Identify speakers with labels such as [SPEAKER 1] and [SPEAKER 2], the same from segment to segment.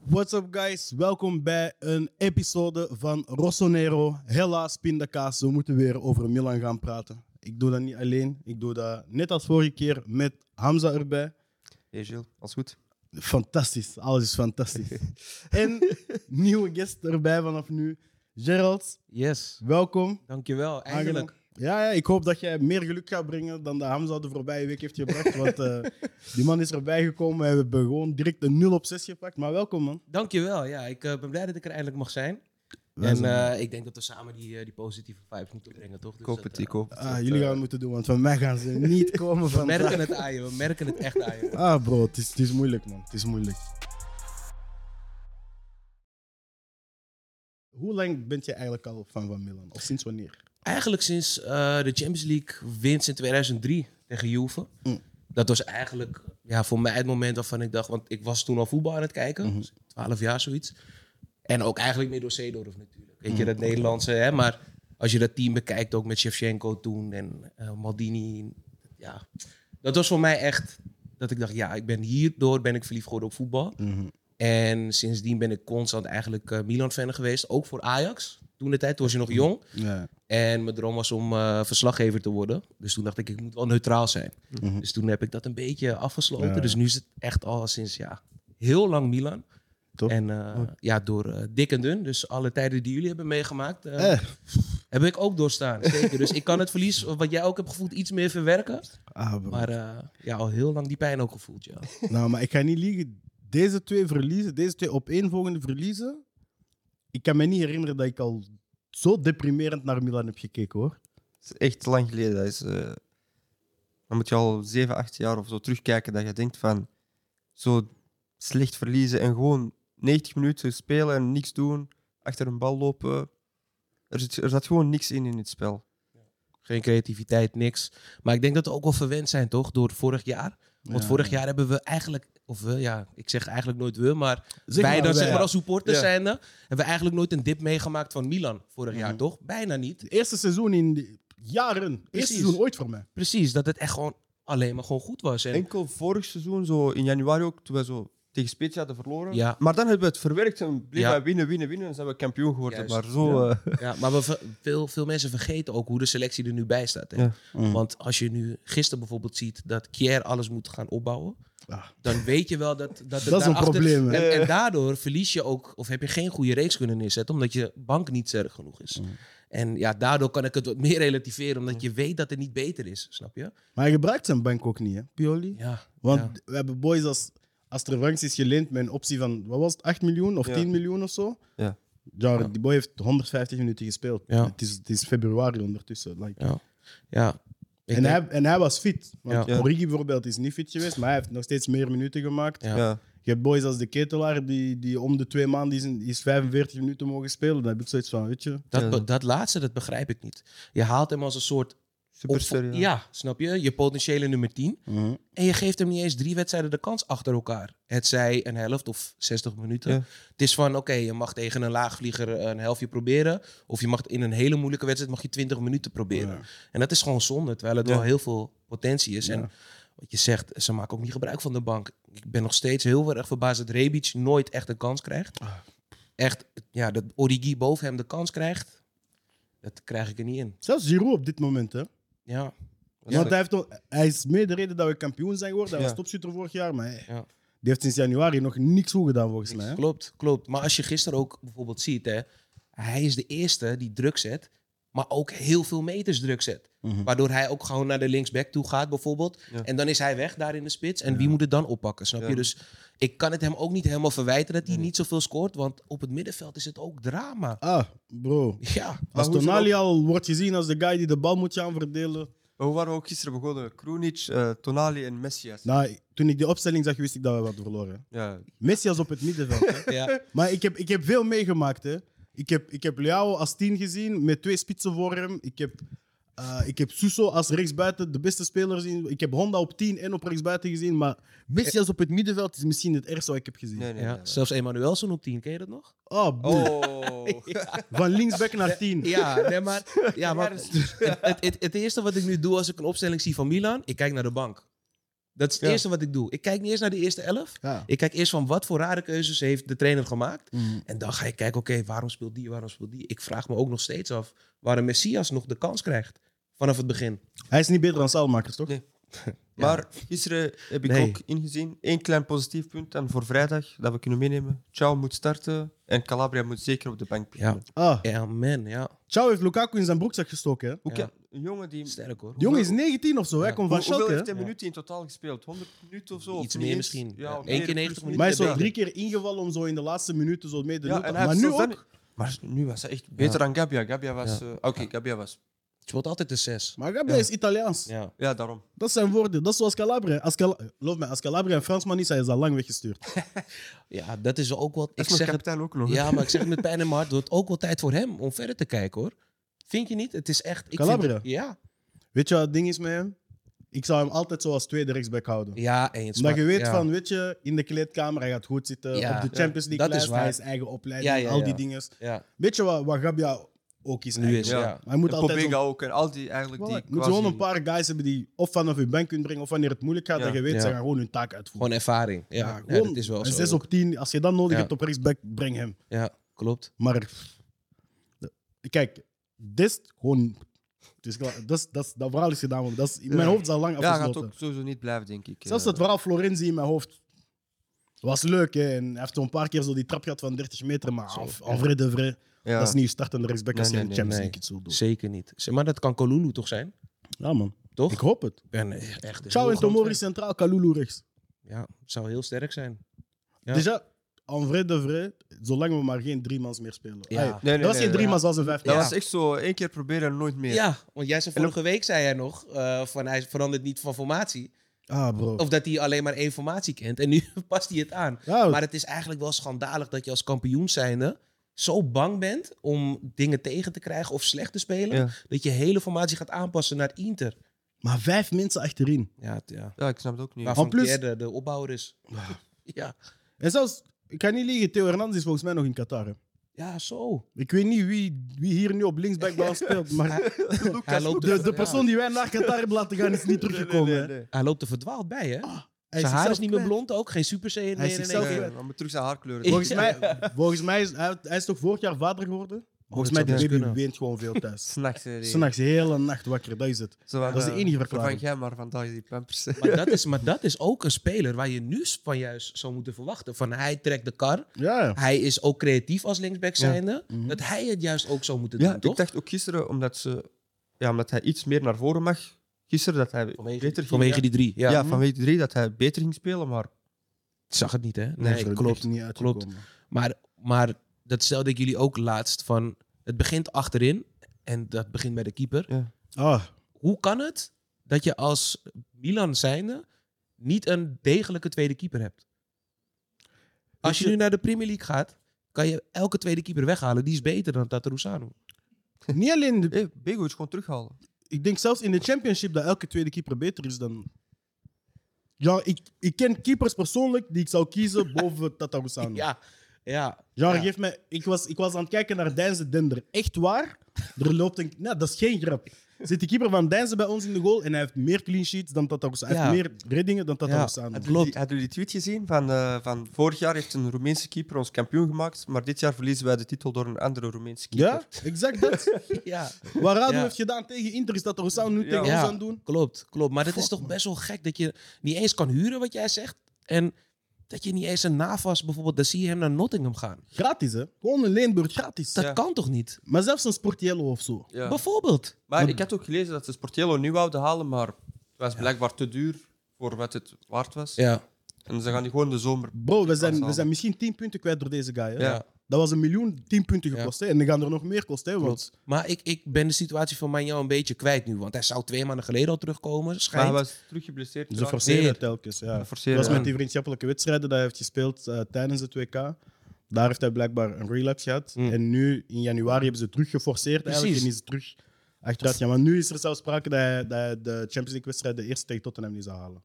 [SPEAKER 1] What's up, guys? Welkom bij een episode van Rossonero. Helaas, pindakaas, we moeten weer over Milan gaan praten. Ik doe dat niet alleen. Ik doe dat net als vorige keer met Hamza erbij.
[SPEAKER 2] Hey Gilles, alles goed?
[SPEAKER 1] Fantastisch, alles is fantastisch. en nieuwe guest erbij vanaf nu, Gerald.
[SPEAKER 3] Yes,
[SPEAKER 1] Welkom.
[SPEAKER 3] dankjewel.
[SPEAKER 1] Aangenaam.
[SPEAKER 3] Eindelijk.
[SPEAKER 1] Ja, ja, ik hoop dat jij meer geluk gaat brengen dan dat Hamza de voorbije week heeft gebracht. Want eh, die man is erbij gekomen. We hebben gewoon direct een 0 op 6 gepakt. Maar welkom, man.
[SPEAKER 3] Dankjewel. Ja, ik eh, ben blij dat ik er eindelijk mag zijn.
[SPEAKER 1] Wij
[SPEAKER 3] en
[SPEAKER 1] zijn-
[SPEAKER 3] eh, ik denk dat we samen die, eh, die positieve vibes moeten brengen, toch?
[SPEAKER 2] Ik
[SPEAKER 3] Dus
[SPEAKER 2] hoop
[SPEAKER 3] dat,
[SPEAKER 2] het,
[SPEAKER 3] eh,
[SPEAKER 2] ik hoop het.
[SPEAKER 1] Ah,
[SPEAKER 2] dat,
[SPEAKER 1] jullie
[SPEAKER 2] eh,
[SPEAKER 1] gaan het moeten doen, want van mij gaan ze niet komen
[SPEAKER 3] we
[SPEAKER 1] van.
[SPEAKER 3] merken het aan je, we merken het echt aan je.
[SPEAKER 1] Ah, bro, het is, het is moeilijk, man. Het is moeilijk. Hoe lang bent je eigenlijk al fan van Milan? Of sinds wanneer?
[SPEAKER 3] Eigenlijk sinds eh, de Champions League winst in 2003 tegen Juve.
[SPEAKER 1] Mm.
[SPEAKER 3] Dat was eigenlijk ja, voor mij het moment waarvan ik dacht... Want ik was toen al voetbal aan het kijken.
[SPEAKER 1] Mhm.
[SPEAKER 3] dus 12 jaar, zoiets. En ook eigenlijk meer door Seedorf natuurlijk. Weet
[SPEAKER 1] Mm.
[SPEAKER 3] je, dat Nederlandse, hè. Maar als je dat team bekijkt, ook met Shevchenko toen en eh, Maldini. Ja, dat was voor mij echt... Dat ik dacht, ja, ik ben hierdoor ben ik verliefd geworden op voetbal.
[SPEAKER 1] Mm. Mhm.
[SPEAKER 3] En sindsdien ben ik constant eigenlijk eh, Milan-fan geweest. Ook voor Ajax. Toen de tijd, toen was je nog jong.
[SPEAKER 1] Ja.
[SPEAKER 3] En mijn droom was om eh, verslaggever te worden. Dus toen dacht ik, ik moet wel neutraal zijn.
[SPEAKER 1] Mhm.
[SPEAKER 3] Dus toen heb ik dat een beetje afgesloten.
[SPEAKER 1] Ja, ja.
[SPEAKER 3] Dus nu is het echt al sinds ja, heel lang Milan.
[SPEAKER 1] Top.
[SPEAKER 3] En eh, ja, door eh, dik en dun. Dus alle tijden die jullie hebben meegemaakt, eh,
[SPEAKER 1] Eh,
[SPEAKER 3] heb ik ook doorstaan. Zeker. dus ik kan het verlies, wat jij ook hebt gevoeld, iets meer verwerken.
[SPEAKER 1] ah, bro.
[SPEAKER 3] Maar eh, ja, al heel lang die pijn ook gevoeld, ja.
[SPEAKER 1] Nou, maar ik ga niet liegen. Deze twee verliezen, deze twee opeenvolgende verliezen. Ik kan me niet herinneren dat ik al zo deprimerend naar Milan heb gekeken, hoor.
[SPEAKER 2] Het is echt lang geleden. Dat is, eh, dan moet je al 7, 8 jaar of zo terugkijken dat je denkt van zo slecht verliezen en gewoon 90 minuten spelen en niks doen, achter een bal lopen. Er, zit, er zat gewoon niks in in het spel.
[SPEAKER 3] Geen creativiteit, niks. Maar ik denk dat we ook wel verwend zijn, toch? Door vorig jaar. Want
[SPEAKER 1] Ja.
[SPEAKER 3] vorig jaar hebben we eigenlijk, of we, ja, ik zeg eigenlijk nooit we, maar
[SPEAKER 1] Zeg
[SPEAKER 3] wij dan, zeg
[SPEAKER 1] wij.
[SPEAKER 3] maar, als supporters
[SPEAKER 2] Ja.
[SPEAKER 3] zijnde, hebben we eigenlijk nooit een dip meegemaakt van Milan vorig jaar, toch? Bijna niet.
[SPEAKER 1] Het eerste seizoen in die- jaren. Eerste
[SPEAKER 3] Precies.
[SPEAKER 1] seizoen ooit voor mij.
[SPEAKER 3] Precies, dat het echt gewoon alleen maar gewoon goed was. En,
[SPEAKER 2] Enkel vorig seizoen, zo in januari ook, toen we zo tegen Spezia hadden verloren.
[SPEAKER 3] Ja.
[SPEAKER 2] Maar dan hebben we het verwerkt en bleven
[SPEAKER 3] Ja.
[SPEAKER 2] wij winnen, winnen, winnen. En zijn we kampioen geworden.
[SPEAKER 3] Juist.
[SPEAKER 2] Maar zo... eh,
[SPEAKER 3] ja, maar we, ver- veel, veel mensen vergeten ook hoe de selectie er nu bij staat. Hè?
[SPEAKER 2] Ja.
[SPEAKER 3] Want als je nu gisteren bijvoorbeeld ziet dat Kier alles moet gaan opbouwen,
[SPEAKER 1] Ah.
[SPEAKER 3] dan weet je wel dat... Dat, het
[SPEAKER 1] Dat is een
[SPEAKER 3] daarachter-
[SPEAKER 1] probleem, hè?
[SPEAKER 3] En, en daardoor verlies je ook, of heb je geen goede reeks kunnen neerzetten, omdat je bank niet sterk genoeg is. En ja, daardoor kan ik het wat meer relativeren, omdat je weet dat het niet beter is, snap je?
[SPEAKER 1] Maar hij gebruikt zijn bank ook niet, hè, Pioli?
[SPEAKER 3] Ja.
[SPEAKER 1] Want
[SPEAKER 3] ja.
[SPEAKER 1] we hebben boys als, als er Franks is geleend met een optie van, wat was het, 8 miljoen of
[SPEAKER 2] Ja.
[SPEAKER 1] 10 miljoen of zo?
[SPEAKER 2] Ja.
[SPEAKER 1] Ja, die boy heeft 150 minuten gespeeld.
[SPEAKER 3] Ja.
[SPEAKER 1] Het, is, het is februari ondertussen. like.
[SPEAKER 3] Ja. ja. Ik
[SPEAKER 1] En,
[SPEAKER 3] denk-
[SPEAKER 1] hij, en hij was fit. Want
[SPEAKER 2] Ja. Ja.
[SPEAKER 1] Origi bijvoorbeeld is niet fit geweest, maar hij heeft nog steeds meer minuten gemaakt.
[SPEAKER 3] Ja.
[SPEAKER 2] ja.
[SPEAKER 1] Je hebt boys als de Ketelaar, die, die om de twee maanden is, is 45 minuten mogen spelen. Dan heb ik zoiets van, weet je...
[SPEAKER 3] dat,
[SPEAKER 2] Ja.
[SPEAKER 3] be- dat laatste, dat begrijp ik niet. Je haalt hem als een soort...
[SPEAKER 2] Superster,
[SPEAKER 3] opvo- ja, snap je? Je potentiële nummer 10. En je geeft hem niet eens drie wedstrijden de kans achter elkaar. Het zij een helft of 60 minuten.
[SPEAKER 2] Ja.
[SPEAKER 3] Het is van, oké, je mag tegen een laagvlieger een helftje proberen. Of je mag in een hele moeilijke wedstrijd mag je 20 minuten proberen.
[SPEAKER 1] Ja.
[SPEAKER 3] En dat is gewoon zonde, terwijl het
[SPEAKER 2] Ja.
[SPEAKER 3] wel heel veel potentie is.
[SPEAKER 1] Ja.
[SPEAKER 3] En wat je zegt, ze maken ook niet gebruik van de bank. Ik ben nog steeds heel erg verbaasd dat Rebic nooit echt een kans krijgt. Echt, ja, dat Origi boven hem de kans krijgt, dat krijg ik er niet in.
[SPEAKER 1] Zelfs Giroud op dit moment, hè.
[SPEAKER 3] Ja,
[SPEAKER 1] Want hij, heeft, nog- hij is mede de reden dat we kampioen zijn geworden. Hij
[SPEAKER 2] Ja.
[SPEAKER 1] was topschutter vorig jaar, maar hij-
[SPEAKER 3] Ja.
[SPEAKER 1] die heeft sinds januari nog niks goed gedaan volgens mij. hè.
[SPEAKER 3] klopt, klopt. Maar als je gisteren ook bijvoorbeeld ziet, hè, hij is de eerste die druk zet, maar ook heel veel meters druk zet.
[SPEAKER 1] Mhm.
[SPEAKER 3] Waardoor hij ook gewoon naar de linksback toe gaat bijvoorbeeld.
[SPEAKER 2] Ja.
[SPEAKER 3] En dan is hij weg daar in de spits. En wie moet het dan oppakken, snap
[SPEAKER 2] Ja.
[SPEAKER 3] je? Dus ik kan het hem ook niet helemaal verwijten dat hij
[SPEAKER 2] Nee.
[SPEAKER 3] niet zoveel scoort. Want op het middenveld is het ook drama.
[SPEAKER 1] Ah, bro.
[SPEAKER 3] Ja,
[SPEAKER 1] Als
[SPEAKER 2] hoe is het
[SPEAKER 1] Tonali al wordt gezien als de guy die de bal moet gaan verdelen.
[SPEAKER 2] Maar Hoe waren we ook gisteren begonnen? Kroenic, eh, Tonali en Messias.
[SPEAKER 1] Nou, toen ik die opstelling zag, wist ik dat we wat verloren.
[SPEAKER 2] Ja,
[SPEAKER 1] Messi als op het middenveld. hè.
[SPEAKER 3] ja.
[SPEAKER 1] Maar ik heb, ik heb veel meegemaakt. Hè. Ik, heb, ik heb Leao als tien gezien, met twee spitsen voor hem. Ik heb, eh, ik heb Suso als rechtsbuiten, de beste speler gezien. Ik heb Honda op tien en op rechtsbuiten gezien. Maar Messi als op het middenveld is misschien het ergste wat ik heb gezien.
[SPEAKER 2] nee, nee.
[SPEAKER 3] Ja,
[SPEAKER 2] nee.
[SPEAKER 3] zelfs Emanuelson op 10, ken je dat nog?
[SPEAKER 1] Oh, boe.
[SPEAKER 2] Oh,
[SPEAKER 1] Van linksback naar tien.
[SPEAKER 3] Ja, dus- nee, maar, ja, maar het, het, het, het eerste wat ik nu doe als ik een opstelling zie van Milan, ik kijk naar de bank. Dat is het
[SPEAKER 2] Ja.
[SPEAKER 3] eerste wat ik doe. Ik kijk niet eerst naar de eerste elf.
[SPEAKER 1] Ja.
[SPEAKER 3] Ik kijk eerst van wat voor rare keuzes heeft de trainer gemaakt.
[SPEAKER 1] Mhm.
[SPEAKER 3] En dan ga ik kijken, oké, waarom speelt die, waarom speelt die? Ik vraag me ook nog steeds af waarom Messias nog de kans krijgt vanaf het begin.
[SPEAKER 1] Hij is niet beter dan Salemakers, toch?
[SPEAKER 2] Nee. Maar gisteren heb ik
[SPEAKER 3] Nee.
[SPEAKER 2] ook ingezien één klein positief punt en voor vrijdag dat we kunnen meenemen. Ciao moet starten en Calabria moet zeker op de bank
[SPEAKER 3] Ja,
[SPEAKER 2] beginnen.
[SPEAKER 1] Ah,
[SPEAKER 3] ja man, ja.
[SPEAKER 1] Ciao heeft Lukaku in zijn broekzak gestoken. Hè?
[SPEAKER 2] Hoe
[SPEAKER 3] Ja.
[SPEAKER 2] kan- een jongen die.
[SPEAKER 3] Sterk hoor.
[SPEAKER 1] Die jongen is 19 of zo, hij
[SPEAKER 3] Ja.
[SPEAKER 1] komt
[SPEAKER 2] Hoe-
[SPEAKER 1] van
[SPEAKER 2] hoeveel
[SPEAKER 1] Schalke.
[SPEAKER 2] heeft
[SPEAKER 1] hè?
[SPEAKER 2] hij minuten in totaal gespeeld? 100 minuten of zo?
[SPEAKER 3] Iets
[SPEAKER 2] of niet
[SPEAKER 3] meer
[SPEAKER 2] eens?
[SPEAKER 3] misschien. Ja,
[SPEAKER 2] of meer,
[SPEAKER 3] één keer
[SPEAKER 2] plus
[SPEAKER 3] 90
[SPEAKER 2] minuten.
[SPEAKER 1] Maar hij is
[SPEAKER 3] minuten
[SPEAKER 1] zo
[SPEAKER 3] beter.
[SPEAKER 1] drie keer ingevallen om zo in de laatste minuten zo mee de
[SPEAKER 2] Ja,
[SPEAKER 1] nut.
[SPEAKER 2] en hij
[SPEAKER 1] Maar
[SPEAKER 2] heeft
[SPEAKER 1] nu
[SPEAKER 2] zo weinig-
[SPEAKER 1] ook.
[SPEAKER 2] Maar nu was hij echt beter dan Gabia. Gabia was. eh, Oké, Gabia was.
[SPEAKER 3] Het wordt altijd de zes.
[SPEAKER 1] Maar Gabia is Italiaans.
[SPEAKER 3] Ja.
[SPEAKER 2] Ja, daarom.
[SPEAKER 1] Dat zijn woorden. Dat is zoals Calabria. Als Cal- Geloof me, als Calabria een Fransman is, hij is al lang weggestuurd.
[SPEAKER 3] ja, dat is ook wat.
[SPEAKER 2] Dat
[SPEAKER 3] Ik
[SPEAKER 2] is nog
[SPEAKER 3] zeg het,
[SPEAKER 2] kapitein ook nog. hè?
[SPEAKER 3] ja, maar ik zeg het met pijn in mijn hart. Het wordt ook wel tijd voor hem om verder te kijken hoor. Vind je niet? Het is echt. Ik
[SPEAKER 1] Calabria?
[SPEAKER 3] Vind, ja.
[SPEAKER 1] Weet je wat het ding is met hem? Ik zou hem altijd zo als tweede rechtsback houden.
[SPEAKER 3] Ja, eens.
[SPEAKER 1] Omdat
[SPEAKER 3] maar-
[SPEAKER 1] je weet
[SPEAKER 3] ja.
[SPEAKER 1] van, weet je, in de kleedkamer, hij gaat goed zitten.
[SPEAKER 3] Ja,
[SPEAKER 1] op de
[SPEAKER 3] ja.
[SPEAKER 1] Champions League
[SPEAKER 3] Dat is
[SPEAKER 1] lijst,
[SPEAKER 3] waar.
[SPEAKER 1] hij is eigen opleiding,
[SPEAKER 3] Ja, ja,
[SPEAKER 1] al die
[SPEAKER 3] ja.
[SPEAKER 1] dingen.
[SPEAKER 3] Ja,
[SPEAKER 1] Weet je wat, wat Gabia ook is
[SPEAKER 3] nu is
[SPEAKER 1] eigenlijk?
[SPEAKER 2] Ja.
[SPEAKER 3] ja.
[SPEAKER 1] Maar Hij moet
[SPEAKER 2] En
[SPEAKER 1] altijd...
[SPEAKER 2] Pobega
[SPEAKER 1] zo-
[SPEAKER 2] ook en al die eigenlijk die
[SPEAKER 1] Voilà. Je moet gewoon een paar guys hebben die of vanaf hun bank kunnen brengen, of wanneer het moeilijk gaat,
[SPEAKER 2] Ja.
[SPEAKER 1] dat je weet,
[SPEAKER 3] Ja.
[SPEAKER 1] ze gaan gewoon hun taak uitvoeren.
[SPEAKER 3] Gewoon ervaring. Ja, ja,
[SPEAKER 1] gewoon
[SPEAKER 3] dat is wel
[SPEAKER 1] een
[SPEAKER 3] zo.
[SPEAKER 1] 6 op 10, als je dat nodig
[SPEAKER 3] Ja.
[SPEAKER 1] hebt op rechtsback, breng hem.
[SPEAKER 3] Ja, klopt.
[SPEAKER 1] Maar de- kijk, dit is gewoon. het is klaar. dat, is- dat, is- dat verhaal is gedaan. want Dat is, in mijn hoofd is al lang
[SPEAKER 2] Ja, gaat
[SPEAKER 1] afgesloten.
[SPEAKER 2] ook sowieso niet blijven, denk ik.
[SPEAKER 1] Zelfs
[SPEAKER 2] Eh,
[SPEAKER 1] dat verhaal Florenzi in mijn hoofd was leuk. Hè? En hij heeft zo'n paar keer zo die trap gehad van 30 meter. Maar
[SPEAKER 3] Zo,
[SPEAKER 1] af-
[SPEAKER 3] ja.
[SPEAKER 1] en vrede de vrij.
[SPEAKER 2] ja.
[SPEAKER 1] Dat is niet je startende rechtsback als
[SPEAKER 2] Nee,
[SPEAKER 1] je in de
[SPEAKER 2] nee,
[SPEAKER 1] Champions
[SPEAKER 3] nee,
[SPEAKER 1] League iets wil doen.
[SPEAKER 3] Zeker niet. Zeg, Maar dat kan Kolulu toch zijn?
[SPEAKER 1] Ja, man.
[SPEAKER 3] Toch?
[SPEAKER 1] Ik hoop het.
[SPEAKER 3] ben echt. echt een
[SPEAKER 1] Ciao
[SPEAKER 3] heel
[SPEAKER 1] en
[SPEAKER 3] groot
[SPEAKER 1] Tomori centraal, Kalulu rechts.
[SPEAKER 3] fan. Ja, zou heel sterk zijn. Ja.
[SPEAKER 1] Dus ja, en vrede de vrij, zolang we maar geen driemans meer spelen.
[SPEAKER 3] Ja.
[SPEAKER 1] Ai,
[SPEAKER 3] Nee,
[SPEAKER 2] nee,
[SPEAKER 1] dat was
[SPEAKER 2] nee,
[SPEAKER 1] geen
[SPEAKER 2] nee.
[SPEAKER 1] driemans, dat was een vijf.
[SPEAKER 2] Dat
[SPEAKER 3] Ja.
[SPEAKER 2] was echt zo één keer proberen en nooit meer.
[SPEAKER 3] Ja, want jij zei
[SPEAKER 2] En
[SPEAKER 3] vorige week zei jij nog eh, van hij verandert niet van formatie.
[SPEAKER 1] Ah, bro.
[SPEAKER 3] Of dat hij alleen maar één formatie kent. En nu past hij het aan.
[SPEAKER 1] Ja,
[SPEAKER 3] Maar het is eigenlijk wel schandalig dat je als kampioen zijnde zo bang bent om dingen tegen te krijgen of slecht te spelen.
[SPEAKER 2] Ja.
[SPEAKER 3] Dat je hele formatie gaat aanpassen naar Inter.
[SPEAKER 1] maar vijf mensen achterin.
[SPEAKER 3] Ja, t- ja.
[SPEAKER 2] Ja, ik snap het ook niet.
[SPEAKER 3] Waarvan
[SPEAKER 1] En plus-
[SPEAKER 3] Pierre de, de opbouwer is. Ja.
[SPEAKER 1] En zelfs, ik kan niet liegen, Theo Hernandez is volgens mij nog in Qatar. hè.
[SPEAKER 3] ja, zo.
[SPEAKER 1] Ik weet niet wie, wie hier nu op linksback bij ons speelt, maar
[SPEAKER 3] Hij loopt,
[SPEAKER 1] de, de
[SPEAKER 3] ja.
[SPEAKER 1] persoon die wij naar Qatar hebben laten gaan is niet teruggekomen. hè.
[SPEAKER 3] hij loopt er verdwaald bij, hè?
[SPEAKER 1] Hij
[SPEAKER 3] Zijn haar
[SPEAKER 1] zichzelf
[SPEAKER 3] is niet meer
[SPEAKER 1] kwijt.
[SPEAKER 3] blond ook. Geen super C meer
[SPEAKER 1] Hij is
[SPEAKER 3] in één
[SPEAKER 1] zichzelf
[SPEAKER 3] keer.
[SPEAKER 1] kwijt.
[SPEAKER 2] Nee, maar terug zijn haarkleur.
[SPEAKER 3] Ja.
[SPEAKER 1] Volgens mij, volgens mij is hij, hij is toch vorig jaar vader geworden? volgens mij
[SPEAKER 3] Oh, zou
[SPEAKER 1] die
[SPEAKER 3] best
[SPEAKER 1] baby
[SPEAKER 3] kunnen.
[SPEAKER 1] weent gewoon veel thuis.
[SPEAKER 2] S'nachts. eh, die-
[SPEAKER 1] S'nachts de hele nacht wakker, dat is het.
[SPEAKER 2] Zo van,
[SPEAKER 1] dat is de
[SPEAKER 2] eh,
[SPEAKER 1] enige
[SPEAKER 2] Vervang
[SPEAKER 1] verklaring.
[SPEAKER 2] jij maar vandaag die pampers.
[SPEAKER 3] Maar dat, is, maar dat is ook een speler waar je nu van juist zou moeten verwachten. Van hij trekt de kar.
[SPEAKER 1] Ja, ja.
[SPEAKER 3] Hij is ook creatief als linksback zijnde.
[SPEAKER 1] Mhm.
[SPEAKER 3] Dat hij het juist ook zou moeten
[SPEAKER 2] Ja,
[SPEAKER 3] doen, toch?
[SPEAKER 2] ik dacht ook gisteren, omdat, ze, ja, omdat hij iets meer naar voren mag, gisteren dat hij beter ging...
[SPEAKER 3] vanwege die drie. Ja.
[SPEAKER 2] ja, ja, vanwege die drie, dat hij beter ging spelen, maar...
[SPEAKER 3] Ik zag het niet, hè?
[SPEAKER 1] Dat
[SPEAKER 3] Nee,
[SPEAKER 1] is er
[SPEAKER 3] klopt.
[SPEAKER 1] echt niet uitgekomen.
[SPEAKER 3] Maar, maar dat stelde ik jullie ook laatst van... Het begint achterin en dat begint bij de keeper.
[SPEAKER 1] Ah,
[SPEAKER 3] Hoe kan het dat je als Milan zijnde niet een degelijke tweede keeper hebt? Als je
[SPEAKER 1] je-
[SPEAKER 3] nu naar de Premier League gaat, kan je elke tweede keeper weghalen. Die is beter dan Tatarusanu.
[SPEAKER 1] niet alleen, de-
[SPEAKER 2] Hé, hey, Begovic gewoon terughalen.
[SPEAKER 1] ik denk zelfs in de championship dat elke tweede keeper beter is dan... Ja, ik, ik ken keepers persoonlijk die ik zou kiezen boven Tatarusano.
[SPEAKER 3] Ja, ja.
[SPEAKER 1] Ja,
[SPEAKER 3] Ja.
[SPEAKER 1] geef mij. Ik was, ik was aan het kijken naar Deinze Dender. Echt waar? Er loopt een. Nee, dat is geen grap. Zit de keeper van Deinze bij ons in de goal en hij heeft meer clean sheets dan Tatarusano. Hij heeft meer reddingen dan Tatarusano.
[SPEAKER 3] het Klopt.
[SPEAKER 2] Die- Hadden jullie die tweet gezien? Van, eh, van vorig jaar heeft een Roemeense keeper ons kampioen gemaakt, maar dit jaar verliezen wij de titel door een andere Roemeense keeper.
[SPEAKER 1] Ja, exact dat.
[SPEAKER 3] ja.
[SPEAKER 1] Wat Radu
[SPEAKER 3] Ja.
[SPEAKER 1] heeft gedaan tegen Inter is Tatarusano nu
[SPEAKER 2] Ja.
[SPEAKER 1] tegen
[SPEAKER 3] Ja.
[SPEAKER 1] ons aan het doen.
[SPEAKER 3] Klopt, klopt. Maar dat is
[SPEAKER 1] Fuck,
[SPEAKER 3] toch
[SPEAKER 1] man.
[SPEAKER 3] best wel gek dat je niet eens kan huren wat jij zegt. En dat je niet eens een Navas bijvoorbeeld, dan zie je hem naar Nottingham gaan.
[SPEAKER 1] Gratis, hè? Gewoon een leenbeurt, gratis.
[SPEAKER 3] Dat
[SPEAKER 2] Ja.
[SPEAKER 3] kan toch niet?
[SPEAKER 1] Maar zelfs een Sportiello of zo.
[SPEAKER 2] Ja.
[SPEAKER 3] Bijvoorbeeld.
[SPEAKER 2] Maar ik had ook gelezen dat ze Sportiello nu wouden halen, maar het was blijkbaar te duur voor wat het waard was.
[SPEAKER 3] Ja.
[SPEAKER 2] En ze gaan die gewoon de zomer...
[SPEAKER 1] Bro, we zijn, we
[SPEAKER 2] halen.
[SPEAKER 1] zijn misschien 10 punten kwijt door deze guy. Hè?
[SPEAKER 2] Ja.
[SPEAKER 1] Dat was een miljoen 10 punten
[SPEAKER 3] Ja.
[SPEAKER 1] gekost. Hè? En dan gaan er nog meer kosten. Hè? Want
[SPEAKER 3] Maar ik, ik ben de situatie van Magnan een beetje kwijt nu. Want hij zou twee maanden geleden al terugkomen.
[SPEAKER 2] Maar hij
[SPEAKER 3] Schijnt.
[SPEAKER 2] was terug geblesseerd.
[SPEAKER 1] ze
[SPEAKER 2] trouwens.
[SPEAKER 1] forceren
[SPEAKER 3] Weer.
[SPEAKER 1] het telkens. Ja.
[SPEAKER 2] Ze forceren,
[SPEAKER 1] Dat was
[SPEAKER 2] ja.
[SPEAKER 1] met die vriendschappelijke wedstrijden dat hij heeft gespeeld eh, tijdens het WK. Daar heeft hij blijkbaar een relapse gehad.
[SPEAKER 3] Mm.
[SPEAKER 1] En nu, in januari, hebben ze terug geforceerd eigenlijk.
[SPEAKER 3] Precies.
[SPEAKER 1] En is het terug achteruit. Ja, maar nu is er zelfs sprake dat hij, dat hij de Champions League-wedstrijd de eerste tegen Tottenham niet zou halen.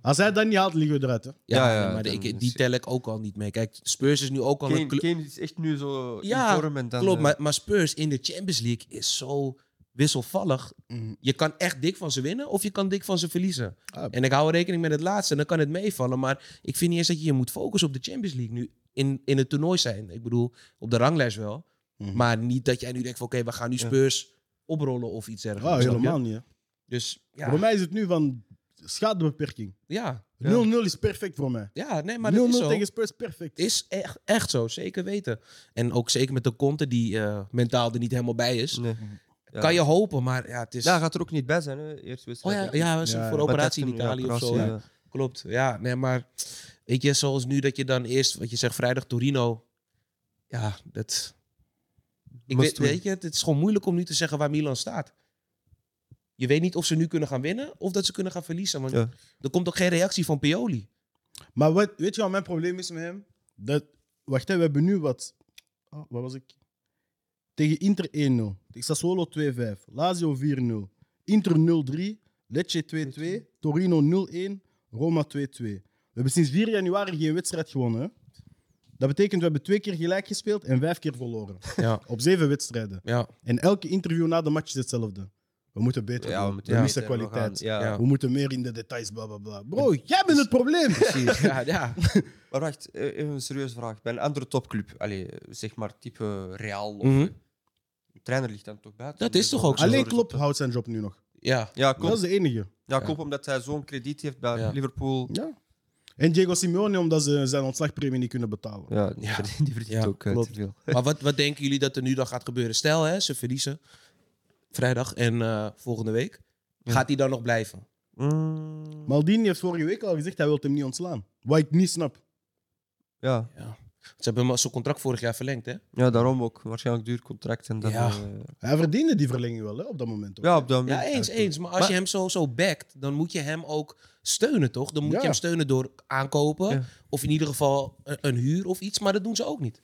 [SPEAKER 1] Als hij dat niet haalt, liggen we eruit. Hè.
[SPEAKER 3] ja,
[SPEAKER 2] Ja, ja,
[SPEAKER 3] maar
[SPEAKER 2] dan
[SPEAKER 3] ik,
[SPEAKER 2] is-
[SPEAKER 3] die tel ik ook al niet mee. Kijk, Spurs is nu ook al
[SPEAKER 2] Kane,
[SPEAKER 3] een club.
[SPEAKER 2] Kane is echt nu zo
[SPEAKER 3] Ja,
[SPEAKER 2] in vorm en dan...
[SPEAKER 3] Klopt,
[SPEAKER 2] eh,
[SPEAKER 3] maar, maar Spurs in de Champions League is zo wisselvallig.
[SPEAKER 2] Mm.
[SPEAKER 1] Mhm.
[SPEAKER 3] Je kan echt dik van ze winnen of je kan dik van ze verliezen.
[SPEAKER 1] Ah.
[SPEAKER 3] En ik hou er rekening met het laatste en dan kan het meevallen. Maar ik vind niet eens dat je je moet focussen op de Champions League nu in, in het toernooi zijn. Ik bedoel, op de ranglijst wel.
[SPEAKER 1] Mhm.
[SPEAKER 3] Maar niet dat jij nu denkt van oké, we gaan nu
[SPEAKER 2] Ja. Oh,
[SPEAKER 3] Spurs oprollen of iets dergelijks.
[SPEAKER 1] Ah,
[SPEAKER 3] snap je?
[SPEAKER 1] helemaal niet. hè.
[SPEAKER 3] Dus
[SPEAKER 1] Voor
[SPEAKER 3] ja,
[SPEAKER 1] mij is het nu van schadebeperking. 0-0
[SPEAKER 3] ja,
[SPEAKER 2] Ja.
[SPEAKER 1] is perfect voor mij. 0-0
[SPEAKER 3] ja, nee, maar dat is zo.
[SPEAKER 1] tegen Spurs perfect.
[SPEAKER 3] Is echt, echt zo, zeker weten. En ook zeker met de Conte die eh, mentaal er niet helemaal bij is.
[SPEAKER 2] Nee. Ja.
[SPEAKER 3] Kan je hopen, maar ja, het is...
[SPEAKER 2] Ja, hij gaat er ook niet bij zijn, hè? Eerst
[SPEAKER 3] Oh
[SPEAKER 2] wedstrijd.
[SPEAKER 3] ja, ja, was
[SPEAKER 1] Ja,
[SPEAKER 3] voor
[SPEAKER 1] ja.
[SPEAKER 3] operatie in Italië of zo. hè? Klopt, ja. Nee, maar weet je, zoals nu dat je dan eerst, wat je zegt, vrijdag Torino. Ja, dat... Ik
[SPEAKER 2] Must
[SPEAKER 3] weet,
[SPEAKER 2] win.
[SPEAKER 3] weet je, het is gewoon moeilijk om nu te zeggen waar Milan staat. Je weet niet of ze nu kunnen gaan winnen of dat ze kunnen gaan verliezen. Want
[SPEAKER 2] Ja.
[SPEAKER 3] er komt ook geen reactie van Pioli.
[SPEAKER 1] Maar wat, weet je wat mijn probleem is met hem? Dat, wacht, hè, we hebben nu wat. Ah, wat was ik? Tegen Inter 1-0. Tegen Sassuolo 2-5. Lazio 4-0. Inter 0-3. Lecce 2-2. Torino 0-1. Roma 2-2. We hebben sinds 4 januari geen wedstrijd gewonnen. hè? Dat betekent we hebben twee keer gelijk gespeeld en vijf keer verloren.
[SPEAKER 3] Ja,
[SPEAKER 1] Op zeven wedstrijden.
[SPEAKER 3] ja,
[SPEAKER 1] En elke interview na de match is hetzelfde. We moeten beter
[SPEAKER 2] Ja,
[SPEAKER 1] doen.
[SPEAKER 2] we
[SPEAKER 1] We,
[SPEAKER 2] moeten
[SPEAKER 3] Ja.
[SPEAKER 1] missen
[SPEAKER 2] beter nog
[SPEAKER 1] kwaliteit.
[SPEAKER 2] gaan. Ja.
[SPEAKER 3] Ja.
[SPEAKER 1] We moeten meer in de details, bla bla bla. Bro, jij bent het probleem.
[SPEAKER 3] precies. ja, ja.
[SPEAKER 2] Maar wacht, eh, even een serieuze vraag. Bij een andere topclub, allee, zeg maar type Real, of,
[SPEAKER 3] Mhm.
[SPEAKER 2] de trainer ligt dan toch buiten?
[SPEAKER 3] Dat is toch ook zo?
[SPEAKER 1] Alleen Klopp houdt zijn job nu nog.
[SPEAKER 3] ja.
[SPEAKER 2] Ja,
[SPEAKER 1] Dat
[SPEAKER 2] klopt.
[SPEAKER 1] is de enige.
[SPEAKER 2] Ja, klopt, omdat hij zo'n krediet heeft bij
[SPEAKER 3] Ja.
[SPEAKER 2] Liverpool.
[SPEAKER 1] Ja. En Diego Simeone, omdat ze zijn ontslagpremie niet kunnen betalen.
[SPEAKER 2] Ja, die verdient, die verdient
[SPEAKER 3] Ja,
[SPEAKER 2] ook eh,
[SPEAKER 3] klopt.
[SPEAKER 2] te veel.
[SPEAKER 3] Maar wat, wat denken jullie dat er nu dan gaat gebeuren? Stel, hè, ze verliezen vrijdag en eh, volgende week.
[SPEAKER 2] Ja.
[SPEAKER 3] Gaat hij dan nog blijven?
[SPEAKER 2] Mm,
[SPEAKER 1] Maldini heeft vorige week al gezegd, hij wil hem niet ontslaan. Wat ik niet snap.
[SPEAKER 2] ja.
[SPEAKER 3] Ze hebben hem zijn contract vorig jaar verlengd, hè?
[SPEAKER 2] ja, daarom ook. Waarschijnlijk duur contract. En dan,
[SPEAKER 3] Ja.
[SPEAKER 2] eh,
[SPEAKER 1] Hij verdiende die verlenging wel, hè, op dat moment ook.
[SPEAKER 2] ja, eh, op dat moment.
[SPEAKER 3] Ja, eens, eens. Maar als
[SPEAKER 2] Maar-
[SPEAKER 3] je hem zo, zo backt, dan moet je hem ook steunen, toch? Dan moet
[SPEAKER 1] Ja.
[SPEAKER 3] je hem steunen door aankopen.
[SPEAKER 2] Ja.
[SPEAKER 3] Of in ieder geval een, een huur of iets. Maar dat doen ze ook niet.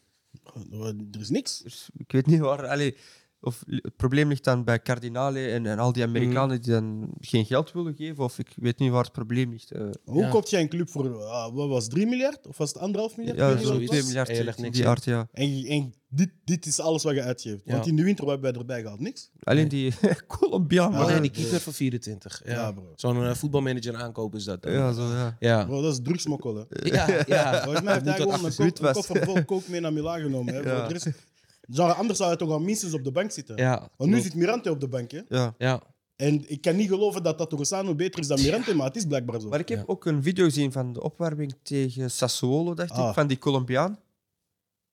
[SPEAKER 1] Er is niks.
[SPEAKER 2] Dus ik weet niet waar. Allee, of li- het probleem ligt dan bij kardinalen en, en al die Amerikanen die dan geen geld willen geven. Of ik weet niet waar het probleem ligt. eh.
[SPEAKER 1] Hoe
[SPEAKER 3] Ja.
[SPEAKER 1] koopt jij een club voor, ah, wat was het, 3 miljard? Of was het 1,5 miljard? Ik
[SPEAKER 2] ja,
[SPEAKER 1] weet niet wat
[SPEAKER 2] zo'n
[SPEAKER 1] het
[SPEAKER 2] 2
[SPEAKER 1] was.
[SPEAKER 2] miljard,
[SPEAKER 3] Hey, leg
[SPEAKER 2] iets in
[SPEAKER 3] niks
[SPEAKER 2] die
[SPEAKER 3] in.
[SPEAKER 2] art, ja.
[SPEAKER 1] En, en dit, dit is alles wat je uitgeeft.
[SPEAKER 3] Ja.
[SPEAKER 1] Want in de winter, wat hebben wij erbij gehad? Niks.
[SPEAKER 2] Alleen die Colombiaan.
[SPEAKER 1] Ah, Ja,
[SPEAKER 3] Oh, nee, die
[SPEAKER 1] bro.
[SPEAKER 3] keeper van 24. Ja.
[SPEAKER 1] Ja, bro.
[SPEAKER 3] Zo'n eh, voetbalmanager aankopen is dat. dan.
[SPEAKER 2] Ja, zo, ja.
[SPEAKER 3] ja.
[SPEAKER 1] Bro, dat is drugsmokkel, hè.
[SPEAKER 3] Ja, ja.
[SPEAKER 1] Volgens mij heeft hij
[SPEAKER 2] Moet dat
[SPEAKER 1] gewoon een,
[SPEAKER 2] absoluut
[SPEAKER 1] kop, een
[SPEAKER 2] was.
[SPEAKER 1] koffer vol kook mee naar Milaan genomen. Hè.
[SPEAKER 2] Ja.
[SPEAKER 1] Voor de rest- Zou- anders zou hij toch al minstens op de bank zitten.
[SPEAKER 3] Ja.
[SPEAKER 1] Want nu zit Mirante op de bank. Hè.
[SPEAKER 2] ja.
[SPEAKER 3] Ja.
[SPEAKER 1] En ik kan niet geloven dat Tatorosano beter is dan Mirante, maar het is blijkbaar zo.
[SPEAKER 2] Maar ik heb
[SPEAKER 3] Ja.
[SPEAKER 2] ook een video gezien van de opwarming tegen Sassuolo, dacht
[SPEAKER 1] Ah.
[SPEAKER 2] ik, van die Colombiaan.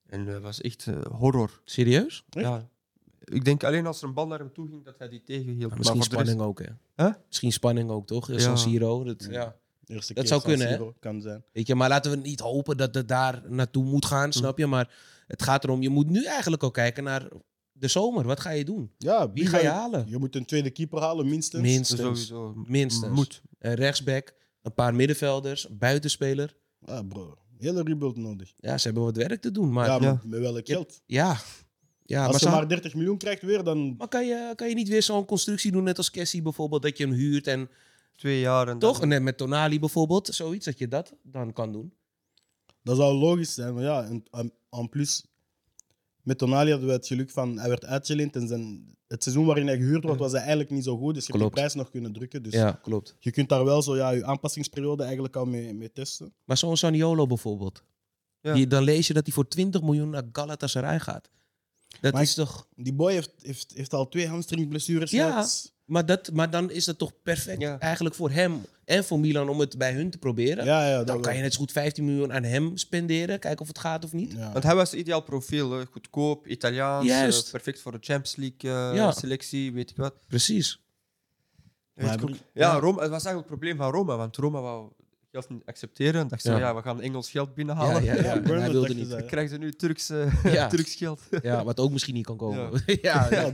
[SPEAKER 2] En dat was echt eh, horror.
[SPEAKER 3] Serieus?
[SPEAKER 1] Echt?
[SPEAKER 2] Ja. Ik denk alleen als er een bal naar hem toe ging dat hij die tegenhield. Maar
[SPEAKER 3] Nou, Misschien
[SPEAKER 2] voor de rest-
[SPEAKER 3] spanning ook, hè?
[SPEAKER 2] Huh?
[SPEAKER 3] Misschien spanning ook, toch?
[SPEAKER 2] Ja.
[SPEAKER 3] San Siro. Dat, ja.
[SPEAKER 1] Eerste
[SPEAKER 3] Dat
[SPEAKER 1] keer
[SPEAKER 3] zou
[SPEAKER 1] San
[SPEAKER 3] kunnen, hè?
[SPEAKER 1] Siro Kan zijn.
[SPEAKER 3] Weet je, maar laten we niet hopen dat het daar naartoe moet gaan, snap je? Maar het gaat erom, je moet nu eigenlijk ook kijken naar de zomer. Wat ga je doen?
[SPEAKER 1] Ja,
[SPEAKER 3] Wie ga je halen?
[SPEAKER 1] Je moet een tweede keeper halen, minstens.
[SPEAKER 3] Minstens.
[SPEAKER 2] dus sowieso.
[SPEAKER 3] Minstens.
[SPEAKER 2] Moet.
[SPEAKER 3] Een rechtsback, een paar middenvelders, een buitenspeler.
[SPEAKER 1] Ah, bro. Hele rebuild nodig.
[SPEAKER 3] Ja, ze hebben wat werk te doen, maar
[SPEAKER 1] ja,
[SPEAKER 3] ja.
[SPEAKER 1] maar
[SPEAKER 2] ja.
[SPEAKER 1] met welk
[SPEAKER 3] Ja,
[SPEAKER 1] geld?
[SPEAKER 3] ja. maar,
[SPEAKER 1] Als je
[SPEAKER 3] zou-
[SPEAKER 1] maar 30 miljoen krijgt weer, dan...
[SPEAKER 3] maar kan, je, kan je niet weer zo'n constructie doen, net als Cassie bijvoorbeeld, dat je hem huurt en
[SPEAKER 2] Twee jaar en
[SPEAKER 3] toch,
[SPEAKER 2] dan-
[SPEAKER 3] net met Tonali bijvoorbeeld, zoiets, dat je dat dan kan doen.
[SPEAKER 1] Dat zou logisch zijn. Maar ja, en, en, en plus... Met Tonali hadden we het geluk van... Hij werd uitgeleend en zijn, het seizoen waarin hij gehuurd wordt, was hij eigenlijk niet zo goed. Dus je hebt
[SPEAKER 3] Klopt.
[SPEAKER 1] de prijs nog kunnen drukken. Dus
[SPEAKER 3] Ja, klopt.
[SPEAKER 1] je kunt daar wel zo ja, je aanpassingsperiode eigenlijk al mee, mee testen.
[SPEAKER 3] Maar zo'n Saniolo bijvoorbeeld,
[SPEAKER 2] Ja.
[SPEAKER 3] die, dan lees je dat hij voor 20 miljoen naar Galatasaray gaat. Dat
[SPEAKER 1] Maar
[SPEAKER 3] is
[SPEAKER 1] ik-
[SPEAKER 3] toch...
[SPEAKER 1] Die boy heeft, heeft, heeft al twee hamstringblessures
[SPEAKER 3] Ja.
[SPEAKER 1] gehad.
[SPEAKER 3] Maar, dat, maar dan is dat toch perfect
[SPEAKER 2] Ja.
[SPEAKER 3] eigenlijk voor hem en voor Milan om het bij hun te proberen.
[SPEAKER 1] Ja, ja, dat
[SPEAKER 3] dan kan
[SPEAKER 1] wel.
[SPEAKER 3] je net zo goed 15 miljoen aan hem spenderen. Kijken of het gaat of niet.
[SPEAKER 1] Ja.
[SPEAKER 2] Want hij was het ideaal profiel. hè. Goedkoop, Italiaans,
[SPEAKER 3] Juist.
[SPEAKER 2] eh, perfect voor de Champions League eh,
[SPEAKER 3] Ja.
[SPEAKER 2] selectie, weet ik wat.
[SPEAKER 3] Precies.
[SPEAKER 1] Maar
[SPEAKER 2] Weet ik
[SPEAKER 1] heb
[SPEAKER 2] ook-
[SPEAKER 1] ik-
[SPEAKER 2] ja, Rome, het was eigenlijk het probleem van Roma, want Roma wou geld niet accepteren. En dacht ze,
[SPEAKER 3] Ja.
[SPEAKER 2] ja. we gaan Engels geld
[SPEAKER 3] Ja, ja,
[SPEAKER 2] binnenhalen.
[SPEAKER 3] ja.
[SPEAKER 1] Ja,
[SPEAKER 3] En
[SPEAKER 1] Bernard
[SPEAKER 3] hij wilde
[SPEAKER 1] dacht
[SPEAKER 3] niet.
[SPEAKER 1] dat,
[SPEAKER 2] Dan
[SPEAKER 1] ja.
[SPEAKER 2] krijgen ze nu Turks, eh,
[SPEAKER 3] Ja.
[SPEAKER 2] Turks geld.
[SPEAKER 3] Ja, wat ook misschien niet kan komen. Ja, ja,
[SPEAKER 1] Ja,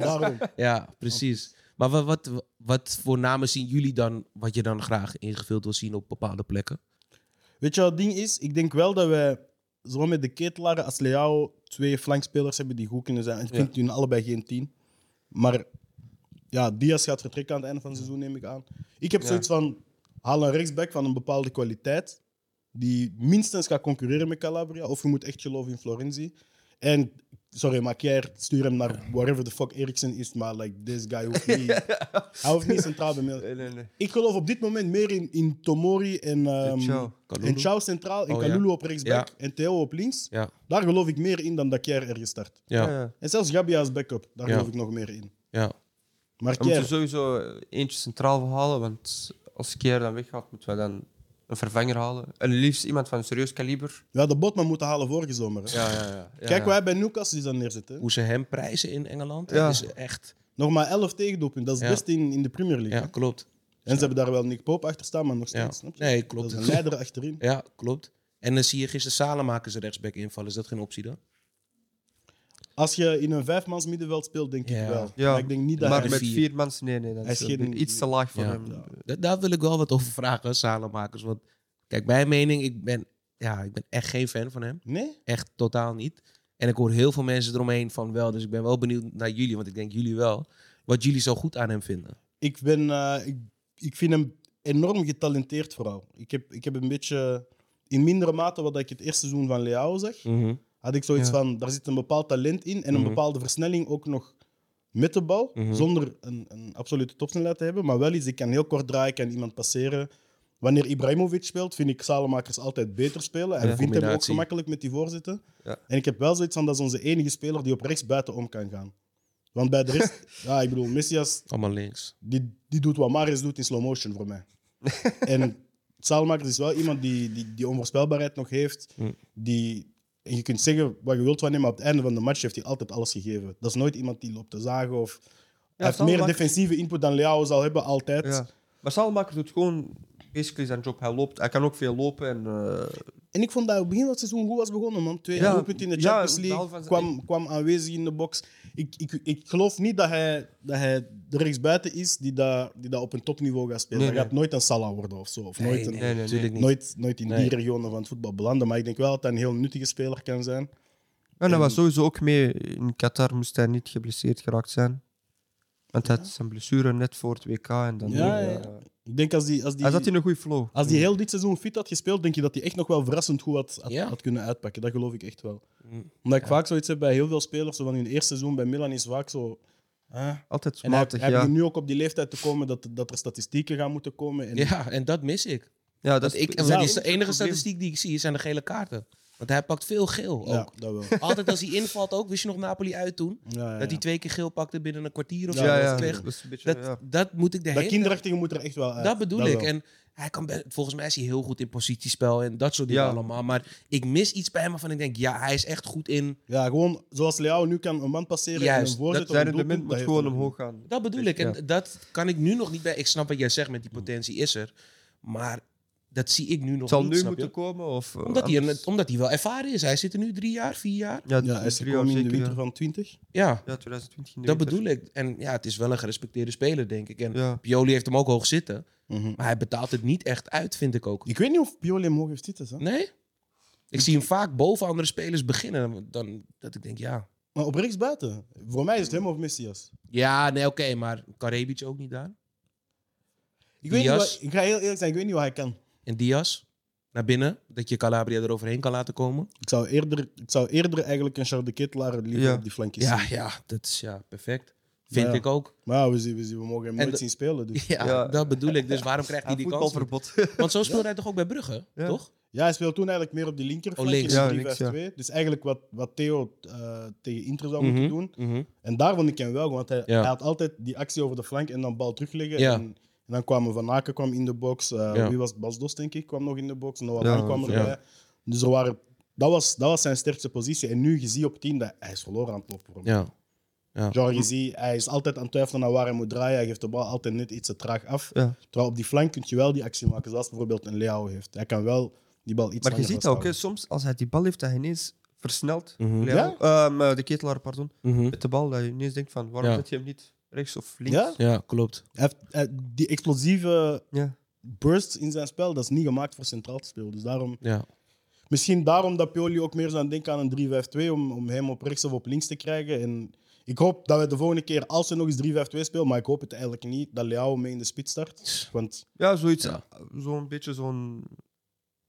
[SPEAKER 1] daarom.
[SPEAKER 3] precies. Maar wat, wat, wat voor namen zien jullie dan, wat je dan graag ingevuld wil zien op bepaalde plekken?
[SPEAKER 1] Weet je wat het ding is? Ik denk wel dat wij, zowel met de ketelaren als Leao, twee flankspelers hebben die goed kunnen zijn. Ik vind hun allebei geen tien. Maar ja, Diaz gaat vertrekken aan het einde van het seizoen, neem ik aan. Ik heb
[SPEAKER 2] Ja.
[SPEAKER 1] zoiets van, haal een rechtsback van een bepaalde kwaliteit, die minstens gaat concurreren met Calabria, of je moet echt geloven in Florenzi. En, sorry, maar Kier, stuur hem naar wherever the fuck Eriksen is, maar like, this guy hoeft niet, hij hoeft niet centraal bij Milan.
[SPEAKER 2] Nee, nee, nee.
[SPEAKER 1] Ik geloof op dit moment meer in, in Tomori en, ehm,
[SPEAKER 2] Ciao.
[SPEAKER 3] Kalulu.
[SPEAKER 1] en Chao centraal en
[SPEAKER 3] Oh, ja.
[SPEAKER 1] Kalulu op rechtsback
[SPEAKER 3] Ja.
[SPEAKER 1] en Theo op links.
[SPEAKER 3] Ja,
[SPEAKER 1] Daar geloof ik meer in dan dat Kier ergens start.
[SPEAKER 2] Ja.
[SPEAKER 3] ja,
[SPEAKER 2] ja.
[SPEAKER 1] En zelfs Gabi als backup, daar
[SPEAKER 3] Ja.
[SPEAKER 1] geloof ik nog meer in.
[SPEAKER 3] ja.
[SPEAKER 1] Maar
[SPEAKER 2] We moeten
[SPEAKER 1] Kier,
[SPEAKER 2] sowieso eh, eentje centraal verhalen, want als Kier dan weggaat, moeten we dan een vervanger halen. En liefst iemand van een serieus kaliber.
[SPEAKER 1] we hadden Botman moeten halen vorige zomer. hè.
[SPEAKER 2] Ja, ja, ja. ja,
[SPEAKER 1] Kijk
[SPEAKER 2] ja.
[SPEAKER 1] waar hij bij Newcastle is aan neerzet. Hè.
[SPEAKER 3] Hoe ze hem prijzen in Engeland,
[SPEAKER 2] Ja.
[SPEAKER 3] dat is echt...
[SPEAKER 1] Nog maar 11 tegendoelpunten, dat is
[SPEAKER 3] Ja.
[SPEAKER 1] het beste in, in de Premier League.
[SPEAKER 3] Ja,
[SPEAKER 1] hè.
[SPEAKER 3] klopt.
[SPEAKER 1] En ze hebben daar wel Nick Pope achter staan, maar nog
[SPEAKER 3] Ja.
[SPEAKER 1] steeds. snap je?
[SPEAKER 3] Nee,
[SPEAKER 1] Dat
[SPEAKER 3] klopt.
[SPEAKER 1] is een leider achterin.
[SPEAKER 3] Ja, klopt. En dan zie je gisteren Salamakers rechtsback invallen. Is dat geen optie dan?
[SPEAKER 1] Als je in een vijfmans middenveld speelt, denk
[SPEAKER 3] Ja.
[SPEAKER 1] ik wel.
[SPEAKER 2] Ja.
[SPEAKER 1] Maar ik denk niet dat
[SPEAKER 2] maar
[SPEAKER 1] hij...
[SPEAKER 2] met
[SPEAKER 3] vier.
[SPEAKER 2] vier mensen, nee, nee, dat
[SPEAKER 1] Hij
[SPEAKER 2] is eh,
[SPEAKER 1] is geen-
[SPEAKER 2] iets te laag voor
[SPEAKER 3] Ja.
[SPEAKER 2] hem.
[SPEAKER 1] Ja.
[SPEAKER 3] Eh, Da- daar wil ik wel wat over vragen, Salamakers. Want kijk, mijn mening, ik ben, ja, ik ben echt geen fan van hem.
[SPEAKER 1] Nee?
[SPEAKER 3] Echt totaal niet. En ik hoor heel veel mensen eromheen van wel. Dus ik ben wel benieuwd naar jullie, want ik denk jullie wel. Wat jullie zo goed aan hem vinden.
[SPEAKER 1] Ik, ben, eh, ik, ik vind hem enorm getalenteerd vooral. Ik heb, ik heb een beetje... In mindere mate wat ik het eerste seizoen van Leao zag, had ik zoiets
[SPEAKER 2] Ja.
[SPEAKER 1] van... Daar zit een bepaald talent in en een
[SPEAKER 3] Mhm.
[SPEAKER 1] bepaalde versnelling ook nog met de bal.
[SPEAKER 3] Mhm.
[SPEAKER 1] Zonder een, een absolute topsnelheid te hebben. Maar wel iets, ik kan heel kort draaien, ik kan iemand passeren. Wanneer Ibrahimovic speelt, vind ik Salemakers altijd beter spelen. Hij
[SPEAKER 2] Ja.
[SPEAKER 1] vindt hem ook
[SPEAKER 3] Combinatie.
[SPEAKER 1] gemakkelijk met die voorzitten.
[SPEAKER 2] Ja.
[SPEAKER 1] En ik heb wel zoiets van, dat is onze enige speler die op rechts buiten om kan gaan. Want bij de rest... ja, ik bedoel, Messias,
[SPEAKER 3] Allemaal links.
[SPEAKER 1] die, die doet wat Maris doet in slow motion voor mij. en Salemakers is wel iemand die, die die onvoorspelbaarheid nog heeft.
[SPEAKER 2] Hm.
[SPEAKER 3] Mm.
[SPEAKER 1] Die, en je kunt zeggen wat je wilt van hem, maar op het einde van de match heeft hij altijd alles gegeven. Dat is nooit iemand die loopt te zagen of... hij heeft meer
[SPEAKER 2] Salemakers-
[SPEAKER 1] defensieve input dan Leao zal hebben, altijd.
[SPEAKER 2] Ja. Maar Salmaker doet gewoon basically zijn job. Hij loopt, hij kan ook veel lopen. En, eh,
[SPEAKER 1] En ik vond dat het begin van het seizoen goed was begonnen, man. Twee
[SPEAKER 2] Ja,
[SPEAKER 1] doelpunten in de
[SPEAKER 2] ja,
[SPEAKER 1] Champions
[SPEAKER 2] behalve
[SPEAKER 1] League,
[SPEAKER 2] van
[SPEAKER 1] kwam, kwam aanwezig in de box. Ik, ik, ik geloof niet dat hij, dat hij de rechtsbuiten is die dat, die dat op een topniveau gaat spelen.
[SPEAKER 2] Nee,
[SPEAKER 1] Hij
[SPEAKER 2] nee.
[SPEAKER 1] gaat nooit een Salah worden of zo. Of nooit, een,
[SPEAKER 2] nee, nee.
[SPEAKER 3] natuurlijk niet.
[SPEAKER 1] nooit, nooit in
[SPEAKER 3] Nee.
[SPEAKER 1] die regionen van het voetbal belanden. Maar ik denk wel dat hij een heel nuttige speler kan zijn.
[SPEAKER 2] En hij was sowieso ook mee in Qatar, moest hij niet geblesseerd geraakt zijn. Want hij had zijn blessure net voor het WK. En dan,
[SPEAKER 1] Ja, ja.
[SPEAKER 2] eh,
[SPEAKER 1] Ik denk als die, als die,
[SPEAKER 2] Hij zat in een goede flow.
[SPEAKER 1] als die heel dit seizoen fit had gespeeld, denk je dat hij echt nog wel verrassend goed had, had,
[SPEAKER 3] Ja.
[SPEAKER 1] had kunnen uitpakken. Dat geloof ik echt wel. Omdat ik vaak zoiets heb bij heel veel spelers, zo van hun eerste seizoen bij Milan is vaak zo... ah,
[SPEAKER 2] Altijd
[SPEAKER 1] En hij,
[SPEAKER 2] smatig,
[SPEAKER 1] hij
[SPEAKER 2] ja.
[SPEAKER 1] begint nu ook op die leeftijd te komen dat, dat er statistieken gaan moeten komen. En
[SPEAKER 3] Ja, en dat mis ik.
[SPEAKER 2] ja
[SPEAKER 3] Dat
[SPEAKER 2] dat is
[SPEAKER 3] ik
[SPEAKER 2] is
[SPEAKER 1] ja,
[SPEAKER 3] de
[SPEAKER 2] het
[SPEAKER 3] enige
[SPEAKER 2] probleem.
[SPEAKER 3] statistiek die ik zie zijn de gele kaarten. Want hij pakt veel geel ook.
[SPEAKER 1] Ja, dat wel.
[SPEAKER 3] Altijd als hij invalt ook. Wist je nog Napoli uit toen?
[SPEAKER 1] Ja, ja,
[SPEAKER 3] Dat hij
[SPEAKER 1] ja.
[SPEAKER 3] twee keer geel pakte binnen een kwartier of
[SPEAKER 2] Ja,
[SPEAKER 3] zo.
[SPEAKER 2] ja,
[SPEAKER 3] dat
[SPEAKER 2] dat
[SPEAKER 3] kreeg-
[SPEAKER 2] is een beetje...
[SPEAKER 3] Dat,
[SPEAKER 2] ja.
[SPEAKER 3] dat moet ik de
[SPEAKER 1] Dat
[SPEAKER 3] hele
[SPEAKER 1] kinderachtige moet er echt wel uit.
[SPEAKER 3] Dat bedoel ik.
[SPEAKER 1] wel.
[SPEAKER 3] En hij kan be- volgens mij is hij heel goed in positiespel en dat soort dingen
[SPEAKER 2] Ja.
[SPEAKER 3] allemaal. Maar ik mis iets bij hem waarvan ik denk, ja, hij is echt goed in.
[SPEAKER 1] Ja, gewoon zoals Leao nu kan een man passeren
[SPEAKER 3] Juist,
[SPEAKER 1] en een
[SPEAKER 2] Dat
[SPEAKER 1] voorzet
[SPEAKER 2] zijn
[SPEAKER 1] op
[SPEAKER 2] de
[SPEAKER 1] een
[SPEAKER 2] min
[SPEAKER 1] doelpunt,
[SPEAKER 2] moet
[SPEAKER 1] dat
[SPEAKER 2] gewoon
[SPEAKER 1] heeft hij.
[SPEAKER 2] omhoog gaan.
[SPEAKER 3] Dat bedoel ik. En
[SPEAKER 2] Ja. Hmm.
[SPEAKER 3] dat kan ik nu nog niet bij. Ik snap wat jij zegt met die potentie is er. Maar dat zie ik nu nog
[SPEAKER 2] Het zal
[SPEAKER 3] niet.
[SPEAKER 2] nu
[SPEAKER 3] snap
[SPEAKER 2] moeten
[SPEAKER 3] je?
[SPEAKER 2] komen? Of, eh,
[SPEAKER 3] Omdat hij, een-
[SPEAKER 2] anders-
[SPEAKER 3] omdat hij wel ervaren is. Hij zit er nu drie jaar, vier jaar.
[SPEAKER 2] Ja,
[SPEAKER 1] Ja, hij is
[SPEAKER 2] drie jaar
[SPEAKER 1] gekomen in de
[SPEAKER 2] zeker,
[SPEAKER 1] winter
[SPEAKER 2] ja.
[SPEAKER 1] van 20.
[SPEAKER 3] Ja,
[SPEAKER 2] Ja, 2020. in de
[SPEAKER 3] dat
[SPEAKER 2] winter.
[SPEAKER 3] bedoel ik. En ja, het is wel een gerespecteerde speler, denk ik. En
[SPEAKER 2] Ja.
[SPEAKER 3] Pioli heeft hem ook hoog zitten.
[SPEAKER 1] Mhm.
[SPEAKER 3] Maar hij betaalt het niet echt uit, vind ik ook.
[SPEAKER 1] Ik weet niet of Pioli hem hoog heeft zitten. Hè?
[SPEAKER 3] Nee? Ik zie hem vaak boven andere spelers beginnen. Dan, dan dat ik denk, ja.
[SPEAKER 1] Maar op rechtsbuiten. Voor mij is het hem of Messias.
[SPEAKER 3] Ja, nee, oké, maar Karabic ook niet daar.
[SPEAKER 1] Ik, weet niet
[SPEAKER 3] Diaz.
[SPEAKER 1] wat, ik ga heel eerlijk zijn, ik weet niet wat hij kan.
[SPEAKER 3] En Diaz naar binnen, dat je Calabria eroverheen kan laten komen.
[SPEAKER 1] Ik zou eerder, ik zou eerder eigenlijk een Charles de Ketelaar liever
[SPEAKER 2] Ja.
[SPEAKER 1] op die flankjes
[SPEAKER 3] Ja,
[SPEAKER 1] zien.
[SPEAKER 3] ja, dat is ja, perfect. Vind
[SPEAKER 1] Ja.
[SPEAKER 3] ik ook.
[SPEAKER 1] Maar ja, we, zien- we, zien- we mogen hem
[SPEAKER 3] En
[SPEAKER 1] nooit
[SPEAKER 3] de-
[SPEAKER 1] zien spelen. Dus.
[SPEAKER 3] Ja,
[SPEAKER 2] Ja.
[SPEAKER 3] dat bedoel ik. Dus waarom krijgt hij
[SPEAKER 2] Ja,
[SPEAKER 3] die kans? niet?
[SPEAKER 2] voetbalverbod.
[SPEAKER 3] Want zo speelde hij toch ook bij Brugge,
[SPEAKER 2] Ja.
[SPEAKER 3] toch?
[SPEAKER 1] Ja, hij speelde toen eigenlijk meer op die linkerflank
[SPEAKER 3] Oh,
[SPEAKER 1] in
[SPEAKER 3] links.
[SPEAKER 1] de
[SPEAKER 2] Ja,
[SPEAKER 1] 3
[SPEAKER 2] links, ja.
[SPEAKER 1] 5 Dus eigenlijk wat, wat Theo eh, tegen Inter zou moeten doen.
[SPEAKER 3] mhm.
[SPEAKER 1] En daar vond ik hem wel, want hij,
[SPEAKER 3] Ja.
[SPEAKER 1] hij had altijd die actie over de flank en dan bal terugleggen.
[SPEAKER 3] Ja.
[SPEAKER 1] En, en dan kwamen Van Aken kwam in de box. eh,
[SPEAKER 3] Ja.
[SPEAKER 1] Wie was het? Bas Dos, denk ik, kwam nog in de box. Noah
[SPEAKER 2] Ja,
[SPEAKER 1] Lang kwam
[SPEAKER 2] ja.
[SPEAKER 1] erbij. Dus er waren, dat, was, dat was zijn sterkste positie. En nu, je ziet op 10, dat hij is verloren aan het lopen. voor hem.
[SPEAKER 3] Ja.
[SPEAKER 1] Genre, je ziet, hij is altijd aan het twijfelen naar waar hij moet draaien. Hij geeft de bal altijd net iets te traag af.
[SPEAKER 2] Ja.
[SPEAKER 1] Terwijl op die flank kun je wel die actie maken, zoals bijvoorbeeld een Leao heeft. Hij kan wel die bal iets
[SPEAKER 2] Maar je
[SPEAKER 1] langer
[SPEAKER 2] ziet ook, hè,
[SPEAKER 1] vasthouden.
[SPEAKER 2] soms als hij die bal heeft, dat hij ineens versnelt.
[SPEAKER 3] Mhm.
[SPEAKER 2] Leao- Ehm, eh, de ketelaar, pardon. Met de bal, dat je ineens denkt van, waarom
[SPEAKER 3] Ja.
[SPEAKER 2] zet je hem niet rechts of links?
[SPEAKER 1] Ja?
[SPEAKER 3] Ja, klopt.
[SPEAKER 1] Hij heeft- hij- die explosieve
[SPEAKER 2] Ja.
[SPEAKER 1] burst in zijn spel, dat is niet gemaakt voor centraal te spelen. Dus daarom,
[SPEAKER 3] Ja.
[SPEAKER 1] misschien daarom dat Pioli ook meer zou aan denken aan een 3-5-2, om, om hem op rechts of op links te krijgen. En ik hoop dat we de volgende keer, als we nog eens 3-5-2 spelen, maar ik hoop het eigenlijk niet, dat Leao mee in de spits start. Want
[SPEAKER 2] Ja, zoiets. eh,
[SPEAKER 3] Ja.
[SPEAKER 2] Zo'n beetje zo'n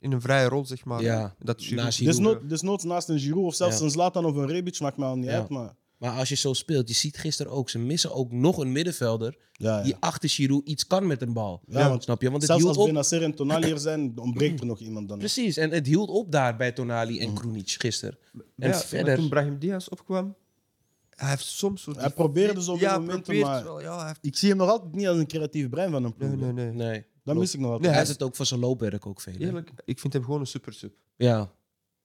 [SPEAKER 2] in een vrije rol, zeg maar.
[SPEAKER 3] Ja,
[SPEAKER 2] Dat Giroud-
[SPEAKER 3] naast Giroud.
[SPEAKER 1] Dus nood- dus noods naast een Giroud of zelfs
[SPEAKER 3] Ja.
[SPEAKER 1] een Zlatan of een Rebic, maakt mij al niet
[SPEAKER 3] Ja.
[SPEAKER 1] uit. Maar
[SPEAKER 3] Maar als je zo speelt, je ziet gisteren ook, ze missen ook nog een middenvelder
[SPEAKER 1] ja, ja.
[SPEAKER 3] die achter Giroud iets kan met een bal.
[SPEAKER 1] Ja, want
[SPEAKER 3] Snap je? Want het
[SPEAKER 1] zelfs
[SPEAKER 3] hield
[SPEAKER 1] als
[SPEAKER 3] op.
[SPEAKER 1] Benacer en Tonali hier zijn, ontbreekt er nog iemand dan.
[SPEAKER 3] Precies, en het hield op daar bij Tonali en Kroenic gisteren. En
[SPEAKER 2] Mhm. ja, maar
[SPEAKER 3] verder.
[SPEAKER 2] toen Brahim Diaz opkwam, hij heeft soms zo...
[SPEAKER 1] Hij probeerde zo op
[SPEAKER 2] ja,
[SPEAKER 1] die momenten,
[SPEAKER 2] probeert
[SPEAKER 1] maar-
[SPEAKER 2] Wel, ja, hij heeft...
[SPEAKER 1] Ik zie hem nog altijd niet als een creatief brein van een ploeg.
[SPEAKER 2] Nee, nee, nee.
[SPEAKER 3] Nee.
[SPEAKER 1] Dat mis ik nog
[SPEAKER 2] Nee,
[SPEAKER 1] altijd.
[SPEAKER 3] Hij is het ook voor zijn loopwerk ook veel. hè?
[SPEAKER 2] Eerlijk, ik vind hem gewoon een super sub.
[SPEAKER 3] Ja.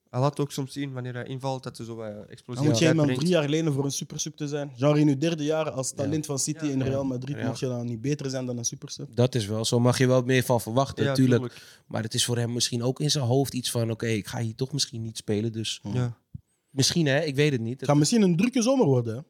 [SPEAKER 2] Hij laat ook soms zien wanneer hij invalt dat hij zo wat
[SPEAKER 1] Dan
[SPEAKER 2] explosief
[SPEAKER 1] moet je iemand drie jaar geleden voor een supersub te zijn. Genre in je derde jaar als talent van City
[SPEAKER 2] Ja.
[SPEAKER 1] in Real Madrid
[SPEAKER 3] Ja.
[SPEAKER 1] mag je dan niet beter zijn dan een supersub.
[SPEAKER 3] Dat is wel, zo mag je wel meer van verwachten,
[SPEAKER 2] Ja,
[SPEAKER 3] natuurlijk.
[SPEAKER 2] tuurlijk.
[SPEAKER 3] Maar het is voor hem misschien ook in zijn hoofd iets van: oké, ik ga hier toch misschien niet spelen. Dus
[SPEAKER 2] Ja,
[SPEAKER 3] misschien, hè, ik weet het niet.
[SPEAKER 1] Het
[SPEAKER 3] Het-
[SPEAKER 1] gaat misschien een drukke zomer worden. hè?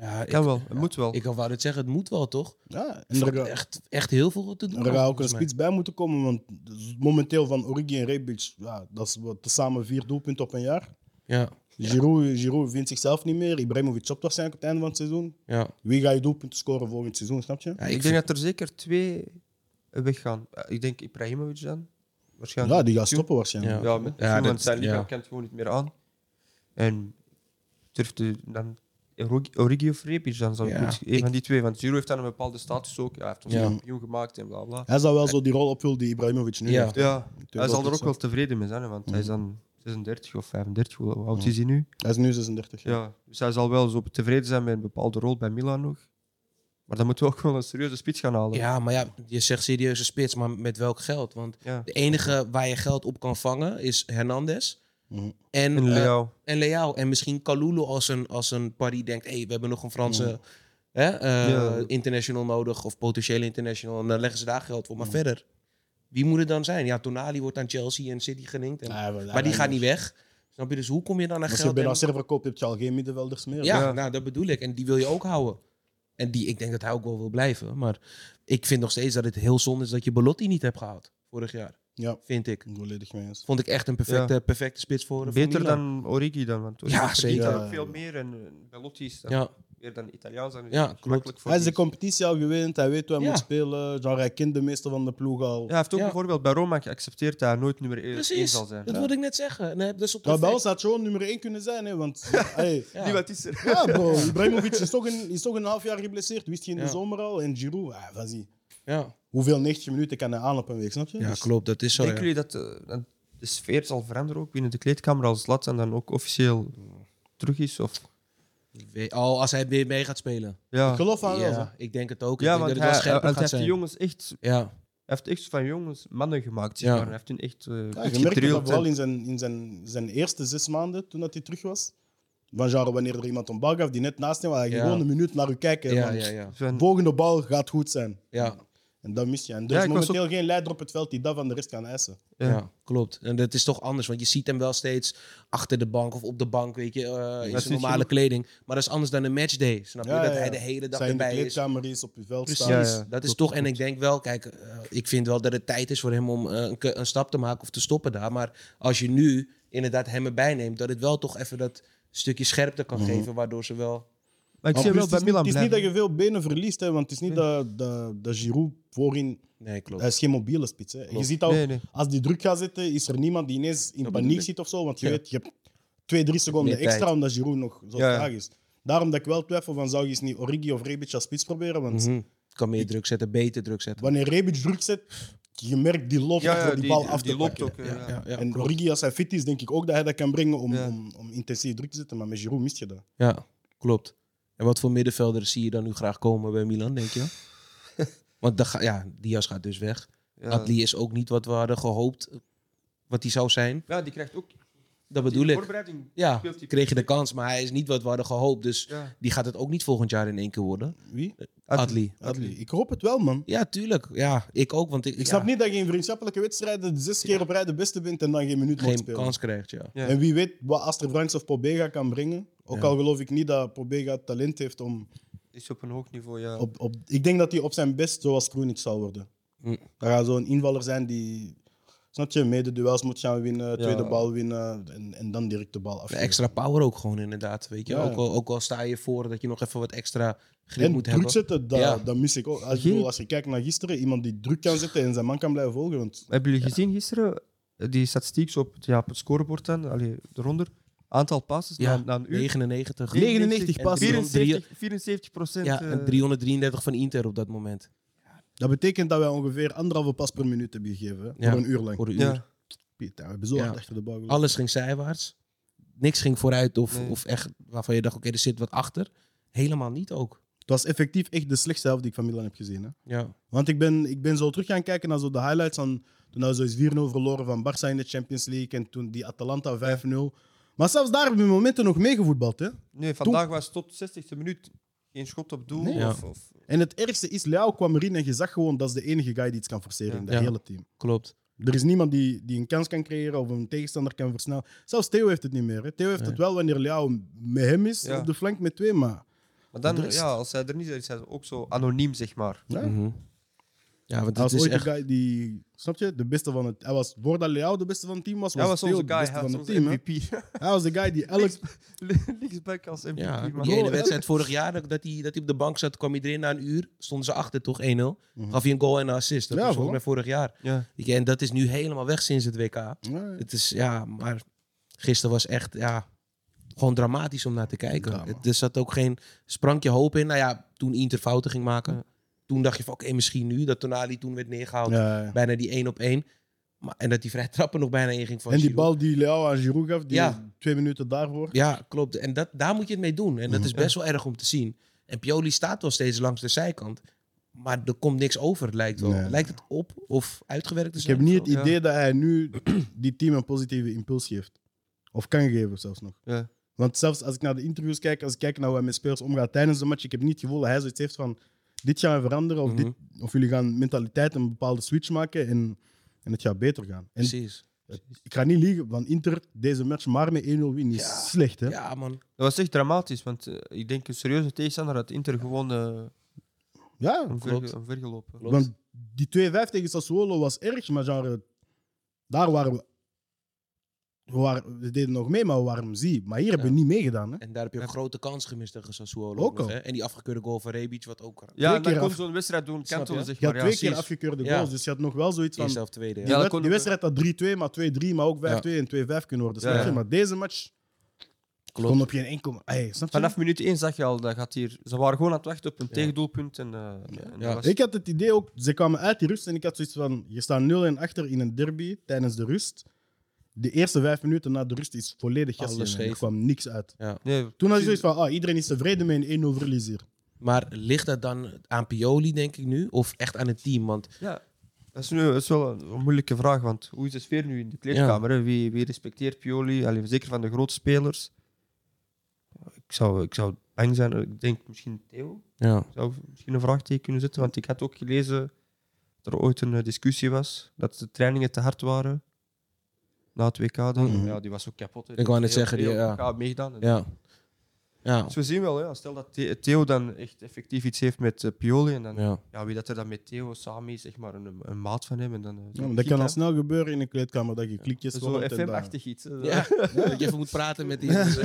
[SPEAKER 3] ja, ik,
[SPEAKER 2] kan wel. Het moet wel.
[SPEAKER 3] ik wou het zeggen, het moet wel toch?
[SPEAKER 1] Ja, en
[SPEAKER 3] Er
[SPEAKER 1] er,
[SPEAKER 3] valt
[SPEAKER 1] ga-
[SPEAKER 3] echt, echt heel veel te doen.
[SPEAKER 1] er gaat ook een
[SPEAKER 3] volgens mij.
[SPEAKER 1] spits bij moeten komen, want dus momenteel van Origi en Rebic, ja, dat is wat, tezamen vier doelpunten op een jaar.
[SPEAKER 3] Ja,
[SPEAKER 1] Giroud, Giroud vindt zichzelf niet meer. Ibrahimovic stopt waarschijnlijk op het einde van het seizoen.
[SPEAKER 3] ja.
[SPEAKER 1] Wie gaat je doelpunten scoren volgend seizoen, snap je?
[SPEAKER 3] ja
[SPEAKER 2] ik
[SPEAKER 3] ik
[SPEAKER 2] denk
[SPEAKER 3] vind,
[SPEAKER 2] dat er zeker twee eh, weggaan. Eh, Ik denk Ibrahimovic dan. Waarschijnlijk.
[SPEAKER 1] Ja, die gaat stoppen waarschijnlijk.
[SPEAKER 3] Ja.
[SPEAKER 2] Ja, met
[SPEAKER 3] Ja,
[SPEAKER 2] ja,
[SPEAKER 3] dat-
[SPEAKER 2] zijn lichaam
[SPEAKER 3] ja.
[SPEAKER 2] kan het gewoon niet meer aan. En durft de- dan Origi- Origi of Rebic dan zou
[SPEAKER 3] Ja,
[SPEAKER 2] goed- een
[SPEAKER 3] ik-
[SPEAKER 2] van die twee. Want Zero heeft dan een bepaalde status ook. Ja, hij heeft ons
[SPEAKER 3] Ja.
[SPEAKER 2] kampioen gemaakt en bla bla.
[SPEAKER 1] Hij zou wel zo die rol opvullen die Ibrahimovic nu
[SPEAKER 3] Ja.
[SPEAKER 1] heeft.
[SPEAKER 2] Ja, hij zal er ook
[SPEAKER 1] procent.
[SPEAKER 2] wel tevreden mee zijn, hè, want hij is
[SPEAKER 3] Mhm.
[SPEAKER 2] dan 36 of 35, hoe hoe oud is hij nu?
[SPEAKER 1] Hij is nu 36 jaar.
[SPEAKER 2] Ja, dus hij zal wel zo tevreden zijn met een bepaalde rol bij Milan nog. Maar dan moeten we ook wel een serieuze spits gaan halen.
[SPEAKER 3] ja, maar ja, je zegt serieuze spits, maar met welk geld? Want
[SPEAKER 2] Ja.
[SPEAKER 3] de enige waar je geld op kan vangen is Hernandez.
[SPEAKER 1] Mhm.
[SPEAKER 2] En
[SPEAKER 3] En, eh,
[SPEAKER 2] Leao.
[SPEAKER 3] en Leao. En misschien Kalulu als een, als een Paris denkt... hé, hey, we hebben nog een Franse hè, eh,
[SPEAKER 2] Ja.
[SPEAKER 3] international nodig... of potentiële international. En dan leggen ze daar geld voor. Maar verder, wie moet het dan zijn? Ja, Tonali wordt aan Chelsea en City gelinkt. En,
[SPEAKER 1] Ja,
[SPEAKER 3] maar die gaat niet weg. Snap je? Dus hoe kom je dan aan
[SPEAKER 1] Als je
[SPEAKER 3] geld? en-
[SPEAKER 1] Benacer verkoopt, heb je al geen middenvelders meer.
[SPEAKER 3] ja,
[SPEAKER 2] Ja.
[SPEAKER 3] nou, dat bedoel ik. En die wil je ook houden. En die, ik denk dat hij ook wel wil blijven. Maar ik vind nog steeds dat het heel zonde is dat je Belotti niet hebt gehaald. Vorig jaar,
[SPEAKER 1] ja.
[SPEAKER 3] vind ik.
[SPEAKER 1] volledig mee eens.
[SPEAKER 3] Vond ik echt een perfecte, perfecte spits voor voor
[SPEAKER 2] Beter
[SPEAKER 3] Milan.
[SPEAKER 2] dan Origi dan, want Origi
[SPEAKER 3] Ja,
[SPEAKER 2] verdient
[SPEAKER 3] zeker.
[SPEAKER 2] daar
[SPEAKER 1] Ja, ja,
[SPEAKER 2] ook veel
[SPEAKER 1] ja.
[SPEAKER 2] meer en eh, Belotti is dan
[SPEAKER 3] Ja,
[SPEAKER 2] weer dan Italiaans. En
[SPEAKER 3] Ja,
[SPEAKER 2] is
[SPEAKER 3] klopt.
[SPEAKER 2] makkelijk voor
[SPEAKER 1] Hij is de
[SPEAKER 2] die-
[SPEAKER 1] competitie al gewend, hij weet hoe hij
[SPEAKER 3] Ja.
[SPEAKER 1] moet spelen. Genre, hij kent de meeste van de ploeg al.
[SPEAKER 2] Ja, hij heeft ook
[SPEAKER 3] Ja.
[SPEAKER 2] bijvoorbeeld bij Roma geaccepteerd dat hij nooit nummer 1
[SPEAKER 3] precies.
[SPEAKER 2] zal zijn.
[SPEAKER 3] Dat
[SPEAKER 1] Ja.
[SPEAKER 3] wilde ik net zeggen. Nee, dat is op
[SPEAKER 1] Nou, bij ons had gewoon nummer 1 kunnen zijn, hè, want... hey.
[SPEAKER 3] Ja.
[SPEAKER 2] Niemand is er.
[SPEAKER 1] Ja, bro. Ibrahimovic is toch, een, is toch een half jaar geblesseerd, wist je in de
[SPEAKER 3] Ja.
[SPEAKER 1] zomer al. En Giroud, ah, van zie.
[SPEAKER 3] Ja.
[SPEAKER 1] Hoeveel 90 minuten kan hij aan op een week, snap je?
[SPEAKER 3] ja,
[SPEAKER 1] Dus-
[SPEAKER 3] klopt. Dat is zo.
[SPEAKER 2] Denken
[SPEAKER 3] ja.
[SPEAKER 2] jullie dat eh, dat de sfeer zal veranderen ook binnen de kleedkamer als Zlatan dan ook officieel terug is? Of?
[SPEAKER 3] We- Oh, als hij weer mee gaat spelen.
[SPEAKER 2] Ja.
[SPEAKER 1] Ik geloof aan wel.
[SPEAKER 3] Ja,
[SPEAKER 1] zo.
[SPEAKER 3] ik denk het ook. Ik
[SPEAKER 2] ja,
[SPEAKER 3] denk
[SPEAKER 2] want
[SPEAKER 3] dat het
[SPEAKER 2] hij,
[SPEAKER 3] wel
[SPEAKER 2] hij,
[SPEAKER 3] scherper
[SPEAKER 2] hij
[SPEAKER 3] gaat
[SPEAKER 2] heeft de
[SPEAKER 3] zijn.
[SPEAKER 2] jongens echt,
[SPEAKER 3] Ja,
[SPEAKER 2] hij heeft echt van jongens mannen gemaakt. Zeg
[SPEAKER 3] Ja.
[SPEAKER 2] maar. Hij heeft hun echt eh
[SPEAKER 1] Ja,
[SPEAKER 2] goed
[SPEAKER 1] je merkte dat
[SPEAKER 2] gedrild
[SPEAKER 1] vooral
[SPEAKER 2] en-
[SPEAKER 1] in zijn, in zijn, zijn eerste zes maanden, toen dat hij terug was. Van genre, wanneer er iemand een bal gaf die net naast hem was, hij
[SPEAKER 3] Ja.
[SPEAKER 1] gewoon een minuut naar u kijken.
[SPEAKER 3] ja,
[SPEAKER 1] van,
[SPEAKER 3] ja, ja.
[SPEAKER 2] Zo en-
[SPEAKER 1] Volgende bal gaat goed zijn.
[SPEAKER 3] ja.
[SPEAKER 1] En dat mis je. En er
[SPEAKER 2] Ja,
[SPEAKER 1] is
[SPEAKER 2] ik was
[SPEAKER 1] momenteel geen leider op het veld die dat van de rest kan eisen.
[SPEAKER 2] Ja.
[SPEAKER 3] Ja, klopt. En dat is toch anders, want je ziet hem wel steeds achter de bank of op de bank, weet je, eh, in
[SPEAKER 2] dat
[SPEAKER 3] zijn
[SPEAKER 2] is
[SPEAKER 3] normale
[SPEAKER 2] genoeg.
[SPEAKER 3] kleding. Maar dat is anders dan een matchday, snap je?
[SPEAKER 1] Ja,
[SPEAKER 3] dat
[SPEAKER 1] ja,
[SPEAKER 3] hij
[SPEAKER 1] ja.
[SPEAKER 3] de hele dag
[SPEAKER 1] Zijn in de
[SPEAKER 3] erbij is.
[SPEAKER 1] kleedkamer is, op het veld
[SPEAKER 3] Precies,
[SPEAKER 1] staan.
[SPEAKER 2] Ja, ja.
[SPEAKER 3] dat is toch... En ik denk wel, kijk, eh, ik vind wel dat het tijd is voor hem om eh, een, ke- een stap te maken of te stoppen daar. Maar als je nu inderdaad hem erbij neemt, dat het wel toch even dat stukje scherpte kan
[SPEAKER 2] Mhm.
[SPEAKER 3] geven, waardoor ze wel...
[SPEAKER 2] Maar ik
[SPEAKER 1] Maar
[SPEAKER 2] zie hem
[SPEAKER 1] plus,
[SPEAKER 2] wel
[SPEAKER 1] het is
[SPEAKER 2] bij
[SPEAKER 1] niet- Het
[SPEAKER 2] Milan
[SPEAKER 1] is niet dat
[SPEAKER 2] blijven.
[SPEAKER 1] je veel benen verliest, hè, want het is niet dat, dat, dat Giroud voorin...
[SPEAKER 3] Nee, klopt.
[SPEAKER 1] Hij is geen mobiele spits. Hè. Je
[SPEAKER 3] Klopt.
[SPEAKER 1] ziet al,
[SPEAKER 2] Nee, nee.
[SPEAKER 1] als die druk gaat zitten, is er niemand die ineens in
[SPEAKER 3] Dat bedoel
[SPEAKER 1] paniek
[SPEAKER 3] ik.
[SPEAKER 1] zit of zo. Want je
[SPEAKER 3] Ja.
[SPEAKER 1] weet, je hebt twee, drie seconden
[SPEAKER 3] Meer
[SPEAKER 1] extra
[SPEAKER 3] tijd.
[SPEAKER 1] omdat Giroud nog zo
[SPEAKER 2] Ja, ja.
[SPEAKER 1] traag is. Daarom dat ik wel twijfel van, zou je eens niet Origi of Rebic als spits proberen? Want
[SPEAKER 3] Mhm. Kan meer druk zetten, beter druk zetten.
[SPEAKER 1] wanneer Rebic druk zet, je merkt die loopt
[SPEAKER 2] Ja, ja,
[SPEAKER 1] voor die,
[SPEAKER 2] die,
[SPEAKER 1] bal
[SPEAKER 2] die,
[SPEAKER 1] af te
[SPEAKER 2] loopt
[SPEAKER 1] pakken.
[SPEAKER 2] ook. eh, ja.
[SPEAKER 3] Ja, ja, ja,
[SPEAKER 1] en
[SPEAKER 3] klopt.
[SPEAKER 1] Origi, als hij fit is, denk ik ook dat hij dat kan brengen om,
[SPEAKER 2] Ja.
[SPEAKER 1] om, om intensief druk te zetten. Maar met Giroud mist je dat.
[SPEAKER 3] Ja, klopt. En wat voor middenvelder zie je dan nu graag komen bij Milan, denk je? Want de ga- ja, Diaz gaat dus weg.
[SPEAKER 2] Ja.
[SPEAKER 3] Adli is ook niet wat we hadden gehoopt eh, wat hij zou zijn.
[SPEAKER 2] Ja, die krijgt ook. die
[SPEAKER 3] Dat bedoel ik.
[SPEAKER 2] Voorbereiding.
[SPEAKER 3] Ja,
[SPEAKER 2] speelt hij-
[SPEAKER 3] kreeg je de kans, maar hij is niet wat we hadden gehoopt. Dus
[SPEAKER 2] Ja.
[SPEAKER 3] die gaat het ook niet volgend jaar in één keer worden.
[SPEAKER 1] Wie?
[SPEAKER 3] Adli.
[SPEAKER 1] Adli. Ik hoop het wel, man.
[SPEAKER 3] Ja, tuurlijk. Ja, ik ook. Want ik,
[SPEAKER 1] Ik snap niet dat je in vriendschappelijke wedstrijden zes keer op rij de beste bent en dan geen minuut
[SPEAKER 3] geen
[SPEAKER 1] moet spelen.
[SPEAKER 3] kans krijgt. Ja.
[SPEAKER 2] Ja.
[SPEAKER 1] En wie weet wat Aster Franks of Pobega kan brengen. Ook al geloof ik niet dat Pobega het talent heeft om...
[SPEAKER 2] Is op een hoog niveau, ja.
[SPEAKER 1] Op, op, ik denk dat hij op zijn best zoals Kroenic zal worden.
[SPEAKER 3] Hm.
[SPEAKER 1] Dat gaat zo'n invaller zijn die... Snap je? Mede duels moet gaan winnen, tweede bal winnen en, en dan direct de bal af.
[SPEAKER 3] De extra power ook gewoon inderdaad. Weet je?
[SPEAKER 1] Ja.
[SPEAKER 3] Ook, al, ook al sta je voor dat je nog even wat extra grip
[SPEAKER 1] En
[SPEAKER 3] moet
[SPEAKER 1] druk
[SPEAKER 3] hebben.
[SPEAKER 1] zetten, dat,
[SPEAKER 3] Ja.
[SPEAKER 1] dat mis ik ook. Als, ik
[SPEAKER 2] Geen-
[SPEAKER 1] bedoel, als je kijkt naar gisteren, iemand die druk kan zetten en zijn man kan blijven volgen. Want
[SPEAKER 2] Hebben jullie gezien gisteren eh, die statistiek zo op, het- ja, op het scorebord dan, allee, eronder. Aantal passes
[SPEAKER 3] Ja,
[SPEAKER 2] na, na een uur.
[SPEAKER 3] 99.
[SPEAKER 1] 99
[SPEAKER 2] en
[SPEAKER 1] passes.
[SPEAKER 2] 74, 74 procent. eh,
[SPEAKER 3] Ja,
[SPEAKER 1] eh,
[SPEAKER 3] en 333 van Inter op dat moment.
[SPEAKER 1] Dat betekent dat wij ongeveer anderhalve pas per minuut hebben gegeven. hè,
[SPEAKER 3] Ja.
[SPEAKER 1] Voor een uur lang.
[SPEAKER 3] Voor een uur.
[SPEAKER 2] ja.
[SPEAKER 1] Piet, ja, we hebben zo
[SPEAKER 3] Ja.
[SPEAKER 1] hard achter de bal gelopen.
[SPEAKER 3] Alles ging zijwaarts. Niks ging vooruit of,
[SPEAKER 2] Nee.
[SPEAKER 3] of echt waarvan je dacht, oké, er zit wat achter. Helemaal niet ook.
[SPEAKER 1] Het was effectief echt de slechtste helft die ik van Milan heb gezien. Hè?
[SPEAKER 3] Ja.
[SPEAKER 1] Want ik ben, ik ben zo terug gaan kijken naar zo de highlights van toen we zoiets 4-0 verloren van Barça in de Champions League en toen die Atalanta 5-0. Maar zelfs daar hebben we momenten nog meegevoetbald. Hè?
[SPEAKER 2] Nee, vandaag was het tot 60e minuut geen schot op doel.
[SPEAKER 1] Nee.
[SPEAKER 2] of,
[SPEAKER 3] Ja.
[SPEAKER 2] of-
[SPEAKER 1] En het ergste is, Leao kwam erin en je zag gewoon dat is de enige guy die iets kan forceren in dat
[SPEAKER 3] Ja.
[SPEAKER 1] hele team.
[SPEAKER 3] Klopt.
[SPEAKER 1] Er is niemand die, die een kans kan creëren of een tegenstander kan versnellen. Zelfs Theo heeft het niet meer. Hè. Theo heeft
[SPEAKER 3] Nee.
[SPEAKER 1] het wel wanneer Leao met hem is
[SPEAKER 2] Ja.
[SPEAKER 1] op de flank met twee, maar
[SPEAKER 2] Maar dan,
[SPEAKER 1] De rest-
[SPEAKER 2] ja, als hij er niet is, is hij ook zo anoniem, zeg maar.
[SPEAKER 1] Ja.
[SPEAKER 3] Mhm. Ja, want
[SPEAKER 1] hij was
[SPEAKER 3] het is
[SPEAKER 1] ooit
[SPEAKER 3] echt...
[SPEAKER 1] de guy die, snap je, de beste van het Hij was, voordat Leao de beste van het team was, was,
[SPEAKER 2] Hij was
[SPEAKER 1] Theo
[SPEAKER 2] onze
[SPEAKER 1] de
[SPEAKER 2] guy,
[SPEAKER 1] beste
[SPEAKER 2] hij
[SPEAKER 1] van
[SPEAKER 2] was
[SPEAKER 1] het
[SPEAKER 2] onze
[SPEAKER 1] team. hè.
[SPEAKER 2] MVP.
[SPEAKER 1] Hij was de guy die elk...
[SPEAKER 2] Links- Linksback als MVP.
[SPEAKER 3] Ja,
[SPEAKER 2] maar-
[SPEAKER 3] die ene
[SPEAKER 1] Bro,
[SPEAKER 3] wedstrijd vorig jaar dat- dat hij, dat hij op de bank zat, kwam iedereen na een uur. Stonden ze achter, toch? 1-0.
[SPEAKER 1] Mhm.
[SPEAKER 3] Gaf hij een goal en een assist. Dat
[SPEAKER 1] Ja,
[SPEAKER 3] was
[SPEAKER 1] voilà.
[SPEAKER 3] volgens mij vorig jaar.
[SPEAKER 2] Ja.
[SPEAKER 3] Weet je, En dat is nu helemaal weg sinds het WK.
[SPEAKER 1] Ja, ja.
[SPEAKER 3] Het is, ja, maar gisteren was echt, ja, gewoon dramatisch om naar te kijken.
[SPEAKER 1] Ja, man.
[SPEAKER 3] Het- er zat ook geen sprankje hoop in. Nou ja, toen Inter fouten ging maken, toen dacht je van, oké, misschien nu. Dat Tonali toen werd neergehaald,
[SPEAKER 1] Ja, ja.
[SPEAKER 3] bijna die één op één. Maar, en dat die vrij trappen nog bijna in ging van
[SPEAKER 1] En die
[SPEAKER 3] Giroud.
[SPEAKER 1] bal die Leao aan Giroud gaf, die
[SPEAKER 3] Ja.
[SPEAKER 1] twee minuten daarvoor.
[SPEAKER 3] Ja, klopt. En dat, daar moet je het mee doen. En dat
[SPEAKER 1] Mhm.
[SPEAKER 3] is best wel erg om te zien. En Pioli staat wel steeds langs de zijkant. Maar er komt niks over, het lijkt wel.
[SPEAKER 1] Nee.
[SPEAKER 3] Lijkt het op of uitgewerkt te
[SPEAKER 1] Ik
[SPEAKER 3] zijn?
[SPEAKER 1] heb niet
[SPEAKER 3] of
[SPEAKER 1] het
[SPEAKER 3] zo?
[SPEAKER 2] Ja.
[SPEAKER 1] idee dat hij nu die team een positieve impuls geeft. Of kan geven zelfs nog.
[SPEAKER 2] Ja.
[SPEAKER 1] Want zelfs als ik naar de interviews kijk, als ik kijk naar hoe hij met spelers omgaat tijdens de match, ik heb niet het gevoel dat hij zoiets heeft van dit gaan we veranderen of,
[SPEAKER 3] Mhm.
[SPEAKER 1] dit, of jullie gaan mentaliteit een bepaalde switch maken en, en het gaat beter gaan. En
[SPEAKER 3] Precies.
[SPEAKER 1] Dus ik ga niet liegen, van Inter deze match maar met 1-0 winnen is
[SPEAKER 3] Ja.
[SPEAKER 1] slecht. Hè?
[SPEAKER 3] Ja, man.
[SPEAKER 2] Dat was echt dramatisch, want eh, ik denk een serieuze tegenstander had Inter eh, gewoon eh
[SPEAKER 1] Ja,
[SPEAKER 3] Klopt.
[SPEAKER 2] omver- omvergelopen.
[SPEAKER 3] Klopt.
[SPEAKER 1] Want die 2-5 tegen Sassuolo was erg, maar genre, daar waren we. We, waren- we deden nog mee, maar we waren zie. Maar hier hebben we niet meegedaan. Hè?
[SPEAKER 3] En daar heb je een
[SPEAKER 2] Ja.
[SPEAKER 3] grote kans gemist tegen Sassuolo.
[SPEAKER 1] Ook
[SPEAKER 3] ook nog,
[SPEAKER 1] al.
[SPEAKER 3] hè? En die afgekeurde goal van Rebic, wat ook
[SPEAKER 2] Ja, en
[SPEAKER 1] keer
[SPEAKER 2] dan kon
[SPEAKER 1] af-
[SPEAKER 2] zo'n wedstrijd doen,
[SPEAKER 3] Snap
[SPEAKER 2] kantelen,
[SPEAKER 3] je?
[SPEAKER 2] zeg
[SPEAKER 1] Je had
[SPEAKER 2] maar.
[SPEAKER 1] twee
[SPEAKER 2] Ja,
[SPEAKER 1] keer
[SPEAKER 3] precies.
[SPEAKER 1] afgekeurde
[SPEAKER 3] Ja.
[SPEAKER 1] goals, dus je had nog wel zoiets van.
[SPEAKER 3] eerste of tweede.
[SPEAKER 1] Die,
[SPEAKER 2] Ja, dat
[SPEAKER 1] wed-
[SPEAKER 2] kon
[SPEAKER 1] die
[SPEAKER 2] ook,
[SPEAKER 1] wedstrijd had 3-2, maar 2-3, maar ook 5-2 en 2-5 kunnen worden. Snap
[SPEAKER 2] Ja,
[SPEAKER 1] je?
[SPEAKER 2] ja.
[SPEAKER 1] Maar deze match
[SPEAKER 3] Klopt.
[SPEAKER 1] kon op geen enkel. Hey, snap je?
[SPEAKER 2] Vanaf minuut 1 zag je al, dat gaat hier... Ze waren gewoon aan het wachten op een
[SPEAKER 3] Ja.
[SPEAKER 2] tegendoelpunt. En, eh, en
[SPEAKER 3] Ja.
[SPEAKER 2] dat was-
[SPEAKER 1] Ik had het idee ook, ze kwamen uit die rust en ik had zoiets van: je staat 0-1 achter in een derby tijdens de rust. De eerste vijf minuten na de rust is volledig
[SPEAKER 3] Alles
[SPEAKER 1] gasten. Er
[SPEAKER 3] scheef.
[SPEAKER 1] kwam niks uit.
[SPEAKER 2] nee,
[SPEAKER 1] Toen had je zoiets van, ah, iedereen is tevreden met een 1-0 verlies hier.
[SPEAKER 3] Maar ligt dat dan aan Pioli, denk ik nu? Of echt aan het team? Want
[SPEAKER 2] Ja, dat is, nu, dat is wel een moeilijke vraag, want hoe is de sfeer nu in de kleedkamer? hè? Wie, wie respecteert Pioli? Allee, zeker van de grote spelers. Ik zou, ik zou bang zijn, ik denk misschien Theo.
[SPEAKER 3] ja.
[SPEAKER 2] Ik zou misschien een vraagteken kunnen zetten, want ik had ook gelezen dat er ooit een eh, discussie was dat de trainingen te hard waren. Na het WK dan.
[SPEAKER 1] Mhm.
[SPEAKER 2] Ja, die was ook kapot. hè.
[SPEAKER 3] Ik wou net
[SPEAKER 2] Theo-
[SPEAKER 3] zeggen, die-
[SPEAKER 2] Theo
[SPEAKER 3] ja.
[SPEAKER 2] had WK meegedaan.
[SPEAKER 3] ja. Ja.
[SPEAKER 2] Dus we zien wel, ja, stel dat The- Theo dan echt effectief iets heeft met eh, Pioli en dan
[SPEAKER 3] ja.
[SPEAKER 2] ja, wie dat er dan met Theo samen is, zeg maar, een, een maat van hem. En dan, eh, zo
[SPEAKER 1] Ja, maar dat
[SPEAKER 2] klikt,
[SPEAKER 1] kan
[SPEAKER 2] hè.
[SPEAKER 1] al snel gebeuren in een kleedkamer, dat je klikjes
[SPEAKER 2] Zo
[SPEAKER 1] vormt en dat-
[SPEAKER 2] FM-achtig iets. hè.
[SPEAKER 3] Ja. Dat je even moet praten met die mensen.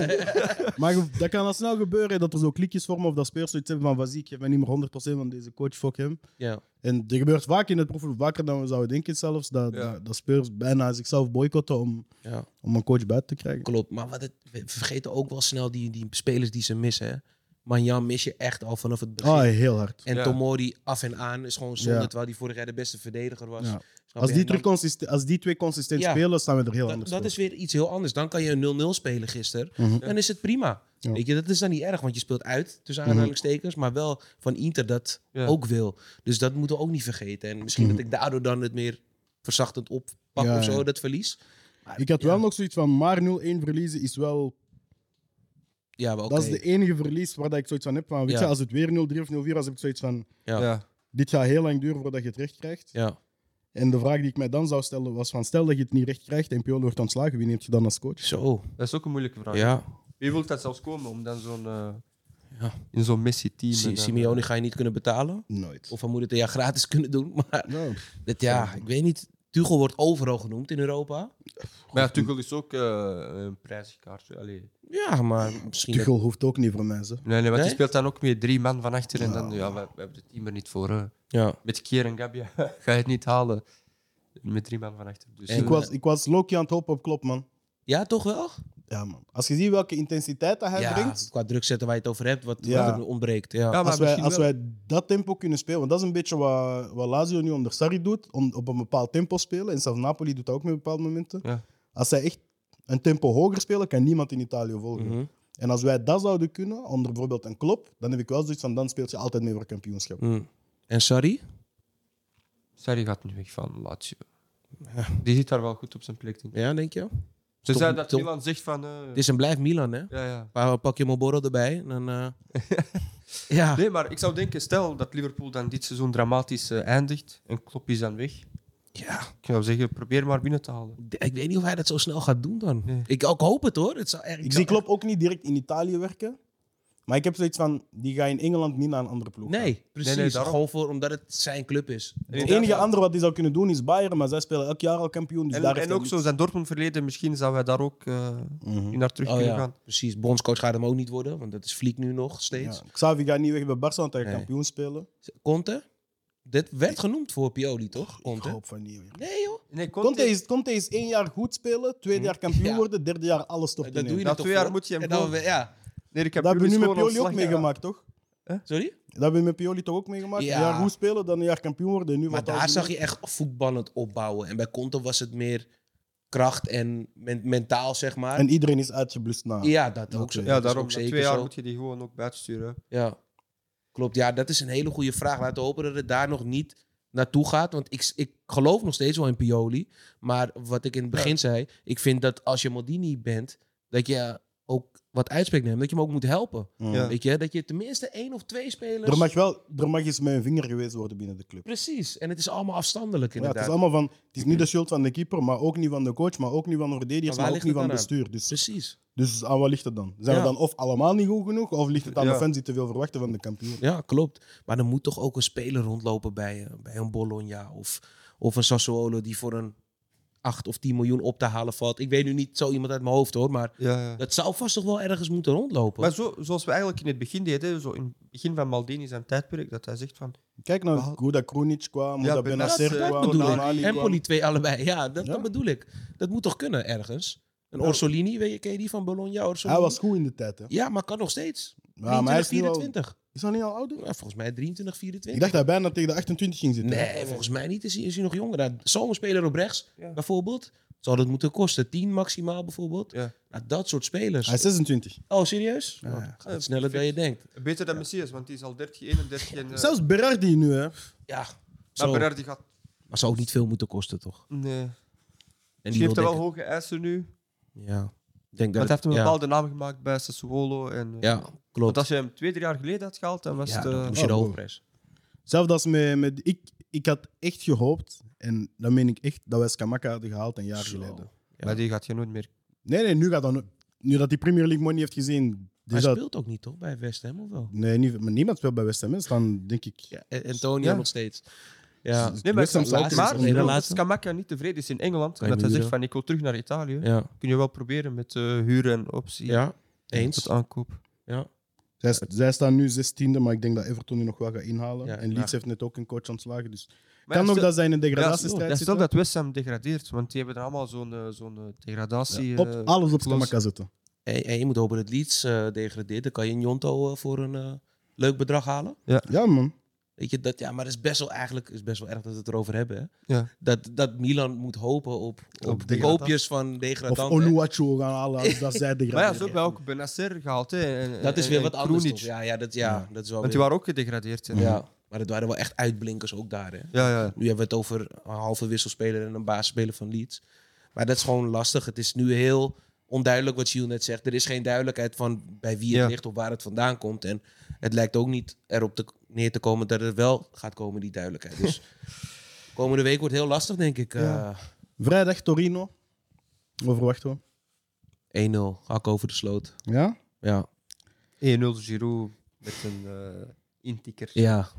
[SPEAKER 1] Maar ge- dat kan al snel gebeuren dat er zo klikjes vormen of dat spelers zoiets hebben van, Vazie, ik geef mij niet meer 100% van deze coach, fuck hem.
[SPEAKER 3] Ja.
[SPEAKER 1] En er gebeurt vaak in het proefvoetbal, vaker dan we zouden denken zelfs, dat,
[SPEAKER 2] Ja.
[SPEAKER 1] dat, dat spelers bijna zichzelf boycotten om,
[SPEAKER 3] ja.
[SPEAKER 1] om een coach buiten te krijgen.
[SPEAKER 3] Klopt, maar wat het, we vergeten ook wel snel die, die spelers die ze missen. Hè? Manjan mis je echt al vanaf het begin.
[SPEAKER 1] Ah, heel hard.
[SPEAKER 3] En
[SPEAKER 2] Ja.
[SPEAKER 3] Tomori af en aan is gewoon zonde,
[SPEAKER 1] Ja.
[SPEAKER 3] terwijl die vorig jaar de beste verdediger was.
[SPEAKER 1] Ja.
[SPEAKER 3] Snap je?
[SPEAKER 1] Als die,
[SPEAKER 3] En dan-
[SPEAKER 1] terug consisten- als die twee consistent
[SPEAKER 3] Ja.
[SPEAKER 1] spelen, staan we er heel
[SPEAKER 3] dat,
[SPEAKER 1] anders
[SPEAKER 3] dat
[SPEAKER 1] voor.
[SPEAKER 3] is weer iets heel anders. Dan kan je een 0-0 spelen gisteren.
[SPEAKER 1] Mhm.
[SPEAKER 3] Dan is het prima.
[SPEAKER 1] Ja. Mhm.
[SPEAKER 3] Weet je, dat is dan niet erg, want je speelt uit, tussen aanhalingstekens, maar wel van Inter dat
[SPEAKER 2] Ja.
[SPEAKER 3] ook wil. Dus dat moeten we ook niet vergeten. En misschien
[SPEAKER 1] Mhm.
[SPEAKER 3] dat ik daardoor dan het meer verzachtend oppak
[SPEAKER 1] Ja,
[SPEAKER 3] of zo,
[SPEAKER 1] ja.
[SPEAKER 3] dat verlies.
[SPEAKER 1] Ik had wel nog zoiets van, maar 0-1 verliezen is wel
[SPEAKER 3] Ja, maar oké.
[SPEAKER 1] Dat is de enige verlies waar dat ik zoiets van heb. Van, weet
[SPEAKER 3] Ja.
[SPEAKER 1] je, als het weer 0-3 of 0-4 was, heb ik zoiets van...
[SPEAKER 3] Ja.
[SPEAKER 2] Ja.
[SPEAKER 1] Dit gaat heel lang duren voordat je het recht krijgt.
[SPEAKER 3] Ja.
[SPEAKER 1] En de vraag die ik mij dan zou stellen was van... Stel dat je het niet recht krijgt en Piolo wordt ontslagen. Wie neemt je dan als coach?
[SPEAKER 3] Zo,
[SPEAKER 2] Dat is ook een moeilijke vraag.
[SPEAKER 3] ja.
[SPEAKER 2] Wie wil dat zelfs komen om dan zo'n... eh,
[SPEAKER 3] Ja.
[SPEAKER 2] In zo'n Messi-team. en
[SPEAKER 3] Si-
[SPEAKER 2] dan,
[SPEAKER 3] Simeone ga je niet kunnen betalen.
[SPEAKER 1] Nooit.
[SPEAKER 3] Of hij moet het een jaar gratis kunnen doen. Maar
[SPEAKER 1] Ja.
[SPEAKER 3] dit, ja, ik weet niet. Tuchel wordt overal genoemd in Europa.
[SPEAKER 2] eh, Maar ja, Tuchel is ook eh, een prijzig kaartje. Allee.
[SPEAKER 3] Ja, maar misschien... dat-
[SPEAKER 1] Tuchel hoeft ook niet voor mensen.
[SPEAKER 2] Nee, nee, want
[SPEAKER 3] Nee?
[SPEAKER 2] die speelt dan ook met drie man van achter. En dan,
[SPEAKER 1] Ja.
[SPEAKER 2] ja, we, we hebben het team er niet voor. hè.
[SPEAKER 3] ja.
[SPEAKER 2] Met Kier en Gabia ga je het niet halen. Met drie man van achter. Dus,
[SPEAKER 3] En-
[SPEAKER 2] eh,
[SPEAKER 1] Ik was, ik was Loki aan het hopen op Klop, man.
[SPEAKER 3] Ja, toch wel?
[SPEAKER 1] Ja, man. Als je ziet welke intensiteit dat hij
[SPEAKER 3] ja,
[SPEAKER 1] brengt.
[SPEAKER 3] qua druk zetten waar je het over hebt, wat,
[SPEAKER 1] Ja.
[SPEAKER 3] wat er ontbreekt. Ja.
[SPEAKER 2] Ja, maar
[SPEAKER 1] Als wij,
[SPEAKER 2] misschien
[SPEAKER 1] als
[SPEAKER 2] wel.
[SPEAKER 1] wij dat tempo kunnen spelen, want dat is een beetje wat, wat Lazio nu onder Sarri doet, om op een bepaald tempo spelen. En zelfs Napoli doet dat ook met bepaalde momenten.
[SPEAKER 2] Ja.
[SPEAKER 1] Als zij echt een tempo hoger spelen, kan niemand in Italië volgen.
[SPEAKER 3] Mhm.
[SPEAKER 1] En als wij dat zouden kunnen, onder bijvoorbeeld een klop, dan heb ik wel zoiets van, dan speelt je altijd mee voor kampioenschap.
[SPEAKER 3] Mm. En sorry?
[SPEAKER 2] Sarri gaat nu weg van Lazio. Die zit daar wel goed op zijn plek. Denk ik.
[SPEAKER 3] Ja, denk je?
[SPEAKER 2] Ze
[SPEAKER 3] Tom-
[SPEAKER 2] zei dat
[SPEAKER 3] Tom-
[SPEAKER 2] Milan zegt van... eh,
[SPEAKER 3] Het is een blijf Milan, hè?
[SPEAKER 2] ja, ja.
[SPEAKER 3] Maar pak je Moboro erbij. en Dan, eh, ja.
[SPEAKER 2] Nee, maar ik zou denken, stel dat Liverpool dan dit seizoen dramatisch eh, eindigt en Klopp is dan weg.
[SPEAKER 3] ja.
[SPEAKER 2] Ik zou zeggen, probeer maar binnen te halen.
[SPEAKER 3] D- Ik weet niet of hij dat zo snel gaat doen dan.
[SPEAKER 2] Nee.
[SPEAKER 3] Ik, ik hoop het hoor. Het zou, echt-
[SPEAKER 1] Ik
[SPEAKER 3] zou
[SPEAKER 1] zie Klop ook niet direct in Italië werken, maar ik heb zoiets van, die gaat in Engeland niet naar een andere ploeg.
[SPEAKER 3] echt-
[SPEAKER 1] gaan.
[SPEAKER 3] Nee, precies.
[SPEAKER 2] nee, daarom.
[SPEAKER 3] Gewoon voor, omdat het zijn club is.
[SPEAKER 1] Het enige andere wat die zou kunnen doen is Bayern, maar zij spelen elk jaar al kampioen. Dus
[SPEAKER 2] En,
[SPEAKER 1] daar heeft
[SPEAKER 2] en
[SPEAKER 1] hij
[SPEAKER 2] ook
[SPEAKER 1] niks. Mhm.
[SPEAKER 2] zo zijn Dortmund verleden, misschien zouden wij daar ook eh, in naar terug
[SPEAKER 3] Oh
[SPEAKER 2] kunnen
[SPEAKER 3] ja,
[SPEAKER 2] gaan.
[SPEAKER 3] precies. Bondscoach gaat hem ook niet worden, want dat is Fliek nu nog steeds.
[SPEAKER 1] Ja. Xavi gaat niet weg bij Barca, want hij gaat
[SPEAKER 3] Nee.
[SPEAKER 1] kampioen spelen.
[SPEAKER 3] Conte? Dit werd genoemd voor Pioli,
[SPEAKER 2] Oh,
[SPEAKER 3] toch?
[SPEAKER 1] Ik
[SPEAKER 3] Conte?
[SPEAKER 1] hoop van niet meer.
[SPEAKER 3] Nee joh.
[SPEAKER 2] Nee, Conte,
[SPEAKER 1] Conte is, Conte is één jaar goed spelen,
[SPEAKER 3] Hm?
[SPEAKER 1] tweede jaar kampioen
[SPEAKER 3] eh, Ja.
[SPEAKER 1] worden, derde jaar alles stort
[SPEAKER 3] Dat
[SPEAKER 1] in
[SPEAKER 3] doe je
[SPEAKER 1] één.
[SPEAKER 2] na
[SPEAKER 3] er toch
[SPEAKER 2] twee jaar
[SPEAKER 3] voor?
[SPEAKER 2] moet je hem
[SPEAKER 3] En dan
[SPEAKER 2] gewoon...
[SPEAKER 3] we- ja.
[SPEAKER 2] Nee, ik heb
[SPEAKER 1] Dat hebben we nu met
[SPEAKER 2] gewoon
[SPEAKER 1] Pioli ook
[SPEAKER 2] ontslag
[SPEAKER 1] meegemaakt, toch?
[SPEAKER 3] Sorry?
[SPEAKER 1] Dat hebben we met Pioli toch ook meegemaakt?
[SPEAKER 3] Ja.
[SPEAKER 1] Een jaar goed spelen, dan een jaar kampioen worden. En nu
[SPEAKER 3] Maar
[SPEAKER 1] wat
[SPEAKER 3] daar
[SPEAKER 1] als-
[SPEAKER 3] zag je echt voetballend opbouwen. En bij Conte was het meer kracht en men- mentaal, zeg maar.
[SPEAKER 1] En iedereen is uitgeblust na.
[SPEAKER 3] ja, dat ook. zo.
[SPEAKER 1] Ja,
[SPEAKER 2] Ja,
[SPEAKER 3] Dat is
[SPEAKER 2] daarom.
[SPEAKER 3] ook
[SPEAKER 2] Na
[SPEAKER 3] zeker
[SPEAKER 2] twee jaar
[SPEAKER 3] zo.
[SPEAKER 2] moet je die gewoon ook buitensturen.
[SPEAKER 3] Ja, klopt. Ja, dat is een hele goede vraag. Laten we hopen dat het daar nog niet naartoe gaat. Want ik, ik geloof nog steeds wel in Pioli. Maar wat ik in het begin zei, ik vind dat als je Modini bent, dat je ook wat uitspreekt naar hem. Dat je hem ook moet helpen.
[SPEAKER 1] Mm.
[SPEAKER 2] Ja.
[SPEAKER 3] Weet je, dat je tenminste één of twee spelers...
[SPEAKER 1] Er mag wel er mag eens met een vinger geweest worden binnen de club.
[SPEAKER 3] Precies. En het is allemaal afstandelijk
[SPEAKER 1] Ja, het
[SPEAKER 3] inderdaad. Mhm.
[SPEAKER 1] is allemaal van, het is niet de schuld van de keeper, maar ook niet van de coach, maar ook niet van de verdedigers,
[SPEAKER 3] Maar
[SPEAKER 1] maar,
[SPEAKER 3] waar
[SPEAKER 1] ook niet
[SPEAKER 3] ligt
[SPEAKER 1] van
[SPEAKER 3] het
[SPEAKER 1] het
[SPEAKER 3] dan
[SPEAKER 1] bestuur. Dus,
[SPEAKER 3] Precies.
[SPEAKER 1] dus aan wat ligt het dan? Zijn
[SPEAKER 3] Ja.
[SPEAKER 1] we dan of allemaal niet goed genoeg, of ligt het aan
[SPEAKER 2] Ja.
[SPEAKER 1] de fans die te veel verwachten van de kampioen?
[SPEAKER 3] Ja, klopt. Maar er moet toch ook een speler rondlopen bij, eh, bij een Bologna of, of een Sassuolo die voor een 8 of 10 miljoen op te halen valt. Ik weet nu niet zo iemand uit mijn hoofd hoor, maar
[SPEAKER 2] Ja, ja.
[SPEAKER 3] Dat zou vast toch wel ergens moeten rondlopen.
[SPEAKER 2] Maar zo, zoals we eigenlijk in het begin deden, zo in het begin van Maldini zijn tijdperk, dat hij zegt van...
[SPEAKER 1] Kijk naar
[SPEAKER 2] Wel-
[SPEAKER 1] hoe dat Krunic kwam, hoe
[SPEAKER 2] Ja,
[SPEAKER 1] dat
[SPEAKER 2] Benacer
[SPEAKER 1] Benacer
[SPEAKER 2] kwam,
[SPEAKER 1] kwam, hoe
[SPEAKER 3] bedoel
[SPEAKER 1] dat
[SPEAKER 3] ik.
[SPEAKER 1] Mali
[SPEAKER 3] en
[SPEAKER 1] kwam.
[SPEAKER 3] Poli twee allebei. Ja dat,
[SPEAKER 1] Ja.
[SPEAKER 3] dat bedoel ik. Dat moet toch kunnen ergens? Een
[SPEAKER 1] Ja.
[SPEAKER 3] Orsolini, weet je, ken je die van Bologna? Orsolini?
[SPEAKER 1] Hij was goed in de tijd, hè?
[SPEAKER 3] Ja, maar kan nog steeds.
[SPEAKER 1] Ja, maar hij is,
[SPEAKER 3] 23,
[SPEAKER 1] nu al-
[SPEAKER 3] 24.
[SPEAKER 1] is hij niet al ouder?
[SPEAKER 3] Ja, volgens mij 23,
[SPEAKER 1] Ik
[SPEAKER 3] 24.
[SPEAKER 1] dacht dat hij bijna tegen de 28 ging zitten.
[SPEAKER 3] Nee, volgens mij niet. Is hij, is hij nog jonger? Nou, Zo'n speler op rechts,
[SPEAKER 2] Ja.
[SPEAKER 3] bijvoorbeeld. Zou dat moeten kosten? 10 maximaal, bijvoorbeeld.
[SPEAKER 2] Ja.
[SPEAKER 3] Nou, dat soort
[SPEAKER 1] Hij
[SPEAKER 3] spelers.
[SPEAKER 1] is 26.
[SPEAKER 3] Oh, serieus? Nou, dat gaat
[SPEAKER 2] Ja,
[SPEAKER 3] sneller dan je denkt.
[SPEAKER 2] Beter dan Messias, want die is al 30, 31 en... eh,
[SPEAKER 1] Zelfs Berardi nu, hè?
[SPEAKER 3] Ja,
[SPEAKER 2] maar
[SPEAKER 3] zo.
[SPEAKER 2] Berardi gaat...
[SPEAKER 3] maar zou ook niet veel moeten kosten, toch?
[SPEAKER 2] Nee.
[SPEAKER 3] En
[SPEAKER 2] Die heeft er
[SPEAKER 3] wil
[SPEAKER 2] wel
[SPEAKER 3] denk-
[SPEAKER 2] hoge eisen nu.
[SPEAKER 3] Ja. Ik Denk
[SPEAKER 2] Maar het
[SPEAKER 3] dat het-
[SPEAKER 2] heeft een
[SPEAKER 3] ja.
[SPEAKER 2] bepaalde naam gemaakt bij Sassuolo. En, eh,
[SPEAKER 3] Ja,
[SPEAKER 2] Want
[SPEAKER 3] klopt.
[SPEAKER 2] als je hem twee, drie jaar geleden had gehaald, dan was
[SPEAKER 3] ja,
[SPEAKER 2] het...
[SPEAKER 3] dan
[SPEAKER 2] eh,
[SPEAKER 3] moest je de
[SPEAKER 1] oh,
[SPEAKER 3] hoofdpres.
[SPEAKER 1] Zelfs als met, met ik, ik had echt gehoopt, en dan meen ik echt, dat wij Skamaka hadden gehaald een jaar
[SPEAKER 3] Zo.
[SPEAKER 1] geleden.
[SPEAKER 3] Ja.
[SPEAKER 2] Maar die gaat je nooit meer...
[SPEAKER 1] Nee, nee, nu, gaat dan, nu dat die Premier League money heeft gezien.
[SPEAKER 3] Hij
[SPEAKER 1] Dus dat,
[SPEAKER 3] speelt ook niet, toch? Bij West Ham of wel?
[SPEAKER 1] nee, niet- maar niemand speelt bij West Ham, hè, dus dan denk ik.
[SPEAKER 3] Ja, en- Antonio
[SPEAKER 2] Ja.
[SPEAKER 3] nog steeds. Ja.
[SPEAKER 1] Dus
[SPEAKER 2] Nee, maar,
[SPEAKER 1] West Ham
[SPEAKER 3] laatste-
[SPEAKER 1] Celtics
[SPEAKER 2] maar
[SPEAKER 1] is
[SPEAKER 3] nee,
[SPEAKER 2] ik
[SPEAKER 1] onder-
[SPEAKER 2] bedoel,
[SPEAKER 3] laatste-
[SPEAKER 2] als Scamacca niet tevreden is in Engeland,
[SPEAKER 3] Kan
[SPEAKER 2] en
[SPEAKER 3] je
[SPEAKER 2] dat hij zegt
[SPEAKER 3] huren.
[SPEAKER 2] van ik wil terug naar Italië,
[SPEAKER 3] ja.
[SPEAKER 2] kun je wel proberen met eh, huren en optie.
[SPEAKER 3] Ja, eens.
[SPEAKER 2] Tot aankoop.
[SPEAKER 3] Ja.
[SPEAKER 1] zij, zij staan nu 16e, maar ik denk dat Everton nu nog wel gaat inhalen.
[SPEAKER 3] Ja,
[SPEAKER 1] en Leeds
[SPEAKER 3] graag.
[SPEAKER 1] heeft net ook een coach ontslagen. Dus
[SPEAKER 2] Maar
[SPEAKER 1] kan
[SPEAKER 2] ja,
[SPEAKER 1] ook
[SPEAKER 2] stel-
[SPEAKER 1] dat zij in een
[SPEAKER 2] ja,
[SPEAKER 1] degradatiestrijd
[SPEAKER 2] stel- Stel
[SPEAKER 1] zitten.
[SPEAKER 2] dat West Ham degradeert, want die hebben er allemaal zo'n eh, zo'n eh, degradatie...
[SPEAKER 1] Ja, Ah. op,
[SPEAKER 2] eh,
[SPEAKER 1] alles op
[SPEAKER 2] clause.
[SPEAKER 1] Skamaka zetten.
[SPEAKER 3] En, en je moet hopen dat Leeds eh, degradeert. Dan kan je Njonto eh, voor een eh, leuk bedrag halen.
[SPEAKER 1] Ja, man.
[SPEAKER 3] Weet je, dat, ja, maar het is best wel eigenlijk is best wel erg dat we het erover hebben. Hè?
[SPEAKER 2] Ja.
[SPEAKER 3] Dat, dat Milan moet hopen op, op,
[SPEAKER 1] degradanten.
[SPEAKER 3] koopjes van
[SPEAKER 1] Of
[SPEAKER 3] degradanten.
[SPEAKER 1] Oluwachu gaan halen als dat zij
[SPEAKER 2] Maar ja, ze
[SPEAKER 1] degraderen.
[SPEAKER 2] hebben ook Benacer gehaald. Hè, en-
[SPEAKER 3] dat is
[SPEAKER 2] en-
[SPEAKER 3] weer
[SPEAKER 2] en
[SPEAKER 3] wat anders.
[SPEAKER 2] Krunic.
[SPEAKER 3] toch? Ja, ja, dat, ja, dat is wel
[SPEAKER 2] Want
[SPEAKER 3] weer...
[SPEAKER 2] die waren ook gedegradeerd. hè.
[SPEAKER 3] ja. Maar dat waren wel echt uitblinkers ook daar. Hè?
[SPEAKER 2] ja, ja.
[SPEAKER 3] Nu hebben we het over een halve wisselspeler en een basisspeler van Leeds. Maar dat is gewoon lastig. Het is nu heel onduidelijk wat Gilles net zegt. Er is geen duidelijkheid van bij wie het
[SPEAKER 2] Ja.
[SPEAKER 3] ligt of waar het vandaan komt. En het lijkt ook niet erop te, neer te komen dat er wel gaat komen, die duidelijkheid. Dus komende week wordt heel lastig, denk ik.
[SPEAKER 2] Ja.
[SPEAKER 1] Vrijdag Torino. Overwachten we.
[SPEAKER 3] Eh, 1-0, hak over de sloot.
[SPEAKER 1] Ja?
[SPEAKER 3] Ja,
[SPEAKER 2] 1-0 Giroud met een eh, intikker.
[SPEAKER 3] ja.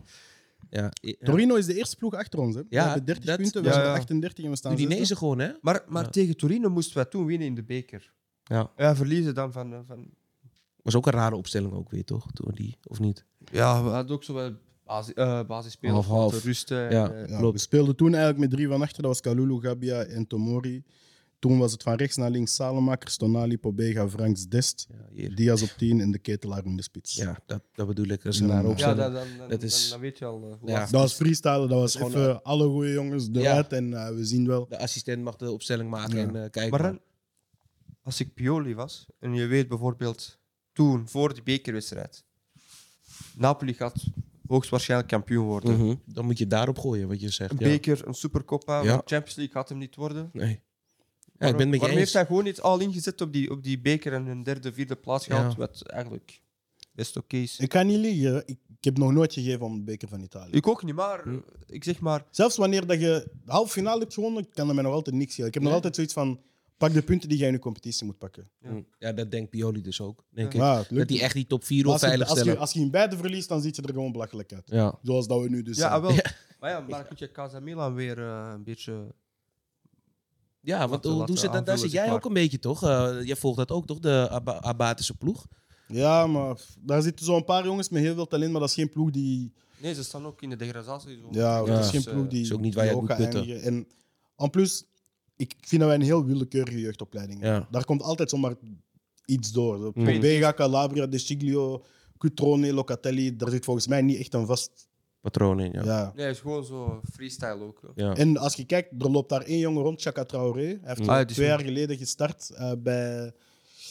[SPEAKER 3] ja.
[SPEAKER 1] Torino is de eerste ploeg achter ons. Hè? we
[SPEAKER 3] Ja,
[SPEAKER 1] hebben 30
[SPEAKER 3] dat-
[SPEAKER 1] punten, we
[SPEAKER 2] ja,
[SPEAKER 1] hebben
[SPEAKER 2] ja.
[SPEAKER 1] 38 en we staan
[SPEAKER 3] Udinese gewoon, hè?
[SPEAKER 2] Maar, maar
[SPEAKER 3] Ja.
[SPEAKER 2] tegen Torino moesten wij toen winnen in de beker.
[SPEAKER 3] Ja.
[SPEAKER 2] Ja, verliezen dan van... eh, van
[SPEAKER 3] Was ook een rare opstelling ook weer, toch? Toen die, of niet?
[SPEAKER 2] ja, we hadden ook zo wel Basis, eh basisspeler
[SPEAKER 3] Half, half.
[SPEAKER 2] om te rusten.
[SPEAKER 3] Ja.
[SPEAKER 2] En, eh,
[SPEAKER 1] Ja,
[SPEAKER 3] Klopt.
[SPEAKER 1] We speelden toen eigenlijk met drie van achter. Dat was Kalulu, Gabia en Tomori. Toen was het van rechts naar links Salemakers, Tonali, Pobega, Franks, Dest.
[SPEAKER 3] Ja, hier.
[SPEAKER 1] Diaz op 10 en de ketelaar in de spits.
[SPEAKER 3] ja dat, dat bedoel ik. Als
[SPEAKER 1] Ja,
[SPEAKER 3] een
[SPEAKER 1] maar-
[SPEAKER 3] daarop
[SPEAKER 1] Ja,
[SPEAKER 2] ja,
[SPEAKER 3] staan.
[SPEAKER 2] dan, dan, dan,
[SPEAKER 3] Dat is-
[SPEAKER 2] dan- dan weet je al eh, hoe
[SPEAKER 3] Ja.
[SPEAKER 2] laat-
[SPEAKER 1] Dat was freestylen, dat was
[SPEAKER 3] Dat is
[SPEAKER 1] even
[SPEAKER 3] gewoon,
[SPEAKER 2] eh,
[SPEAKER 1] alle goede jongens eruit en eh, we zien wel.
[SPEAKER 3] De assistent mag de opstelling maken
[SPEAKER 1] Ja.
[SPEAKER 3] en eh, kijken.
[SPEAKER 2] Maar dan, als ik Pioli was, en je weet bijvoorbeeld toen, voor die bekerwedstrijd, Napoli gaat hoogstwaarschijnlijk kampioen worden.
[SPEAKER 3] Mhm. Dan moet je daarop gooien wat je zegt.
[SPEAKER 2] Een
[SPEAKER 3] Ja.
[SPEAKER 2] beker, een supercoppa,
[SPEAKER 3] Ja.
[SPEAKER 2] want Champions League gaat hem niet worden.
[SPEAKER 3] Nee. Ja, ik
[SPEAKER 2] Waarom-
[SPEAKER 3] ben het met je
[SPEAKER 2] waarom
[SPEAKER 3] eens.
[SPEAKER 2] heeft hij gewoon niet al ingezet op die, op die beker en een derde, vierde plaats
[SPEAKER 3] Ja.
[SPEAKER 2] gehaald, wat eigenlijk best oké is. Ik,
[SPEAKER 1] Ik kan niet liegen, ik, ik heb nog nooit gegeven om de beker van Italië.
[SPEAKER 2] ook niet, maar eh, ik zeg maar,
[SPEAKER 1] Zelfs wanneer dat je de halve finale hebt gewonnen, kan dat mij nog altijd niks schelen. Ik heb nog
[SPEAKER 2] Nee.
[SPEAKER 1] altijd zoiets van, pak de punten die jij in de competitie moet pakken.
[SPEAKER 3] Ja. Ja, dat denkt Pioli dus ook, denk
[SPEAKER 2] Ja.
[SPEAKER 3] ik.
[SPEAKER 1] Ja, het
[SPEAKER 3] Dat
[SPEAKER 1] lukt.
[SPEAKER 3] hij echt die top 4
[SPEAKER 1] Maar
[SPEAKER 3] wil
[SPEAKER 1] Als je, als, je,
[SPEAKER 3] veiligstellen.
[SPEAKER 1] als je in beide verliest, dan ziet je er gewoon belachelijk uit.
[SPEAKER 3] Ja.
[SPEAKER 1] Zoals dat we nu dus
[SPEAKER 2] ja, ah,
[SPEAKER 3] eh,
[SPEAKER 1] zijn.
[SPEAKER 2] wel. Maar ja, maar kun je Casamilan weer eh, een beetje...
[SPEAKER 3] ja,
[SPEAKER 2] Laten-
[SPEAKER 3] want hoe doen
[SPEAKER 2] laten
[SPEAKER 3] ze dat? Daar
[SPEAKER 2] aanvullen,
[SPEAKER 3] zit
[SPEAKER 2] zeg
[SPEAKER 3] jij
[SPEAKER 2] maar.
[SPEAKER 3] ook een beetje, toch? Eh, jij volgt dat ook, toch? De Aba- Abatische ploeg.
[SPEAKER 1] Ja, maar f- daar zitten zo'n paar jongens met heel veel talent, maar dat is geen ploeg die...
[SPEAKER 2] Nee, ze staan ook in de degradatie. Zo.
[SPEAKER 1] Ja,
[SPEAKER 3] Ja.
[SPEAKER 1] dat is geen
[SPEAKER 2] Dus, eh,
[SPEAKER 1] ploeg die...
[SPEAKER 3] is ook niet waar
[SPEAKER 1] die
[SPEAKER 3] je moet
[SPEAKER 1] gaat
[SPEAKER 3] putten.
[SPEAKER 1] eindigen. En en plus, ik vind dat wij een heel willekeurige jeugdopleiding hebben.
[SPEAKER 3] Ja.
[SPEAKER 1] Daar komt altijd zomaar iets door. Zo,
[SPEAKER 3] Mm.
[SPEAKER 1] Pobega, Calabria, De Stiglio, Cutrone, Locatelli. Daar zit volgens mij niet echt een vast...
[SPEAKER 3] Patroon in, ja.
[SPEAKER 1] Ja.
[SPEAKER 2] eh, Nee, het is gewoon zo freestyle ook. hè.
[SPEAKER 3] Ja. Hmm.
[SPEAKER 1] En als je kijkt, er loopt daar één jongen rond, Chaka Traoré. Hij heeft
[SPEAKER 2] Mm.
[SPEAKER 1] al
[SPEAKER 2] Ah, die is
[SPEAKER 1] twee
[SPEAKER 2] goed.
[SPEAKER 1] jaar geleden gestart eh, bij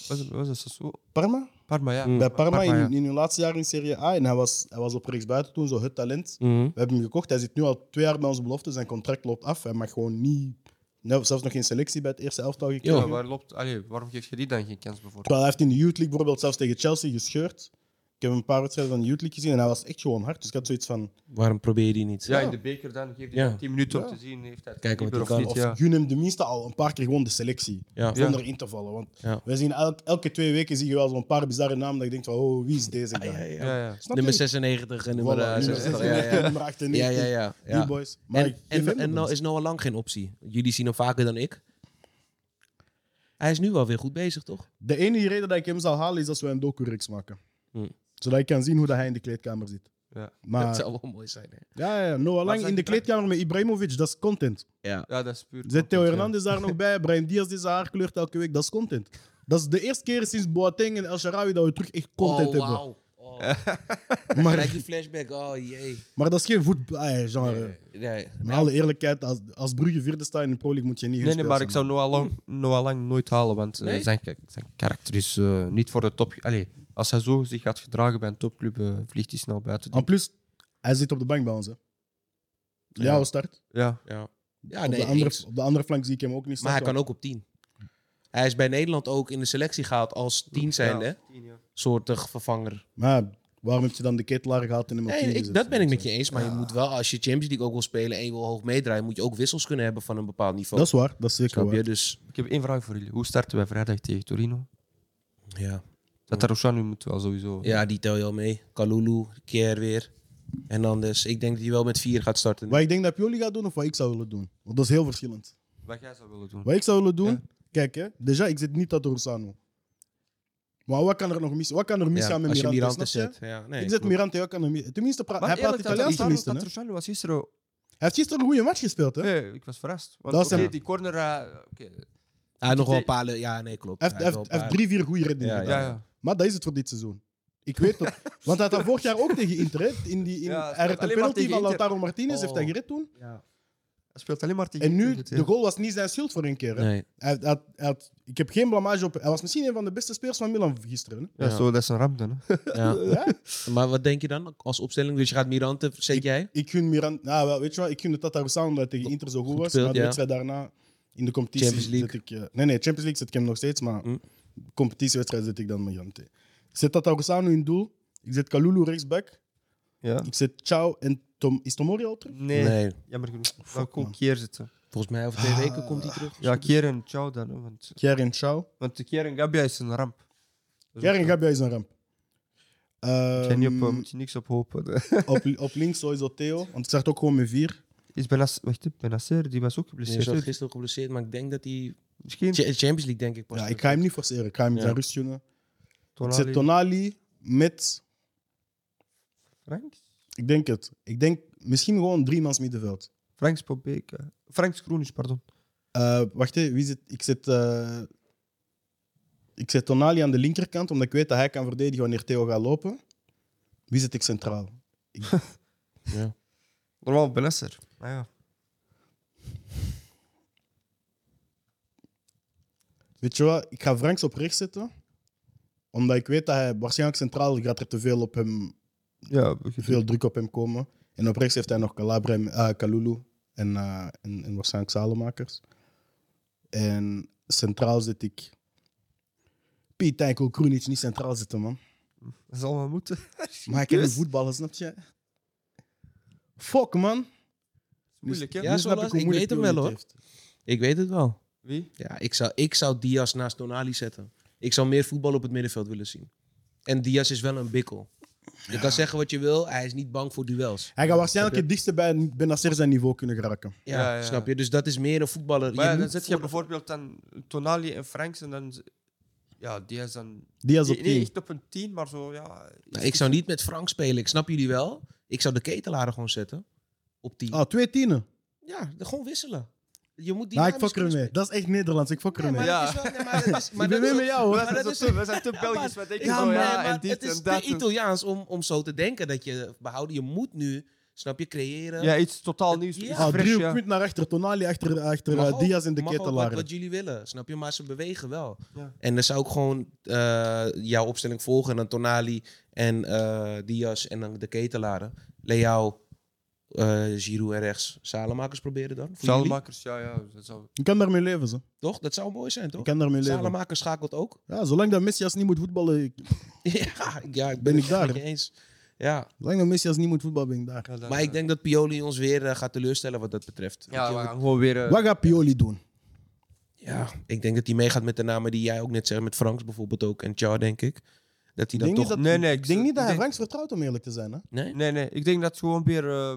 [SPEAKER 2] Was het, was het zo?
[SPEAKER 1] Parma.
[SPEAKER 2] Parma, ja.
[SPEAKER 3] Mm.
[SPEAKER 1] Bij Parma,
[SPEAKER 2] ja.
[SPEAKER 1] in, in hun laatste jaar in Serie A. En hij was, hij was op rechtsbuiten toen, zo het talent.
[SPEAKER 3] Mhm.
[SPEAKER 1] We hebben hem gekocht. Hij zit nu al twee jaar bij onze belofte. Zijn contract loopt af. Hij mag gewoon niet... nou, zelfs nog geen selectie bij het eerste elftal gekregen.
[SPEAKER 2] Ja, waar loopt, allee, waarom geef je die dan geen kans bijvoorbeeld?
[SPEAKER 1] Terwijl hij heeft in de Youth League bijvoorbeeld zelfs tegen Chelsea gescheurd. Ik heb een paar wedstrijden van de Youth League gezien en hij was echt gewoon hard. Dus ik had zoiets van,
[SPEAKER 3] Waarom probeer je die niet?
[SPEAKER 2] Ja, in de beker dan geef je
[SPEAKER 3] Ja.
[SPEAKER 2] 10 minuten om
[SPEAKER 1] Ja.
[SPEAKER 2] te zien. Heeft hij het
[SPEAKER 3] Kijken wat
[SPEAKER 2] liever
[SPEAKER 3] hij
[SPEAKER 2] of
[SPEAKER 3] kan.
[SPEAKER 2] niet,
[SPEAKER 1] of
[SPEAKER 2] ja.
[SPEAKER 1] gun hem de minste al een paar keer gewoon de selectie.
[SPEAKER 3] Ja.
[SPEAKER 1] Zonder in te vallen. Want
[SPEAKER 3] Ja.
[SPEAKER 1] wij zien elk- elke twee weken zie je wel zo'n paar bizarre namen dat je denkt van, oh, wie is deze guy?
[SPEAKER 3] Ja, ja, ja.
[SPEAKER 2] Ja, ja.
[SPEAKER 1] Snap
[SPEAKER 3] Nummer
[SPEAKER 1] je?
[SPEAKER 3] 96 en
[SPEAKER 1] Voilà,
[SPEAKER 3] nummer eh,
[SPEAKER 1] nummer
[SPEAKER 3] 96. Ja,
[SPEAKER 1] 96,
[SPEAKER 3] ja,
[SPEAKER 1] nummer
[SPEAKER 3] ja.
[SPEAKER 1] 98.
[SPEAKER 3] ja, ja,
[SPEAKER 1] Die
[SPEAKER 3] ja.
[SPEAKER 1] boys. Maar
[SPEAKER 3] En,
[SPEAKER 1] ik geef
[SPEAKER 3] en,
[SPEAKER 1] hem
[SPEAKER 3] en
[SPEAKER 1] de
[SPEAKER 3] nou
[SPEAKER 1] best.
[SPEAKER 3] is Noah Lang geen optie. Jullie zien hem vaker dan ik. Hij is nu wel weer goed bezig, toch?
[SPEAKER 1] De enige reden dat ik hem zal halen is als we een docu-reeks maken.
[SPEAKER 3] Hm.
[SPEAKER 1] Zodat ik kan zien hoe dat hij in de kleedkamer zit.
[SPEAKER 2] Ja.
[SPEAKER 1] Maar
[SPEAKER 3] Dat zou wel mooi zijn. Hè?
[SPEAKER 1] ja, ja, Noah Lang
[SPEAKER 2] zijn
[SPEAKER 1] in de
[SPEAKER 2] die tra-
[SPEAKER 1] kleedkamer met Ibrahimovic, dat is content.
[SPEAKER 3] Ja.
[SPEAKER 2] Ja, dat is puur.
[SPEAKER 3] Oh,
[SPEAKER 1] Zet Theo
[SPEAKER 2] content, ja.
[SPEAKER 1] Hernandez daar nog bij, Brian Diaz die zijn haar kleurt elke week, dat is content. Dat is de eerste keer sinds Boateng en El Sharawi dat we terug echt content
[SPEAKER 3] oh,
[SPEAKER 1] hebben.
[SPEAKER 3] wauw. Oh. Gelijk
[SPEAKER 1] Maar,
[SPEAKER 3] die flashback. Oh jee.
[SPEAKER 1] maar dat is geen voetbalgenre.
[SPEAKER 3] Nee, nee.
[SPEAKER 1] Met alle eerlijkheid, als, als Brugge vierde staat in de Pro League moet je niet
[SPEAKER 2] Nee, nee,
[SPEAKER 1] gespeeld
[SPEAKER 2] maar ik
[SPEAKER 1] zijn.
[SPEAKER 2] zou Noah Lang, Noah Lang nooit halen, want eh,
[SPEAKER 3] Nee?
[SPEAKER 2] zijn, ka- zijn karakter is eh, niet voor de top. Allee, als hij zo zich gaat gedragen bij een topclub, eh, vliegt hij snel buiten.
[SPEAKER 1] En plus, hij zit op de bank bij ons. hè. Leao start.
[SPEAKER 2] Ja,
[SPEAKER 3] Ja, ja
[SPEAKER 1] Op,
[SPEAKER 3] nee,
[SPEAKER 1] de andere,
[SPEAKER 3] eens.
[SPEAKER 1] op de andere flank zie ik hem ook niet
[SPEAKER 3] maar
[SPEAKER 1] starten.
[SPEAKER 3] hij kan ook op 10. Hij is bij Nederland ook in de selectie gehaald als 10 zijnde,
[SPEAKER 2] Ja, tien, ja.
[SPEAKER 3] soortig vervanger.
[SPEAKER 1] Maar waarom heb je dan de ketelaar gehaald en hem op
[SPEAKER 3] Nee,
[SPEAKER 1] 10
[SPEAKER 3] ik,
[SPEAKER 1] gezet?
[SPEAKER 3] dat ben ik met je eens, maar je moet wel, als je Champions League ook wil spelen en je wil hoog meedraaien, moet je ook wissels kunnen hebben van een bepaald niveau.
[SPEAKER 1] Dat is waar, dat is zeker
[SPEAKER 3] Snap je?
[SPEAKER 1] waar.
[SPEAKER 3] Dus
[SPEAKER 2] Ik heb één vraag voor jullie. Hoe starten wij vrijdag tegen Torino?
[SPEAKER 3] Dus, ja.
[SPEAKER 2] Dat Tarushan nu moet wel sowieso.
[SPEAKER 3] ja, die tel je al mee. Kalulu, Kier weer. En anders, ik denk dat hij wel met 4 gaat starten.
[SPEAKER 1] Wat ik denk dat Pioli gaat doen of wat ik zou willen doen? Want dat is heel verschillend.
[SPEAKER 2] Wat jij zou willen doen.
[SPEAKER 1] Wat ik zou willen doen,
[SPEAKER 2] Ja.
[SPEAKER 1] kijk hè, déjà, ik zit niet aan Rossano. Maar wat kan er nog mis, wat kan er
[SPEAKER 3] Ja,
[SPEAKER 1] misgaan met
[SPEAKER 3] als je
[SPEAKER 1] Mirante?
[SPEAKER 3] Mirante
[SPEAKER 1] snap je?
[SPEAKER 3] zet. Ja, nee,
[SPEAKER 1] ik zet
[SPEAKER 3] klopt.
[SPEAKER 1] Mirante, wat kan er mis? Tenminste, pra- hij praat Italiaans tenminste. hè. Hij
[SPEAKER 2] Tarushan was gisteren.
[SPEAKER 1] heeft gisteren een goede match gespeeld. Hè? Hij
[SPEAKER 2] Nee, ik was verrast. Want
[SPEAKER 1] Dat is
[SPEAKER 2] oké,
[SPEAKER 1] hem.
[SPEAKER 2] die corner. eh, oké.
[SPEAKER 3] Hij had nog wel een paar... le- Ja, nee, klopt.
[SPEAKER 1] heeft,
[SPEAKER 3] Hij had
[SPEAKER 1] heeft,
[SPEAKER 3] wel een
[SPEAKER 1] heeft
[SPEAKER 3] paar-
[SPEAKER 1] drie, vier goede reddingen
[SPEAKER 3] Ja,
[SPEAKER 1] gedaan.
[SPEAKER 2] ja, ja.
[SPEAKER 1] Maar dat is het voor dit seizoen. Ik weet het. Want hij had dat vorig jaar ook tegen Inter. hè. In die, in,
[SPEAKER 2] Ja,
[SPEAKER 1] hij had een
[SPEAKER 2] alleen maar
[SPEAKER 1] penalty
[SPEAKER 2] tegen
[SPEAKER 1] van
[SPEAKER 2] Inter.
[SPEAKER 1] Lautaro Martinez, heeft hij
[SPEAKER 2] Oh.
[SPEAKER 1] gered toen.
[SPEAKER 2] Hij speelt alleen maar tegen.
[SPEAKER 1] En nu,
[SPEAKER 2] Inter,
[SPEAKER 1] de goal was niet zijn schuld voor een keer. hè.
[SPEAKER 3] Nee.
[SPEAKER 1] Hij, had- hij had- hij had- ik heb geen blamage op. Hij was misschien een van de beste spelers van Milan gisteren. hè.
[SPEAKER 2] Ja, zo, dat is een ramp dan. hè.
[SPEAKER 3] Ja.
[SPEAKER 1] Ja.
[SPEAKER 3] Maar wat denk je dan als opstelling? Dus je gaat Mirante, zet jij?
[SPEAKER 1] Ik gun Miran, nou, wel, weet je wat, ik gun de Tatarusano omdat hij tegen Inter zo goed,
[SPEAKER 3] Goed
[SPEAKER 1] was.
[SPEAKER 3] speelt,
[SPEAKER 1] maar de
[SPEAKER 3] ja.
[SPEAKER 1] wedstrijd daarna in de competitie
[SPEAKER 3] Champions League.
[SPEAKER 1] zet ik. eh, nee, nee, Champions League zet ik hem nog steeds, maar
[SPEAKER 3] Hm.
[SPEAKER 1] competitiewedstrijd zet ik dan Mirante. Ik zet Tatarusano in doel. Ik zet Kalulu rechtsback.
[SPEAKER 2] Ja.
[SPEAKER 1] Ik zet Ciao en Tom, is Tomori al terug?
[SPEAKER 2] Nee, jammer genoeg. Dan kon
[SPEAKER 1] man.
[SPEAKER 2] Kier zitten.
[SPEAKER 3] Volgens mij over
[SPEAKER 1] Ah.
[SPEAKER 3] twee weken komt hij terug.
[SPEAKER 2] Ja, Kier en Ciao dan. hè, Want,
[SPEAKER 1] Kier en Ciao.
[SPEAKER 2] want de Kier en Gabia is een ramp. Dus Dat is
[SPEAKER 1] Kier en
[SPEAKER 2] ook-
[SPEAKER 1] Gabia is een ramp.
[SPEAKER 2] Moet je, niet op,
[SPEAKER 1] Ehm,
[SPEAKER 2] eh, moet je niks op hopen.
[SPEAKER 1] op, op links sowieso Theo, want ik start ook gewoon met vier.
[SPEAKER 2] Is Benas, wacht, hè, Benasser, die was ook
[SPEAKER 3] Hij is
[SPEAKER 2] geblesseerd.
[SPEAKER 3] wel
[SPEAKER 2] hè.
[SPEAKER 3] gisteren geblesseerd, maar ik denk dat hij...
[SPEAKER 2] Misschien
[SPEAKER 3] Cha- Champions League denk ik pas.
[SPEAKER 1] Ja,
[SPEAKER 3] terug
[SPEAKER 1] ik ga hem niet forceren, ik ga hem
[SPEAKER 3] Ja.
[SPEAKER 1] zijn rust gunnen. Ik
[SPEAKER 2] Tonali,
[SPEAKER 1] zet Tonali met
[SPEAKER 2] Franks?
[SPEAKER 1] Ik denk het. Ik denk misschien gewoon driemans middenveld.
[SPEAKER 2] Franks Pobeek. eh, Franks Kroenisch, pardon.
[SPEAKER 1] Eh, wacht, hè, wie zit, ik zet... eh, ik zet Tonali aan de linkerkant, omdat ik weet dat hij kan verdedigen wanneer Theo gaat lopen. Wie zet ik centraal?
[SPEAKER 3] Ja.
[SPEAKER 2] Normaal Benesser. Ah, ja.
[SPEAKER 1] Weet je wat, ik ga Franks op rechts zetten, omdat ik weet dat hij waarschijnlijk centraal gaat er te veel op hem
[SPEAKER 2] ja
[SPEAKER 1] veel druk op hem komen. En op rechts heeft hij nog Calabria, en, eh, Kalulu en, eh, en, en waarschijnlijk Salemakers. En centraal zit ik. Piet Eikel Kroenic niet centraal zitten, man.
[SPEAKER 2] Dat zal wel moeten.
[SPEAKER 1] Maar ik ken
[SPEAKER 2] Yes.
[SPEAKER 1] niet voetballen, snap je? Fuck, man. Dus-
[SPEAKER 2] Moeilijk, hè?
[SPEAKER 3] Ja, zo lastig. Ik weet hem
[SPEAKER 1] Kroenic
[SPEAKER 3] wel, hoor.
[SPEAKER 1] heeft.
[SPEAKER 3] Ik weet het wel.
[SPEAKER 2] Wie?
[SPEAKER 3] Ja, ik zou, ik zou Diaz naast Tonali zetten. Ik zou meer voetbal op het middenveld willen zien. En Diaz is wel een bikkel. Je kan zeggen wat je wil, hij is niet bang voor duels.
[SPEAKER 1] Hij gaat waarschijnlijk het dichtste bij Benacer zijn niveau kunnen geraken.
[SPEAKER 3] Ja,
[SPEAKER 2] Ja, ja.
[SPEAKER 3] snap je? Dus dat is meer een voetballer.
[SPEAKER 2] Maar ja,
[SPEAKER 3] moet
[SPEAKER 2] dan zet je
[SPEAKER 3] voor-
[SPEAKER 2] bijvoorbeeld dan Tonali en Franks en dan... Ja, die is dan...
[SPEAKER 1] Die is op
[SPEAKER 2] Nee, nee,
[SPEAKER 1] 10.
[SPEAKER 2] echt op een 10, maar zo, ja...
[SPEAKER 3] Nou, ik zou niet met Frank spelen, ik snap jullie wel. Ik zou de ketelaren gewoon zetten. Op 10.
[SPEAKER 1] Ah, twee tienen.
[SPEAKER 3] Ja, de- gewoon wisselen. Je moet die
[SPEAKER 1] Nou, ik fok ermee. Dat is echt Nederlands, ik fok
[SPEAKER 3] Nee,
[SPEAKER 1] ermee.
[SPEAKER 3] maar
[SPEAKER 2] Ja.
[SPEAKER 3] dat is wel- nee, maar dat is- maar
[SPEAKER 1] Ik ben
[SPEAKER 3] dat
[SPEAKER 1] mee
[SPEAKER 3] is-
[SPEAKER 1] met jou, hoor.
[SPEAKER 3] maar dat is-
[SPEAKER 2] we zijn te Belgisch,
[SPEAKER 3] maar-
[SPEAKER 2] we denken
[SPEAKER 3] Ja,
[SPEAKER 2] zo,
[SPEAKER 3] maar,
[SPEAKER 2] Oh, ja,
[SPEAKER 3] maar
[SPEAKER 2] en dit
[SPEAKER 3] het is
[SPEAKER 2] en dat.
[SPEAKER 3] te Italiaans om, om zo te denken dat je behouden. Je moet nu, snap je, creëren.
[SPEAKER 2] Ja, iets totaal nieuws.
[SPEAKER 3] Ja.
[SPEAKER 2] iets
[SPEAKER 1] Ah,
[SPEAKER 2] fris,
[SPEAKER 1] drie
[SPEAKER 2] ja.
[SPEAKER 1] punt naar achter Tonali, achter, achter
[SPEAKER 3] Mag
[SPEAKER 1] eh,
[SPEAKER 3] ook-
[SPEAKER 1] Diaz en de
[SPEAKER 3] mag ook Wat,
[SPEAKER 1] ketelaren.
[SPEAKER 3] wat jullie willen, snap je? Maar ze bewegen wel.
[SPEAKER 2] Ja.
[SPEAKER 3] En dan zou ik gewoon eh, jouw opstelling volgen. En dan Tonali en eh, Diaz en dan de ketelaren. Leao, eh Giroud en rechts. Salemakers proberen dan. Voor jullie?
[SPEAKER 2] Zaalmakers, ja, ja. Dat zou...
[SPEAKER 1] Ik kan daarmee leven, zo.
[SPEAKER 3] Toch? Dat zou mooi zijn,
[SPEAKER 1] Ik
[SPEAKER 3] toch?
[SPEAKER 1] kan daarmee leven.
[SPEAKER 3] Salemakers schakelt ook.
[SPEAKER 1] Ja, zolang dat Messias niet moet voetballen, ik-
[SPEAKER 3] ja, ja, ik ben,
[SPEAKER 1] Ben ik
[SPEAKER 3] het echt
[SPEAKER 1] daar,
[SPEAKER 3] met je eens. Ja,
[SPEAKER 1] zolang dat Messias niet moet voetballen, ben ik daar.
[SPEAKER 2] Ja, dan,
[SPEAKER 3] maar
[SPEAKER 2] eh,
[SPEAKER 3] ik denk dat Pioli ons weer eh, gaat teleurstellen wat dat betreft.
[SPEAKER 2] Ja,
[SPEAKER 3] Want
[SPEAKER 2] we
[SPEAKER 3] je-
[SPEAKER 2] gaan gewoon weer... eh,
[SPEAKER 1] Wat gaat Pioli doen?
[SPEAKER 3] ja, ik denk dat hij meegaat met de namen die jij ook net zegt, met Franks bijvoorbeeld ook en Char, denk ik. Dat hij dan
[SPEAKER 1] Denk
[SPEAKER 3] toch...
[SPEAKER 1] niet dat,
[SPEAKER 2] Nee, nee, ik
[SPEAKER 1] ik denk
[SPEAKER 2] zou-
[SPEAKER 1] niet dat
[SPEAKER 2] ik
[SPEAKER 1] hij
[SPEAKER 2] denk- Nou,
[SPEAKER 1] Franks vertrouwt, om eerlijk te zijn. Hè?
[SPEAKER 3] Nee?
[SPEAKER 2] Nee, nee. Ik denk dat gewoon weer eh,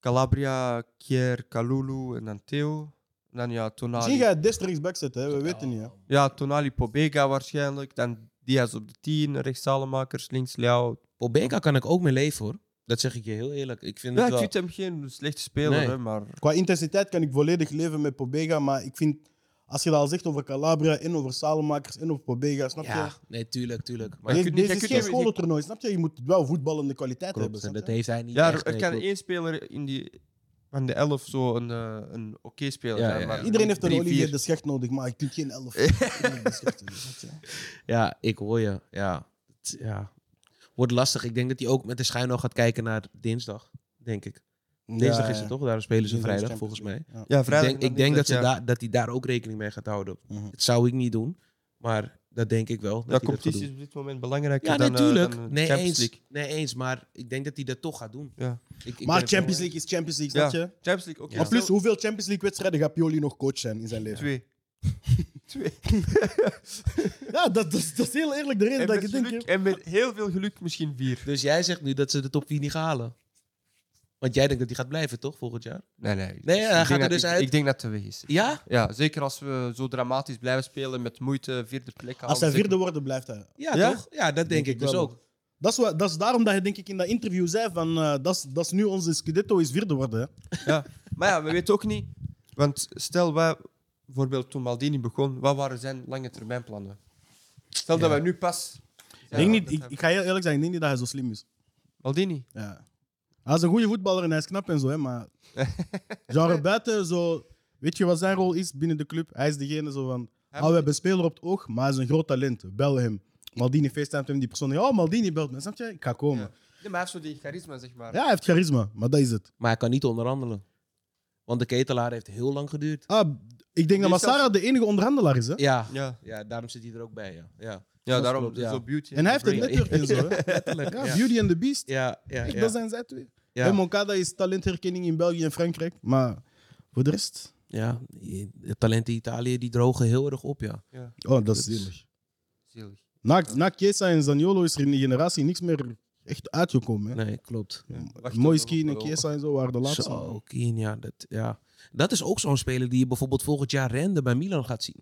[SPEAKER 2] Calabria, Kier, Kalulu en dan Theo. En dan ja,
[SPEAKER 1] Misschien
[SPEAKER 2] Tonali.
[SPEAKER 1] gaat hij Dest rechtsback zetten, hè? we weten niet. Hè?
[SPEAKER 2] Ja, Tonali Pobega waarschijnlijk. Dan Diaz op de 10, rechts Salemakers, links Leao.
[SPEAKER 3] Pobega kan ik ook mee leven, hoor. Dat zeg ik je heel eerlijk. Ik vind
[SPEAKER 2] Ja,
[SPEAKER 3] het
[SPEAKER 2] ik
[SPEAKER 3] wel...
[SPEAKER 2] vind hem geen slechte speler,
[SPEAKER 3] Nee.
[SPEAKER 2] hè, maar...
[SPEAKER 1] Qua intensiteit kan ik volledig leven met Pobega, maar ik vind, als je dat al zegt over Calabria en over Salemakers en over Pobega, snap je?
[SPEAKER 3] Ja, nee, tuurlijk, tuurlijk. Maar
[SPEAKER 2] je
[SPEAKER 1] Dit-
[SPEAKER 2] kunt
[SPEAKER 1] dit
[SPEAKER 2] niet- je
[SPEAKER 1] is
[SPEAKER 2] kunt
[SPEAKER 1] geen
[SPEAKER 2] niet- je-
[SPEAKER 1] scholentoernooi, snap je? Je moet wel voetballende kwaliteit hebben.
[SPEAKER 3] klopt, en
[SPEAKER 1] snap
[SPEAKER 3] dat
[SPEAKER 1] je?
[SPEAKER 3] heeft hij niet
[SPEAKER 2] Ja,
[SPEAKER 3] echt,
[SPEAKER 2] er
[SPEAKER 3] nee,
[SPEAKER 2] kan
[SPEAKER 3] klopt.
[SPEAKER 2] één speler in die, van de elf zo een, eh, een oké speler
[SPEAKER 3] Ja,
[SPEAKER 2] zijn.
[SPEAKER 3] ja,
[SPEAKER 2] maar
[SPEAKER 3] ja.
[SPEAKER 1] Iedereen heeft een
[SPEAKER 2] drie,
[SPEAKER 1] Olivier
[SPEAKER 2] vier.
[SPEAKER 1] de Schecht nodig, maar ik kunt geen elf. Olivier de Schecht, snap je?
[SPEAKER 3] Ja, ik hoor je. Ja. Het- ja. Wordt lastig. Ik denk dat hij ook met de schuin al gaat kijken naar dinsdag, denk ik. Dinsdag
[SPEAKER 1] Ja,
[SPEAKER 3] is het
[SPEAKER 1] ja.
[SPEAKER 3] toch? Daarom spelen ze
[SPEAKER 1] Dinsdag is Champions
[SPEAKER 3] vrijdag, volgens mij.
[SPEAKER 1] League. Ja.
[SPEAKER 2] Ja,
[SPEAKER 3] Ik
[SPEAKER 2] vrijdag.
[SPEAKER 3] denk,
[SPEAKER 2] en
[SPEAKER 3] ik denk dat, ze
[SPEAKER 2] dinsdag, ja.
[SPEAKER 3] daar dat hij daar ook rekening mee gaat houden.
[SPEAKER 1] Mhm.
[SPEAKER 3] Dat zou ik niet doen, maar dat denk ik
[SPEAKER 2] Ja,
[SPEAKER 3] wel. Dat hij dat gaat
[SPEAKER 2] competitie is
[SPEAKER 3] doen.
[SPEAKER 2] op dit moment belangrijker
[SPEAKER 3] Ja,
[SPEAKER 2] dan, eh,
[SPEAKER 3] natuurlijk.
[SPEAKER 2] dan de
[SPEAKER 3] nee,
[SPEAKER 2] Champions
[SPEAKER 3] eens,
[SPEAKER 2] League.
[SPEAKER 3] nee, eens. Maar ik denk dat hij dat toch gaat doen.
[SPEAKER 2] Ja.
[SPEAKER 3] Ik, ik
[SPEAKER 1] Maar
[SPEAKER 3] ben-
[SPEAKER 1] Champions League is Champions League, snap
[SPEAKER 2] Ja.
[SPEAKER 1] je?
[SPEAKER 2] Champions League, oké.
[SPEAKER 3] Ja.
[SPEAKER 1] Maar plus, hoeveel Champions League-wedstrijden gaat Pioli nog coach zijn in zijn leven?
[SPEAKER 2] Twee. Twee.
[SPEAKER 1] Ja, dat, dat, is- dat is heel eerlijk de reden
[SPEAKER 2] En
[SPEAKER 1] dat
[SPEAKER 2] met,
[SPEAKER 1] ik het denk.
[SPEAKER 2] geluk, en met heel veel geluk misschien vier.
[SPEAKER 3] Dus jij zegt nu dat ze de top 4 niet gaan halen. Want jij denkt dat hij gaat blijven, toch? Volgend jaar?
[SPEAKER 2] Nee, nee.
[SPEAKER 3] Nee,
[SPEAKER 2] ik
[SPEAKER 3] hij gaat
[SPEAKER 2] denk
[SPEAKER 3] er
[SPEAKER 2] dat-
[SPEAKER 3] dus
[SPEAKER 2] ik,
[SPEAKER 3] uit.
[SPEAKER 2] Ik denk dat het weg is.
[SPEAKER 3] Ja?
[SPEAKER 2] Ja, zeker als we zo dramatisch blijven spelen met moeite vierde plek halen.
[SPEAKER 1] Als zij
[SPEAKER 2] zeker-
[SPEAKER 1] vierde worden, blijft hij.
[SPEAKER 3] Ja,
[SPEAKER 2] Ja?
[SPEAKER 3] toch? Ja, dat denk,
[SPEAKER 1] Denk
[SPEAKER 3] ik
[SPEAKER 1] ik
[SPEAKER 3] dus
[SPEAKER 1] wel.
[SPEAKER 3] ook.
[SPEAKER 1] Dat is, wa- dat is daarom dat je denk ik in dat interview zei van eh, dat, is, dat is nu onze Scudetto is vierde worden. Hè.
[SPEAKER 2] Ja. Maar ja, we weten ook niet. Want stel, wij, bijvoorbeeld toen Maldini begon, wat waren zijn lange termijn plannen? Stel dat
[SPEAKER 3] Ja.
[SPEAKER 2] wij nu pas.
[SPEAKER 1] ik, denk niet,
[SPEAKER 2] dat
[SPEAKER 1] ik,
[SPEAKER 2] hij-
[SPEAKER 1] ik ga heel eerlijk zijn, ik denk niet dat hij zo slim is.
[SPEAKER 2] Maldini.
[SPEAKER 1] Ja. Hij is een goede voetballer en hij is knap en zo, hè, maar genre buiten, zo, weet je wat zijn rol is binnen de club? Hij is degene zo van,
[SPEAKER 2] Hij
[SPEAKER 1] ah, we hebben een speler op het oog, maar hij is een groot talent, bel hem. Maldini facetimed hem, die persoon, oh Maldini belt me, snap je? Ik ga komen.
[SPEAKER 2] Ja. Nee, maar hij heeft zo die charisma, zeg maar.
[SPEAKER 1] Ja, hij heeft charisma, maar dat is het.
[SPEAKER 3] Maar hij kan niet onderhandelen. Want de ketelaar heeft heel lang geduurd.
[SPEAKER 1] Ah, ik denk dat
[SPEAKER 2] is zelfs-
[SPEAKER 1] Massara de enige onderhandelaar is, hè?
[SPEAKER 3] Ja. ja.
[SPEAKER 2] Ja,
[SPEAKER 3] daarom zit hij er ook bij, ja. Ja,
[SPEAKER 2] ja
[SPEAKER 3] Dat
[SPEAKER 2] daarom
[SPEAKER 3] klopt, ja.
[SPEAKER 2] zo beauty.
[SPEAKER 1] En hij heeft een
[SPEAKER 2] brain.
[SPEAKER 1] netwerk en zo, hè?
[SPEAKER 3] letterlijk.
[SPEAKER 1] Ja,
[SPEAKER 3] Ja, ja.
[SPEAKER 1] Beauty and the Beast.
[SPEAKER 3] ja, ja,
[SPEAKER 1] Echt, Dat zijn zij twee.
[SPEAKER 3] Ja.
[SPEAKER 1] En Moncada is talentherkenning in België en Frankrijk. Maar voor de rest...
[SPEAKER 3] Ja, de talenten Italië die drogen heel erg op, ja.
[SPEAKER 2] Ja,
[SPEAKER 1] Oh, dat is
[SPEAKER 3] is-
[SPEAKER 1] zielig.
[SPEAKER 2] zielig.
[SPEAKER 1] Na, na Chiesa en Zaniolo is er in die generatie niks meer echt uitgekomen. Hè.
[SPEAKER 3] Nee, klopt.
[SPEAKER 2] Wacht,
[SPEAKER 1] Mooi
[SPEAKER 2] dat nog
[SPEAKER 1] skiën en
[SPEAKER 2] wel.
[SPEAKER 1] Chiesa en zo waren de laatste.
[SPEAKER 3] Zo, Kien, ja dat, ja. dat is ook zo'n speler die je bijvoorbeeld volgend jaar rende bij Milan gaat zien.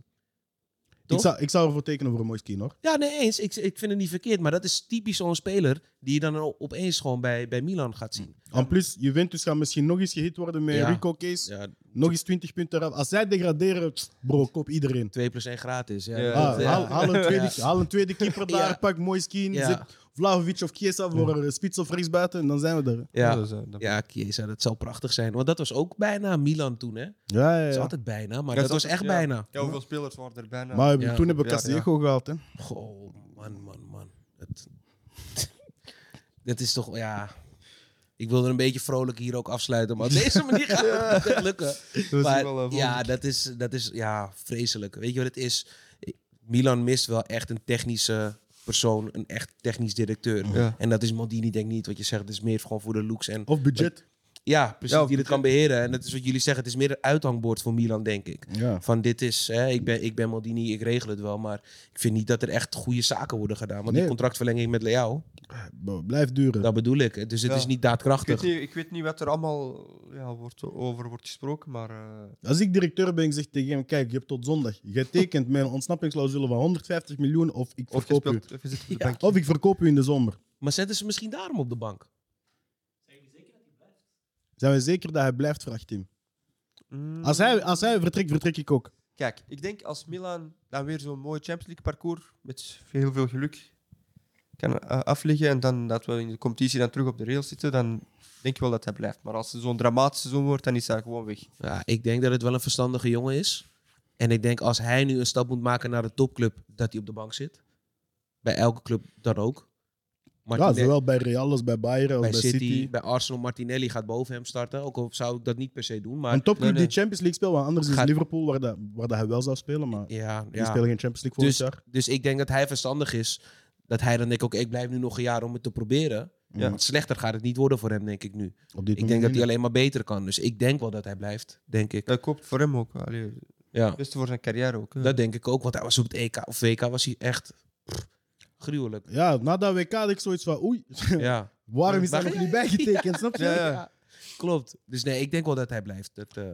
[SPEAKER 1] ik,
[SPEAKER 3] toch?
[SPEAKER 1] zou, ik zou ervoor tekenen voor een mooi skiën, hoor.
[SPEAKER 3] Ja, nee eens. Ik, ik vind het niet verkeerd, maar dat is typisch zo'n speler die je dan o- opeens gewoon bij, bij Milan gaat
[SPEAKER 2] Mm.
[SPEAKER 3] zien.
[SPEAKER 1] En plus, Juventus gaat misschien nog eens gehit worden met
[SPEAKER 3] Ja.
[SPEAKER 1] Rico Case.
[SPEAKER 3] Ja,
[SPEAKER 1] Nog eens 20 punten eraf. Als zij degraderen, pst, bro, kop iedereen.
[SPEAKER 3] 2 plus 1 gratis. Ja,
[SPEAKER 2] Ja.
[SPEAKER 1] Ah,
[SPEAKER 3] Dat, ja.
[SPEAKER 1] haal, haal een tweede,
[SPEAKER 3] Eh, Ja.
[SPEAKER 1] haal een tweede keeper
[SPEAKER 3] Ja.
[SPEAKER 1] daar, pak mooi skin.
[SPEAKER 3] Ja.
[SPEAKER 1] Zet Vlahovic of Chiesa voor een eh, spits of rechtsbuiten en dan zijn we er.
[SPEAKER 3] Ja.
[SPEAKER 2] Dat is, eh, dat-
[SPEAKER 3] Ja, Chiesa, dat zou prachtig zijn. Want dat was ook bijna Milan toen, hè?
[SPEAKER 1] Ja, ja,
[SPEAKER 3] Dat is
[SPEAKER 1] ja.
[SPEAKER 3] altijd bijna, maar
[SPEAKER 2] Ja,
[SPEAKER 3] dat
[SPEAKER 2] dat
[SPEAKER 3] was
[SPEAKER 2] is-
[SPEAKER 3] echt bijna.
[SPEAKER 2] Ja, hoeveel spelers waren er bijna?
[SPEAKER 1] Maar
[SPEAKER 3] Ja.
[SPEAKER 1] toen hebben we
[SPEAKER 2] Ja,
[SPEAKER 1] Castillejo gehad. Hè.
[SPEAKER 3] Goh, man, man, man. Dat, dat is toch, ja... Ik wil er een beetje vrolijk hier ook afsluiten, maar op deze manier gaat het niet echt lukken.
[SPEAKER 2] is
[SPEAKER 3] Maar
[SPEAKER 2] wel, eh, volgende
[SPEAKER 3] ja, dat is, dat is ja, vreselijk. Weet je wat het is? Ik- Milan mist wel echt een technische persoon, een echt technisch directeur.
[SPEAKER 2] Ja. Oh.
[SPEAKER 3] En dat is Maldini denk ik niet, wat je zegt. Het is meer gewoon voor de looks en
[SPEAKER 1] Of budget.
[SPEAKER 3] ja, precies,
[SPEAKER 2] Ja,
[SPEAKER 3] die het kan beheren. En dat is wat jullie zeggen, het is meer een uithangbord voor Milan, denk ik.
[SPEAKER 1] Ja.
[SPEAKER 3] Van dit is, hè, ik, ben, ik ben Maldini, ik regel het wel. Maar ik vind niet dat er echt goede zaken worden gedaan. Want
[SPEAKER 1] Nee.
[SPEAKER 3] die contractverlenging met Leao,
[SPEAKER 1] Bro, blijft duren.
[SPEAKER 3] dat bedoel ik. Dus het
[SPEAKER 2] Ja.
[SPEAKER 3] is niet
[SPEAKER 2] Ik weet,
[SPEAKER 3] daadkrachtig.
[SPEAKER 2] niet, ik weet niet wat er allemaal ja, wordt, over wordt gesproken, maar... eh,
[SPEAKER 1] Als ik directeur ben, ik zeg tegen hem: Kijk, je hebt tot zondag. Je tekent mijn ontsnappingsclausule van 150 miljoen of ik,
[SPEAKER 2] of, je
[SPEAKER 1] verkoop u.
[SPEAKER 2] speelt, of je zit op de
[SPEAKER 3] Ja.
[SPEAKER 2] bank.
[SPEAKER 1] of ik verkoop u in de zomer.
[SPEAKER 3] Maar zetten ze misschien daarom op de bank?
[SPEAKER 1] Zijn we zeker dat hij blijft, vraagt Tim.
[SPEAKER 2] Mm.
[SPEAKER 1] Als hij, als hij vertrekt, vertrek ik ook.
[SPEAKER 2] Kijk, ik denk als Milan dan weer zo'n mooi Champions League parcours met heel veel geluk kan eh, afleggen en dan dat we in de competitie dan terug op de rails zitten, dan denk ik wel dat hij blijft. Maar als het zo'n dramatisch seizoen wordt, dan is hij gewoon weg.
[SPEAKER 3] Ja, ik denk dat het wel een verstandige jongen is. En ik denk als hij nu een stap moet maken naar de topclub, dat hij op de bank zit. Bij elke club dan ook.
[SPEAKER 1] Ja,
[SPEAKER 3] Martinelli-
[SPEAKER 1] zowel bij Real als bij Bayern als
[SPEAKER 3] bij
[SPEAKER 1] bij,
[SPEAKER 3] City,
[SPEAKER 1] City.
[SPEAKER 3] bij Arsenal, Martinelli gaat boven hem starten. Ook al zou ik dat niet per se doen, maar...
[SPEAKER 1] Een topclub
[SPEAKER 2] Nee, nee.
[SPEAKER 1] die Champions League speelt, want anders is
[SPEAKER 3] Gaat-
[SPEAKER 1] Liverpool waar, dat, waar dat hij wel zou spelen, maar
[SPEAKER 3] Ja,
[SPEAKER 1] die
[SPEAKER 3] ja.
[SPEAKER 1] spelen geen Champions League volgend
[SPEAKER 3] Dus,
[SPEAKER 1] jaar.
[SPEAKER 3] dus ik denk dat hij verstandig is. Dat hij dan denkt, oké, ik blijf nu nog een jaar om het te proberen.
[SPEAKER 2] Ja.
[SPEAKER 3] Want slechter gaat het niet worden voor hem, denk ik nu.
[SPEAKER 1] Mm. Op dit
[SPEAKER 3] Ik denk dat hij alleen maar beter kan. Dus ik denk wel dat hij blijft, denk ik.
[SPEAKER 2] Dat koopt voor hem ook. Allee, het
[SPEAKER 3] Ja,
[SPEAKER 2] beste voor zijn carrière ook. hè.
[SPEAKER 3] dat denk ik ook. Want hij was op het EK of WK was hij echt pff, gruwelijk.
[SPEAKER 1] Ja, na dat WK had ik zoiets van, oei,
[SPEAKER 3] Ja.
[SPEAKER 1] waarom is
[SPEAKER 3] Waar-
[SPEAKER 1] daar nog niet bijgetekend, snap je?
[SPEAKER 2] Ja, ja.
[SPEAKER 3] Klopt. Dus nee, ik denk wel dat hij blijft. Dat, eh,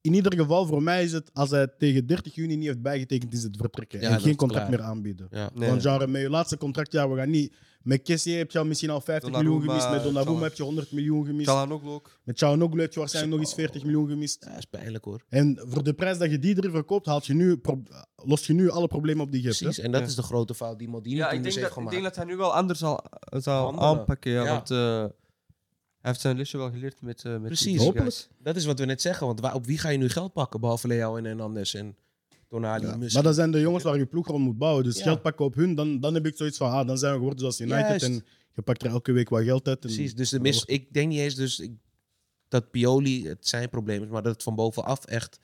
[SPEAKER 1] In ieder geval, voor mij is het, als hij tegen 30 juni niet heeft bijgetekend, is het vertrekken.
[SPEAKER 3] Ja,
[SPEAKER 1] en
[SPEAKER 3] dat
[SPEAKER 1] geen
[SPEAKER 3] is
[SPEAKER 1] contract
[SPEAKER 3] klaar.
[SPEAKER 1] meer aanbieden.
[SPEAKER 3] ja.
[SPEAKER 2] Nee.
[SPEAKER 1] Want genre, met je laatste contractjaar, we gaan niet... Met Kessie heb je al misschien al 50 miljoen
[SPEAKER 2] Donnarumma,
[SPEAKER 1] gemist. Met Donnarumma
[SPEAKER 2] Chalmers.
[SPEAKER 1] heb je 100 miljoen gemist.
[SPEAKER 2] Calhanoglu ook.
[SPEAKER 1] Met Chalanoglu heb je waarschijnlijk nog eens 40 miljoen gemist.
[SPEAKER 3] Ja, is pijnlijk hoor.
[SPEAKER 1] En voor de prijs dat je die erin verkoopt, haalt je nu, pro- lost je nu alle problemen op die je hebt. hè?
[SPEAKER 3] Precies. En dat
[SPEAKER 2] Ja.
[SPEAKER 3] is de grote fout die Maldini
[SPEAKER 2] Ja,
[SPEAKER 3] toen
[SPEAKER 2] ik
[SPEAKER 3] dus
[SPEAKER 2] denk,
[SPEAKER 3] heeft
[SPEAKER 2] dat, ik denk
[SPEAKER 3] gemaakt.
[SPEAKER 2] dat hij nu wel anders zal, eh, zal
[SPEAKER 3] Handelen.
[SPEAKER 2] aanpakken. Ja,
[SPEAKER 3] Ja.
[SPEAKER 2] Want eh, hij heeft zijn lesje wel geleerd met, eh met die
[SPEAKER 3] Precies.
[SPEAKER 2] guys.
[SPEAKER 1] Hopelijk.
[SPEAKER 3] Dat is wat we net zeggen. Want waar- op wie ga je nu geld pakken? Behalve Leo en Hernandez en Tonali.
[SPEAKER 1] Ja,
[SPEAKER 3] Musk.
[SPEAKER 1] Maar dat zijn de jongens waar je ploeg rond moet bouwen. Dus
[SPEAKER 3] Ah, Ja.
[SPEAKER 1] geld pakken op hun, dan, dan heb ik zoiets van, ah, dan zijn we geworden zoals United.
[SPEAKER 3] Juist.
[SPEAKER 1] En je pakt er elke week wat geld uit. en-
[SPEAKER 3] Precies. Dus de mis, ik denk niet eens dus, ik, dat Pioli het zijn probleem is. Maar dat het van bovenaf echt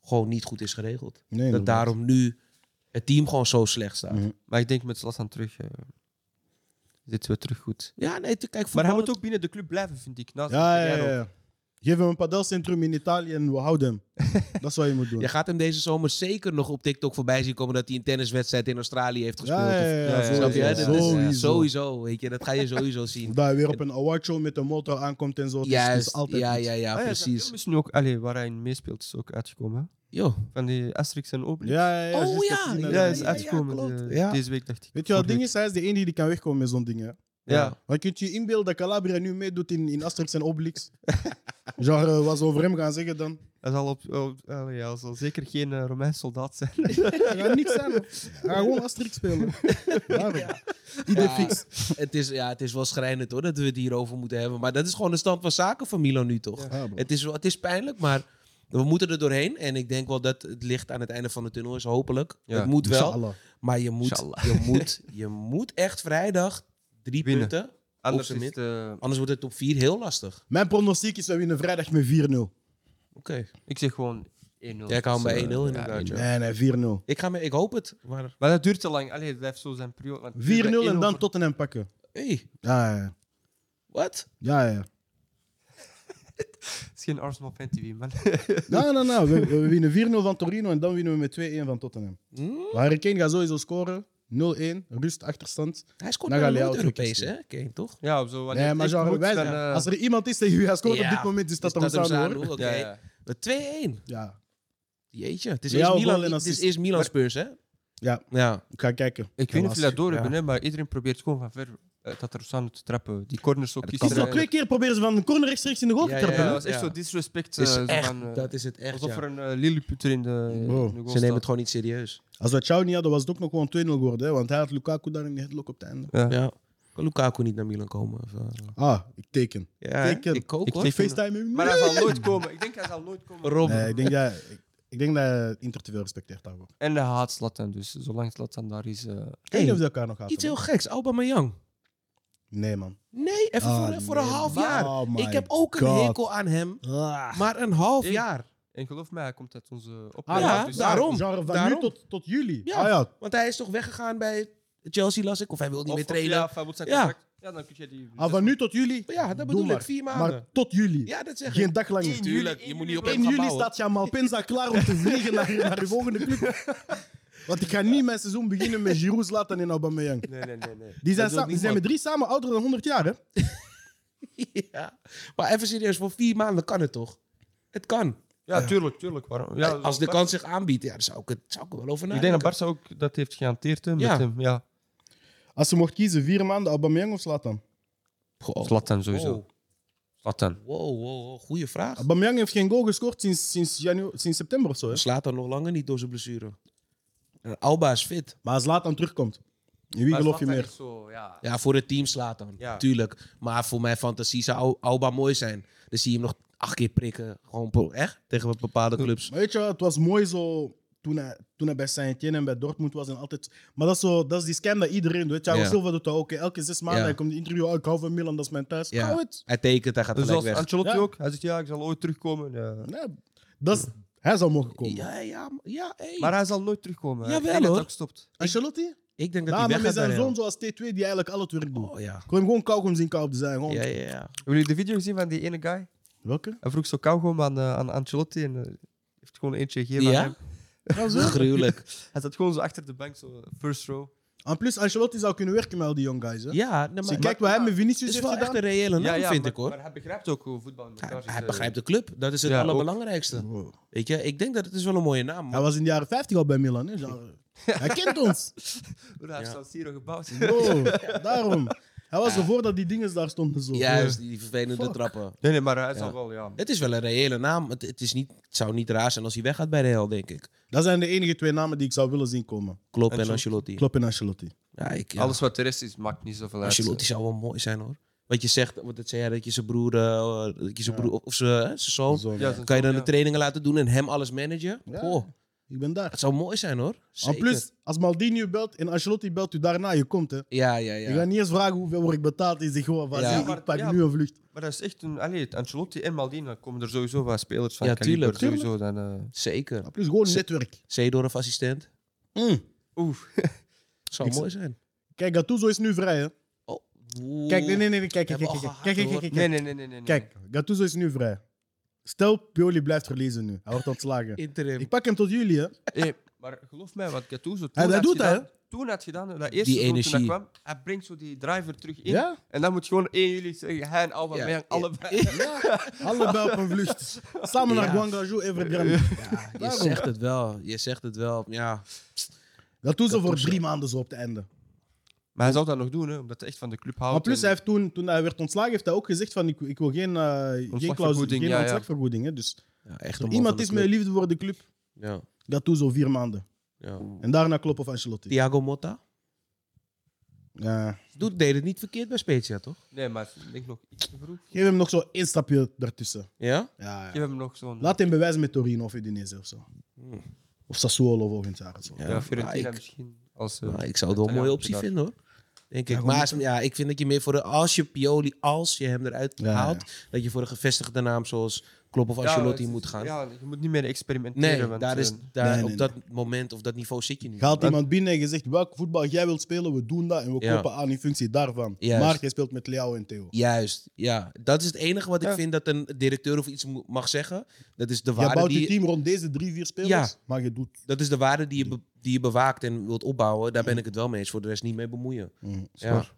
[SPEAKER 3] gewoon niet goed is geregeld.
[SPEAKER 1] Nee,
[SPEAKER 3] dat
[SPEAKER 1] inderdaad.
[SPEAKER 3] daarom nu het team gewoon zo slecht staat.
[SPEAKER 1] Mhm.
[SPEAKER 2] Maar ik denk met Zlatan terug eh, zitten we terug goed.
[SPEAKER 3] Ja, nee, tu- kijk,
[SPEAKER 2] Maar hij moet
[SPEAKER 3] voetballen-
[SPEAKER 2] ook binnen de club blijven, vind ik. naast
[SPEAKER 1] Ja, ja,
[SPEAKER 2] zijn
[SPEAKER 1] ja,
[SPEAKER 2] carrière ook.
[SPEAKER 1] ja. Geef hem een padelcentrum in Italië en we houden hem. dat is wat je moet doen.
[SPEAKER 3] Je gaat hem deze zomer zeker nog op TikTok voorbij zien komen dat hij een tenniswedstrijd in Australië heeft gespeeld.
[SPEAKER 1] Ja, ja, ja,
[SPEAKER 3] Of-
[SPEAKER 1] ja,
[SPEAKER 2] ja,
[SPEAKER 3] Snap je?
[SPEAKER 2] ja,
[SPEAKER 3] Dat is-
[SPEAKER 1] sowieso.
[SPEAKER 3] ja, sowieso, weet je, dat ga je sowieso zien.
[SPEAKER 1] Of dat hij weer op een awardshow met een motor aankomt en zo. Het is- het Oh, is
[SPEAKER 3] Juist,
[SPEAKER 1] altijd
[SPEAKER 3] ja,
[SPEAKER 1] iets.
[SPEAKER 3] ja, ja,
[SPEAKER 2] Ah ja, zijn
[SPEAKER 3] precies.
[SPEAKER 2] film is nu ook, allee, waar hij in meespeelt, is ook uitgekomen. hè?
[SPEAKER 3] Yo.
[SPEAKER 2] Van die Asterix en Obelix.
[SPEAKER 1] Ja, ja, ja,
[SPEAKER 3] Oh
[SPEAKER 1] juist,
[SPEAKER 3] ja,
[SPEAKER 1] dat zien we
[SPEAKER 2] Ja,
[SPEAKER 3] ja,
[SPEAKER 1] dan.
[SPEAKER 2] hij is
[SPEAKER 3] ja,
[SPEAKER 2] uitgekomen
[SPEAKER 3] klopt.
[SPEAKER 2] eh,
[SPEAKER 3] Ja.
[SPEAKER 2] deze week, dacht ik.
[SPEAKER 1] Weet je wat het
[SPEAKER 2] Vorige
[SPEAKER 1] ding is? Hij is de enige die kan wegkomen met zo'n ding. Hè.
[SPEAKER 2] week. Ja.
[SPEAKER 1] Want je kunt je inbeelden dat Calabria nu meedoet in, in Asterix en Obelix. Genre, eh, wat ze over hem gaan zeggen dan?
[SPEAKER 2] Hij zal, op, op- allee, hij zal zeker geen eh, Romeins soldaat zijn.
[SPEAKER 1] Hij gaat niks zijn. hoor. Hij gaat gewoon Asterix spelen. Daarom. Ieder
[SPEAKER 3] Ja.
[SPEAKER 1] fix.
[SPEAKER 3] Het is, ja, het is wel schrijnend hoor dat we het hierover moeten hebben. Maar dat is gewoon de stand van zaken van Milan nu toch?
[SPEAKER 1] Ja, bro.
[SPEAKER 3] Het, is, wel- het is pijnlijk, maar we moeten er doorheen. En ik denk wel dat het licht aan het einde van de tunnel is, hopelijk.
[SPEAKER 2] Ja.
[SPEAKER 3] Het moet wel.
[SPEAKER 1] Inshallah.
[SPEAKER 3] Maar je moet,
[SPEAKER 2] Inshallah.
[SPEAKER 3] je moet, je moet echt vrijdag drie
[SPEAKER 2] Winnen.
[SPEAKER 3] punten.
[SPEAKER 2] Anders
[SPEAKER 3] zijn
[SPEAKER 2] is het, eh,
[SPEAKER 3] Anders wordt het top 4 heel lastig.
[SPEAKER 1] Mijn pronostiek is, we winnen vrijdag met 4-0.
[SPEAKER 3] Oké.
[SPEAKER 2] ik zeg gewoon 1-0. Jij
[SPEAKER 3] Jij kan bij 1-0 inderdaad. ja.
[SPEAKER 1] Nee, nee, 4-0.
[SPEAKER 3] Ik, ga me, ik hoop het, maar
[SPEAKER 2] Maar dat duurt te lang. Allee, het blijft zo zijn periode. want
[SPEAKER 1] 4-0 en dan
[SPEAKER 2] voor-
[SPEAKER 1] Tottenham pakken.
[SPEAKER 3] hey,
[SPEAKER 1] Ja, ja,
[SPEAKER 3] wat?
[SPEAKER 1] ja. ja.
[SPEAKER 2] Het is geen Arsenal Fan TV, man.
[SPEAKER 1] Nou, nou, nou. We, we winnen 4-0 van Torino en dan winnen we met 2-1 van Tottenham.
[SPEAKER 3] Hmm?
[SPEAKER 1] Maar Harry Kane gaat sowieso scoren. 0-1, rust, achterstand.
[SPEAKER 3] Hij scoort
[SPEAKER 1] Dan
[SPEAKER 3] bijna
[SPEAKER 1] ga je
[SPEAKER 3] nooit
[SPEAKER 1] jou terug
[SPEAKER 3] Europees, hè? Kane, toch?
[SPEAKER 2] ja, zo, wanneer
[SPEAKER 1] Nee, maar
[SPEAKER 2] het echt
[SPEAKER 1] genre, wij-
[SPEAKER 2] moet, dan, eh,
[SPEAKER 1] als er iemand is tegen wie gaat scoren
[SPEAKER 3] Ja.
[SPEAKER 1] op dit moment, is dat dan
[SPEAKER 3] Tadam
[SPEAKER 1] Sano,
[SPEAKER 3] Sano,
[SPEAKER 1] hoor.
[SPEAKER 3] Oké.
[SPEAKER 2] ja, ja.
[SPEAKER 3] Met 2-1.
[SPEAKER 1] Ja,
[SPEAKER 3] Eh, Jeetje. Het is
[SPEAKER 1] Ja,
[SPEAKER 3] eerst
[SPEAKER 1] wel
[SPEAKER 3] Milan,
[SPEAKER 1] een
[SPEAKER 3] het is
[SPEAKER 1] assist.
[SPEAKER 3] eerst Milan Spurs, hè?
[SPEAKER 1] Ja.
[SPEAKER 3] Ja.
[SPEAKER 1] ik ga kijken.
[SPEAKER 2] Ik weet niet of
[SPEAKER 1] Helaas.
[SPEAKER 2] jullie dat door
[SPEAKER 3] Ja.
[SPEAKER 2] hebben, hè, maar iedereen probeert gewoon van ver eh, Tatarusanu te trappen. Die corners ook
[SPEAKER 4] dat
[SPEAKER 1] Het is
[SPEAKER 2] gisteren.
[SPEAKER 1] al twee keer proberen ze van een corner rechtstreeks in de goal
[SPEAKER 3] Ja,
[SPEAKER 1] te trappen.
[SPEAKER 2] Ja,
[SPEAKER 1] hè?
[SPEAKER 2] dat was echt
[SPEAKER 3] Ja.
[SPEAKER 2] zo disrespect.
[SPEAKER 3] Het is
[SPEAKER 2] eh, zo
[SPEAKER 3] echt,
[SPEAKER 2] van, eh,
[SPEAKER 3] dat is het echt.
[SPEAKER 2] alsof er
[SPEAKER 3] ja.
[SPEAKER 2] een eh, lilliputter in de,
[SPEAKER 1] Wow.
[SPEAKER 2] in de goal
[SPEAKER 3] Ze nemen het
[SPEAKER 2] staat.
[SPEAKER 3] gewoon niet serieus.
[SPEAKER 1] Als we Chow niet hadden, was het ook nog gewoon 2-0 geworden. Hè? Want hij had Lukaku daar in de headlock op het einde.
[SPEAKER 2] Ja.
[SPEAKER 3] Ja. Kan Lukaku niet naar Milan komen? Of, eh,
[SPEAKER 1] Ah, ik teken.
[SPEAKER 3] ja,
[SPEAKER 1] Ik ken-
[SPEAKER 3] ik ook
[SPEAKER 2] ik
[SPEAKER 3] hoor.
[SPEAKER 1] Ik
[SPEAKER 2] teken-
[SPEAKER 1] facetime hem.
[SPEAKER 2] Maar hij zal nooit komen. Ik denk hij zal nooit komen.
[SPEAKER 3] Rob,
[SPEAKER 1] Nee, ik denk dat, ik, ik denk dat Inter te veel respecteert daarvoor.
[SPEAKER 2] En hij haat Zlatan, dus zolang Zlatan daar is... eh,
[SPEAKER 1] Ik weet niet of ze elkaar nog haten.
[SPEAKER 3] iets heel geks. Aubameyang.
[SPEAKER 1] Nee, man.
[SPEAKER 3] Nee, even
[SPEAKER 1] Ah,
[SPEAKER 3] voor, voor een
[SPEAKER 1] nee,
[SPEAKER 3] half
[SPEAKER 1] man.
[SPEAKER 3] jaar.
[SPEAKER 1] Oh my
[SPEAKER 3] ik heb ook een
[SPEAKER 1] God.
[SPEAKER 3] hekel aan hem,
[SPEAKER 1] Ah,
[SPEAKER 3] maar een half
[SPEAKER 2] Ik-
[SPEAKER 3] jaar.
[SPEAKER 2] En geloof mij, hij komt uit onze
[SPEAKER 3] Ah,
[SPEAKER 2] opleiding.
[SPEAKER 3] ja,
[SPEAKER 2] dus-
[SPEAKER 3] daarom.
[SPEAKER 1] Genre van
[SPEAKER 3] daarom.
[SPEAKER 1] nu tot, tot juli.
[SPEAKER 3] Ja.
[SPEAKER 1] Ah, ja.
[SPEAKER 3] Want hij is toch weggegaan bij Chelsea, las ik. Of hij wil niet
[SPEAKER 2] Of-
[SPEAKER 3] meer
[SPEAKER 2] of
[SPEAKER 3] trainen.
[SPEAKER 2] Ja,
[SPEAKER 3] Ja,
[SPEAKER 2] of hij moet zijn
[SPEAKER 3] Ja.
[SPEAKER 2] contract- ja, dan kun je die...
[SPEAKER 1] Ah, van nu tot juli.
[SPEAKER 3] dat
[SPEAKER 1] Doe
[SPEAKER 3] bedoel ik.
[SPEAKER 1] maar.
[SPEAKER 3] Vier maanden.
[SPEAKER 1] Maar tot juli.
[SPEAKER 3] ja, dat zeg ik.
[SPEAKER 1] Geen dag langer.
[SPEAKER 2] Eén
[SPEAKER 3] Tuurlijk,
[SPEAKER 2] juli-
[SPEAKER 3] je
[SPEAKER 2] één
[SPEAKER 3] moet niet op
[SPEAKER 2] juli
[SPEAKER 1] 1
[SPEAKER 3] hem gaan
[SPEAKER 1] juli
[SPEAKER 3] bouwen.
[SPEAKER 1] staat Jamal Penza klaar om te vliegen naar, naar je volgende club. Want ik ga niet mijn seizoen beginnen met Giroud, Zlatan en Aubameyang.
[SPEAKER 2] Nee, nee, nee. nee.
[SPEAKER 1] Die zijn,
[SPEAKER 2] Dat wil
[SPEAKER 1] sa- die zijn met
[SPEAKER 2] niemand.
[SPEAKER 1] drie samen ouder dan 100 jaar, hè?
[SPEAKER 3] Ja. Maar even serieus, voor vier maanden kan het toch? Het kan. Eh,
[SPEAKER 2] Ja, tuurlijk, tuurlijk. Waarom? Ja,
[SPEAKER 3] Als de
[SPEAKER 2] Bar-
[SPEAKER 3] kans zich aanbiedt, ja, dan zou ik, het, zou ik er wel over
[SPEAKER 2] Ik
[SPEAKER 3] nadenken.
[SPEAKER 2] denk dat Barça ook dat heeft gehanteerd hè, met
[SPEAKER 3] Ja.
[SPEAKER 2] hem. Ja.
[SPEAKER 1] Als ze mocht kiezen, vier maanden Aubameyang of Zlatan?
[SPEAKER 3] Goh.
[SPEAKER 2] Zlatan sowieso.
[SPEAKER 3] Wow,
[SPEAKER 2] Zlatan.
[SPEAKER 3] wow, wow, wow. goede
[SPEAKER 2] Ah,
[SPEAKER 3] vraag.
[SPEAKER 1] Aubameyang heeft geen goal gescoord sinds, sinds, janu- sinds september of zo, hè?
[SPEAKER 3] Slaat dan nog langer niet door zijn blessure. En Alba is fit.
[SPEAKER 1] Maar als Zlatan terugkomt, in wie geloof je meer?
[SPEAKER 2] ja.
[SPEAKER 3] Ja, voor het team slaat dan.
[SPEAKER 2] Ja.
[SPEAKER 3] Tuurlijk. Maar voor mijn fantasie zou Al- Alba mooi zijn. Dan zie je hem nog acht keer prikken. Gewoon pro- echt tegen bepaalde clubs.
[SPEAKER 1] Maar weet je, wat, het was mooi zo toen hij, toen hij bij Saint-Étienne en bij Dortmund was en altijd... Maar dat is, zo, dat is die scam dat iedereen doet. Thiago
[SPEAKER 3] Ja.
[SPEAKER 1] Silva doet dat ook. hè. Elke zes maanden
[SPEAKER 3] Ja.
[SPEAKER 1] hij komt in interview, oh, ik hou van Milan, dat is mijn thuis.
[SPEAKER 3] Ja.
[SPEAKER 1] Hou het.
[SPEAKER 3] Hij tekent, hij gaat
[SPEAKER 2] Dus
[SPEAKER 3] gelijk
[SPEAKER 2] als
[SPEAKER 3] weg.
[SPEAKER 2] Ancelotti
[SPEAKER 1] Ja.
[SPEAKER 2] ook. Hij zegt ja, ik zal ooit terugkomen. Ja.
[SPEAKER 1] Nee, dat is, hij zou mogen komen.
[SPEAKER 3] Ja, ja, ja. hey.
[SPEAKER 2] Maar hij zal nooit terugkomen.
[SPEAKER 3] Jawel,
[SPEAKER 2] ik denk dat
[SPEAKER 3] hoor.
[SPEAKER 2] hij ook stopt.
[SPEAKER 1] Ancelotti?
[SPEAKER 3] ik denk dat
[SPEAKER 1] Nou,
[SPEAKER 3] hij
[SPEAKER 1] maar met
[SPEAKER 3] weg gaat
[SPEAKER 1] zijn
[SPEAKER 3] daar,
[SPEAKER 1] zoon
[SPEAKER 3] ja.
[SPEAKER 1] zoals T2 die eigenlijk al het werk doet.
[SPEAKER 3] Oh ja.
[SPEAKER 1] Ik wil hem gewoon kauwgom zien kauw op de zijn. Gewoon.
[SPEAKER 3] Ja, ja, ja.
[SPEAKER 2] Hebben jullie de video gezien van die ene guy?
[SPEAKER 1] Welke?
[SPEAKER 2] Hij vroeg zo kauwgom aan, eh, aan Ancelotti en eh, heeft gewoon eentje gegeven
[SPEAKER 3] Ja?
[SPEAKER 2] aan hem.
[SPEAKER 3] Dat is gruwelijk.
[SPEAKER 2] Hij zat gewoon zo achter de bank, zo eh, first row.
[SPEAKER 1] En plus, Ancelotti zou kunnen werken met al die young guys. Hè?
[SPEAKER 3] Ja, nee,
[SPEAKER 1] Zie,
[SPEAKER 3] maar,
[SPEAKER 1] kijk wat hij met
[SPEAKER 3] het
[SPEAKER 1] Vinicius
[SPEAKER 3] is
[SPEAKER 1] heeft
[SPEAKER 3] wel echt
[SPEAKER 1] gedaan.
[SPEAKER 3] een reële naam, vind
[SPEAKER 2] maar,
[SPEAKER 3] ik hoor.
[SPEAKER 2] Maar hij begrijpt ook hoe voetbal in elkaar
[SPEAKER 3] Hij,
[SPEAKER 2] zit.
[SPEAKER 3] hij
[SPEAKER 2] eh.
[SPEAKER 3] begrijpt de club. Dat is het
[SPEAKER 2] Ja,
[SPEAKER 3] allerbelangrijkste.
[SPEAKER 1] Wow.
[SPEAKER 3] Weet je, ik denk dat het is wel een mooie naam.
[SPEAKER 1] Hij
[SPEAKER 3] Maar...
[SPEAKER 1] was in de jaren 50 al bij Milan. Hè? genre. Hij kent ons.
[SPEAKER 2] Broer, Hij heeft
[SPEAKER 3] Ja.
[SPEAKER 2] San Siro gebouwd.
[SPEAKER 1] Wow, daarom. Hij was ervoor dat die dingen daar stonden. Zo.
[SPEAKER 3] Juist, die vervelende
[SPEAKER 1] Fuck.
[SPEAKER 3] trappen.
[SPEAKER 2] Nee, nee, maar hij zal
[SPEAKER 3] Ja.
[SPEAKER 2] wel, ja.
[SPEAKER 3] Het is wel een reële naam. Het, het, is niet, het zou niet raar zijn als hij weggaat bij Real, denk ik.
[SPEAKER 1] Dat zijn de enige twee namen die ik zou willen zien komen.
[SPEAKER 3] Klopp en
[SPEAKER 2] Ancelotti.
[SPEAKER 3] Ancelotti.
[SPEAKER 1] Klopp en Ancelotti.
[SPEAKER 3] Ja, ik, ja.
[SPEAKER 2] Alles wat de rest is, maakt niet zoveel uit.
[SPEAKER 3] Ancelotti zou wel mooi zijn hoor. Want je zegt, want dat zei jij, dat je zijn broer, eh, dat je zijn broer of, of zijn, hè, zijn zoon,
[SPEAKER 1] Zo,
[SPEAKER 2] Ja, zijn
[SPEAKER 3] kan je dan
[SPEAKER 2] zoon,
[SPEAKER 3] de trainingen laten doen en hem alles managen?
[SPEAKER 1] Ja.
[SPEAKER 3] Goh,
[SPEAKER 1] Ik ben daar.
[SPEAKER 3] het zou mooi zijn hoor.
[SPEAKER 1] En
[SPEAKER 3] Zeker.
[SPEAKER 1] plus, als Maldini u belt en Ancelotti belt u daarna, je komt hè.
[SPEAKER 3] Ja, ja, ja.
[SPEAKER 1] Je gaat niet eens vragen hoeveel word ik betaald. Je zegt gewoon van,
[SPEAKER 3] Ja.
[SPEAKER 1] zie,
[SPEAKER 2] Ja, maar-
[SPEAKER 1] ik pak
[SPEAKER 2] ja.
[SPEAKER 1] nu een vlucht.
[SPEAKER 2] Maar dat is echt een... Allee, Ancelotti en Maldini, komen er sowieso wat spelers van
[SPEAKER 3] Ja,
[SPEAKER 2] kaliber,
[SPEAKER 3] tuurlijk.
[SPEAKER 2] Sowieso dan... eh,
[SPEAKER 3] Zeker.
[SPEAKER 1] En plus gewoon
[SPEAKER 3] Zet-
[SPEAKER 1] netwerk.
[SPEAKER 3] Zeedorf assistent.
[SPEAKER 1] Mm.
[SPEAKER 2] Oeh.
[SPEAKER 3] Zou
[SPEAKER 1] Ik-
[SPEAKER 3] mooi zijn.
[SPEAKER 1] Kijk, Gattuso is nu vrij hè.
[SPEAKER 3] Oh. oeh.
[SPEAKER 1] Kijk, nee, nee, nee, nee, kijk, kijk,
[SPEAKER 3] Hebben
[SPEAKER 1] kijk,
[SPEAKER 3] we
[SPEAKER 1] kijk,
[SPEAKER 3] al
[SPEAKER 1] kijk, kijk,
[SPEAKER 3] gehad,
[SPEAKER 1] kijk,
[SPEAKER 3] hoor.
[SPEAKER 1] kijk,
[SPEAKER 2] Nee, nee, nee, nee. nee
[SPEAKER 1] Kijk, Gattuso is nu vrij. Stel, Pioli blijft verliezen nu. Hij wordt ontslagen.
[SPEAKER 3] Interim.
[SPEAKER 1] Ik pak hem tot jullie, hè.
[SPEAKER 2] nee. Hey, maar geloof mij, wat Gattuso toen
[SPEAKER 1] dat
[SPEAKER 2] had
[SPEAKER 1] doet
[SPEAKER 2] gedaan...
[SPEAKER 1] hij,
[SPEAKER 2] Toen had gedaan, dat eerste
[SPEAKER 3] Die
[SPEAKER 2] doel toen
[SPEAKER 3] energie.
[SPEAKER 2] hij kwam, hij brengt zo die driver terug in.
[SPEAKER 1] Ja?
[SPEAKER 2] En dan moet gewoon één jullie zeggen, hij en Alba,
[SPEAKER 3] Ja.
[SPEAKER 2] mij en allebei.
[SPEAKER 1] Allebei op een vlucht. Samen naar
[SPEAKER 3] Ja.
[SPEAKER 1] Guangzhou, Evergrande.
[SPEAKER 3] Ja, je
[SPEAKER 1] Daarom.
[SPEAKER 3] zegt het wel. Je zegt het wel. Ja.
[SPEAKER 1] Gattuso voor
[SPEAKER 3] Gattuso.
[SPEAKER 1] drie maanden zo op het einde.
[SPEAKER 2] Maar hij zou dat nog doen, hè, omdat hij echt van de club houdt.
[SPEAKER 1] Maar plus,
[SPEAKER 2] en-
[SPEAKER 1] hij heeft toen, toen hij werd ontslagen, heeft hij ook gezegd van ik, ik wil geen, eh geen, clausule, geen
[SPEAKER 2] ja, ja.
[SPEAKER 1] ontslagvergoeding. Hè? Dus
[SPEAKER 3] ja echt een man van
[SPEAKER 1] iemand
[SPEAKER 3] de
[SPEAKER 1] is
[SPEAKER 3] club.
[SPEAKER 1] met liefde voor de club.
[SPEAKER 3] Ja.
[SPEAKER 1] Gattuso vier maanden.
[SPEAKER 3] ja.
[SPEAKER 1] En daarna Klopp of Ancelotti.
[SPEAKER 3] Thiago Motta?
[SPEAKER 1] Ja.
[SPEAKER 3] Doet, deed het niet verkeerd bij Spezia, toch?
[SPEAKER 2] Nee, maar ik denk nog iets te vroeg.
[SPEAKER 1] Geef hem nog zo één stapje daartussen.
[SPEAKER 3] Ja?
[SPEAKER 1] Ja,
[SPEAKER 2] Je
[SPEAKER 1] ja.
[SPEAKER 2] hebt hem nog zo'n...
[SPEAKER 1] Laat hem bewijzen met Torino of Udinese of zo. Of Sassuolo volgend jaar. of Zo.
[SPEAKER 2] Ja, Fiorentina
[SPEAKER 3] maar ik,
[SPEAKER 2] misschien. Als, eh,
[SPEAKER 3] maar ik zou het wel een
[SPEAKER 2] Italiaan
[SPEAKER 3] mooie optie
[SPEAKER 2] daar.
[SPEAKER 3] vinden, hoor. Denk ik.
[SPEAKER 1] Thiago
[SPEAKER 3] Maar als- ja, ik vind dat je meer voor de... Als je Pioli, als je hem eruit
[SPEAKER 1] Ja,
[SPEAKER 3] haalt... Dat je voor een gevestigde naam zoals Klopp of
[SPEAKER 2] Ja,
[SPEAKER 3] Ancelotti
[SPEAKER 2] het-
[SPEAKER 3] moet gaan.
[SPEAKER 2] Ja, je moet niet meer experimenteren.
[SPEAKER 3] nee,
[SPEAKER 2] want,
[SPEAKER 3] daar is,
[SPEAKER 2] eh,
[SPEAKER 3] daar,
[SPEAKER 1] nee, nee,
[SPEAKER 3] op dat moment of dat niveau zit je niet.
[SPEAKER 1] Gaat iemand binnen en je zegt welk voetbal jij wilt spelen, we doen dat en we
[SPEAKER 3] Ja.
[SPEAKER 1] kopen aan in functie daarvan.
[SPEAKER 3] Juist.
[SPEAKER 1] Maar jij speelt met Leao en Theo.
[SPEAKER 3] Juist, ja. Dat is het enige wat ik
[SPEAKER 2] Ja.
[SPEAKER 3] vind dat een directeur of iets mo- mag zeggen. Dat is de
[SPEAKER 1] Je
[SPEAKER 3] waarde
[SPEAKER 1] bouwt
[SPEAKER 3] die
[SPEAKER 1] je
[SPEAKER 3] je-
[SPEAKER 1] team rond deze drie, vier spelers,
[SPEAKER 3] Ja.
[SPEAKER 1] maar je doet.
[SPEAKER 3] dat is de waarde die je, be- die je bewaakt en wilt opbouwen. Daar ben ik het wel mee eens. Voor de rest niet mee bemoeien.
[SPEAKER 1] Mm.
[SPEAKER 3] Ja.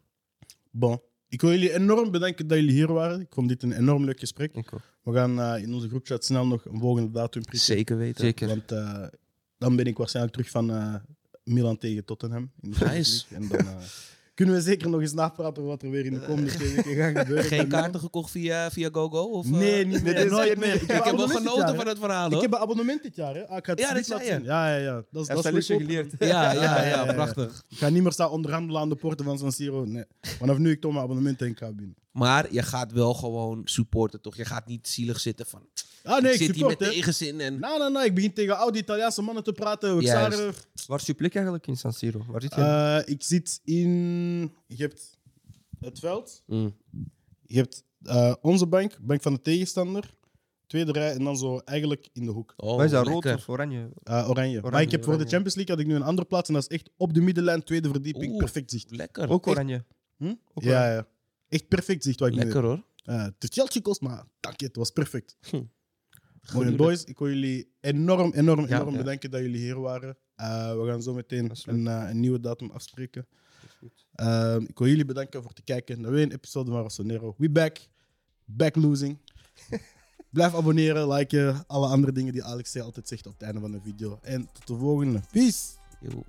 [SPEAKER 1] Bon. Ik wil jullie enorm bedanken dat jullie hier waren. Ik vond dit een enorm leuk gesprek.
[SPEAKER 2] Ik ook.
[SPEAKER 1] We gaan eh, in onze groepchat snel nog een volgende datum prikken.
[SPEAKER 3] Zeker weten.
[SPEAKER 2] Zeker.
[SPEAKER 1] Want eh, dan ben ik waarschijnlijk terug van eh, Milan tegen Tottenham. In de Champions
[SPEAKER 3] Nice.
[SPEAKER 1] League. En dan eh, Kunnen we zeker nog eens napraten over wat er weer in de komende twee weken gaat gebeuren.
[SPEAKER 3] Geen kaarten gekocht via, via GoGo? Of, eh?
[SPEAKER 1] Nee, niet meer.
[SPEAKER 2] dit is
[SPEAKER 1] Nooit
[SPEAKER 2] het
[SPEAKER 1] meer.
[SPEAKER 2] meer.
[SPEAKER 3] Ik heb wel
[SPEAKER 1] abonnement dit jaar,
[SPEAKER 3] genoten
[SPEAKER 1] hè.
[SPEAKER 3] van het verhaal,
[SPEAKER 1] Ik
[SPEAKER 3] hoor.
[SPEAKER 1] heb een abonnement dit jaar, hè? Ah, ik ga het
[SPEAKER 3] Ja,
[SPEAKER 1] niet
[SPEAKER 3] dat zei
[SPEAKER 1] laten
[SPEAKER 3] je.
[SPEAKER 1] zien. Ja, ja, ja. Dat is, dat
[SPEAKER 2] Heeft
[SPEAKER 1] is
[SPEAKER 2] dat
[SPEAKER 1] goedkoop.
[SPEAKER 2] lesje geleerd?
[SPEAKER 3] Ja, ja,
[SPEAKER 1] ja, ja.
[SPEAKER 3] ja, prachtig.
[SPEAKER 1] Ik ga niet meer staan onderhandelen aan de poorten van San Siro. Nee. Vanaf nu ik toch mijn abonnement en ik ga binnen.
[SPEAKER 3] Maar je gaat wel gewoon supporten, toch? Je gaat niet zielig zitten van...
[SPEAKER 1] Ah nee,
[SPEAKER 3] ik
[SPEAKER 1] ik
[SPEAKER 3] zit hier met
[SPEAKER 1] support, hè.
[SPEAKER 3] tegenzin en...
[SPEAKER 1] Nou, nou, nou. Ik begin tegen oude Italiaanse mannen te praten. We
[SPEAKER 3] Juist.
[SPEAKER 1] xaren.
[SPEAKER 2] Waar is je plek eigenlijk in San Siro? Waar zit je?
[SPEAKER 1] Eh, ik zit in... Je hebt het veld.
[SPEAKER 3] Mm.
[SPEAKER 1] Je hebt eh, onze bank, bank van de tegenstander. Tweede rij en dan zo eigenlijk in de hoek.
[SPEAKER 3] Oh,
[SPEAKER 2] Waar is dat
[SPEAKER 3] lekker. Oh,
[SPEAKER 2] rood of oranje?
[SPEAKER 1] Eh, oranje. Maar
[SPEAKER 2] Oranje,
[SPEAKER 1] ik heb voor de
[SPEAKER 2] oranje.
[SPEAKER 1] Champions League had ik nu een andere plaats. En dat is echt op de middenlijn, tweede verdieping.
[SPEAKER 3] Oeh.
[SPEAKER 1] Perfect zicht.
[SPEAKER 3] Lekker.
[SPEAKER 2] Ook
[SPEAKER 3] Echt
[SPEAKER 2] oranje.
[SPEAKER 1] Hm?
[SPEAKER 2] Ook
[SPEAKER 1] Ja, ja. Echt perfect zicht wat ik nu heb.
[SPEAKER 3] Lekker, hoor.
[SPEAKER 1] Eh, Het is Chelsea kost, maar dank je, het was perfect.
[SPEAKER 3] Hm.
[SPEAKER 1] Mooi en boys, ik wil jullie enorm, enorm,
[SPEAKER 3] Ja,
[SPEAKER 1] enorm
[SPEAKER 2] ja.
[SPEAKER 1] bedanken dat jullie hier waren. Eh, we gaan zo meteen
[SPEAKER 2] Dat is leuk.
[SPEAKER 1] een, eh, een nieuwe datum afspreken.
[SPEAKER 2] goed.
[SPEAKER 1] Ehm, ik wil jullie bedanken voor het kijken naar weer een episode van Rossonero. We back. Back losing. Blijf abonneren, liken, alle andere dingen die Alex zei altijd zegt op het einde van de video. En tot de volgende. Peace!
[SPEAKER 3] Yo.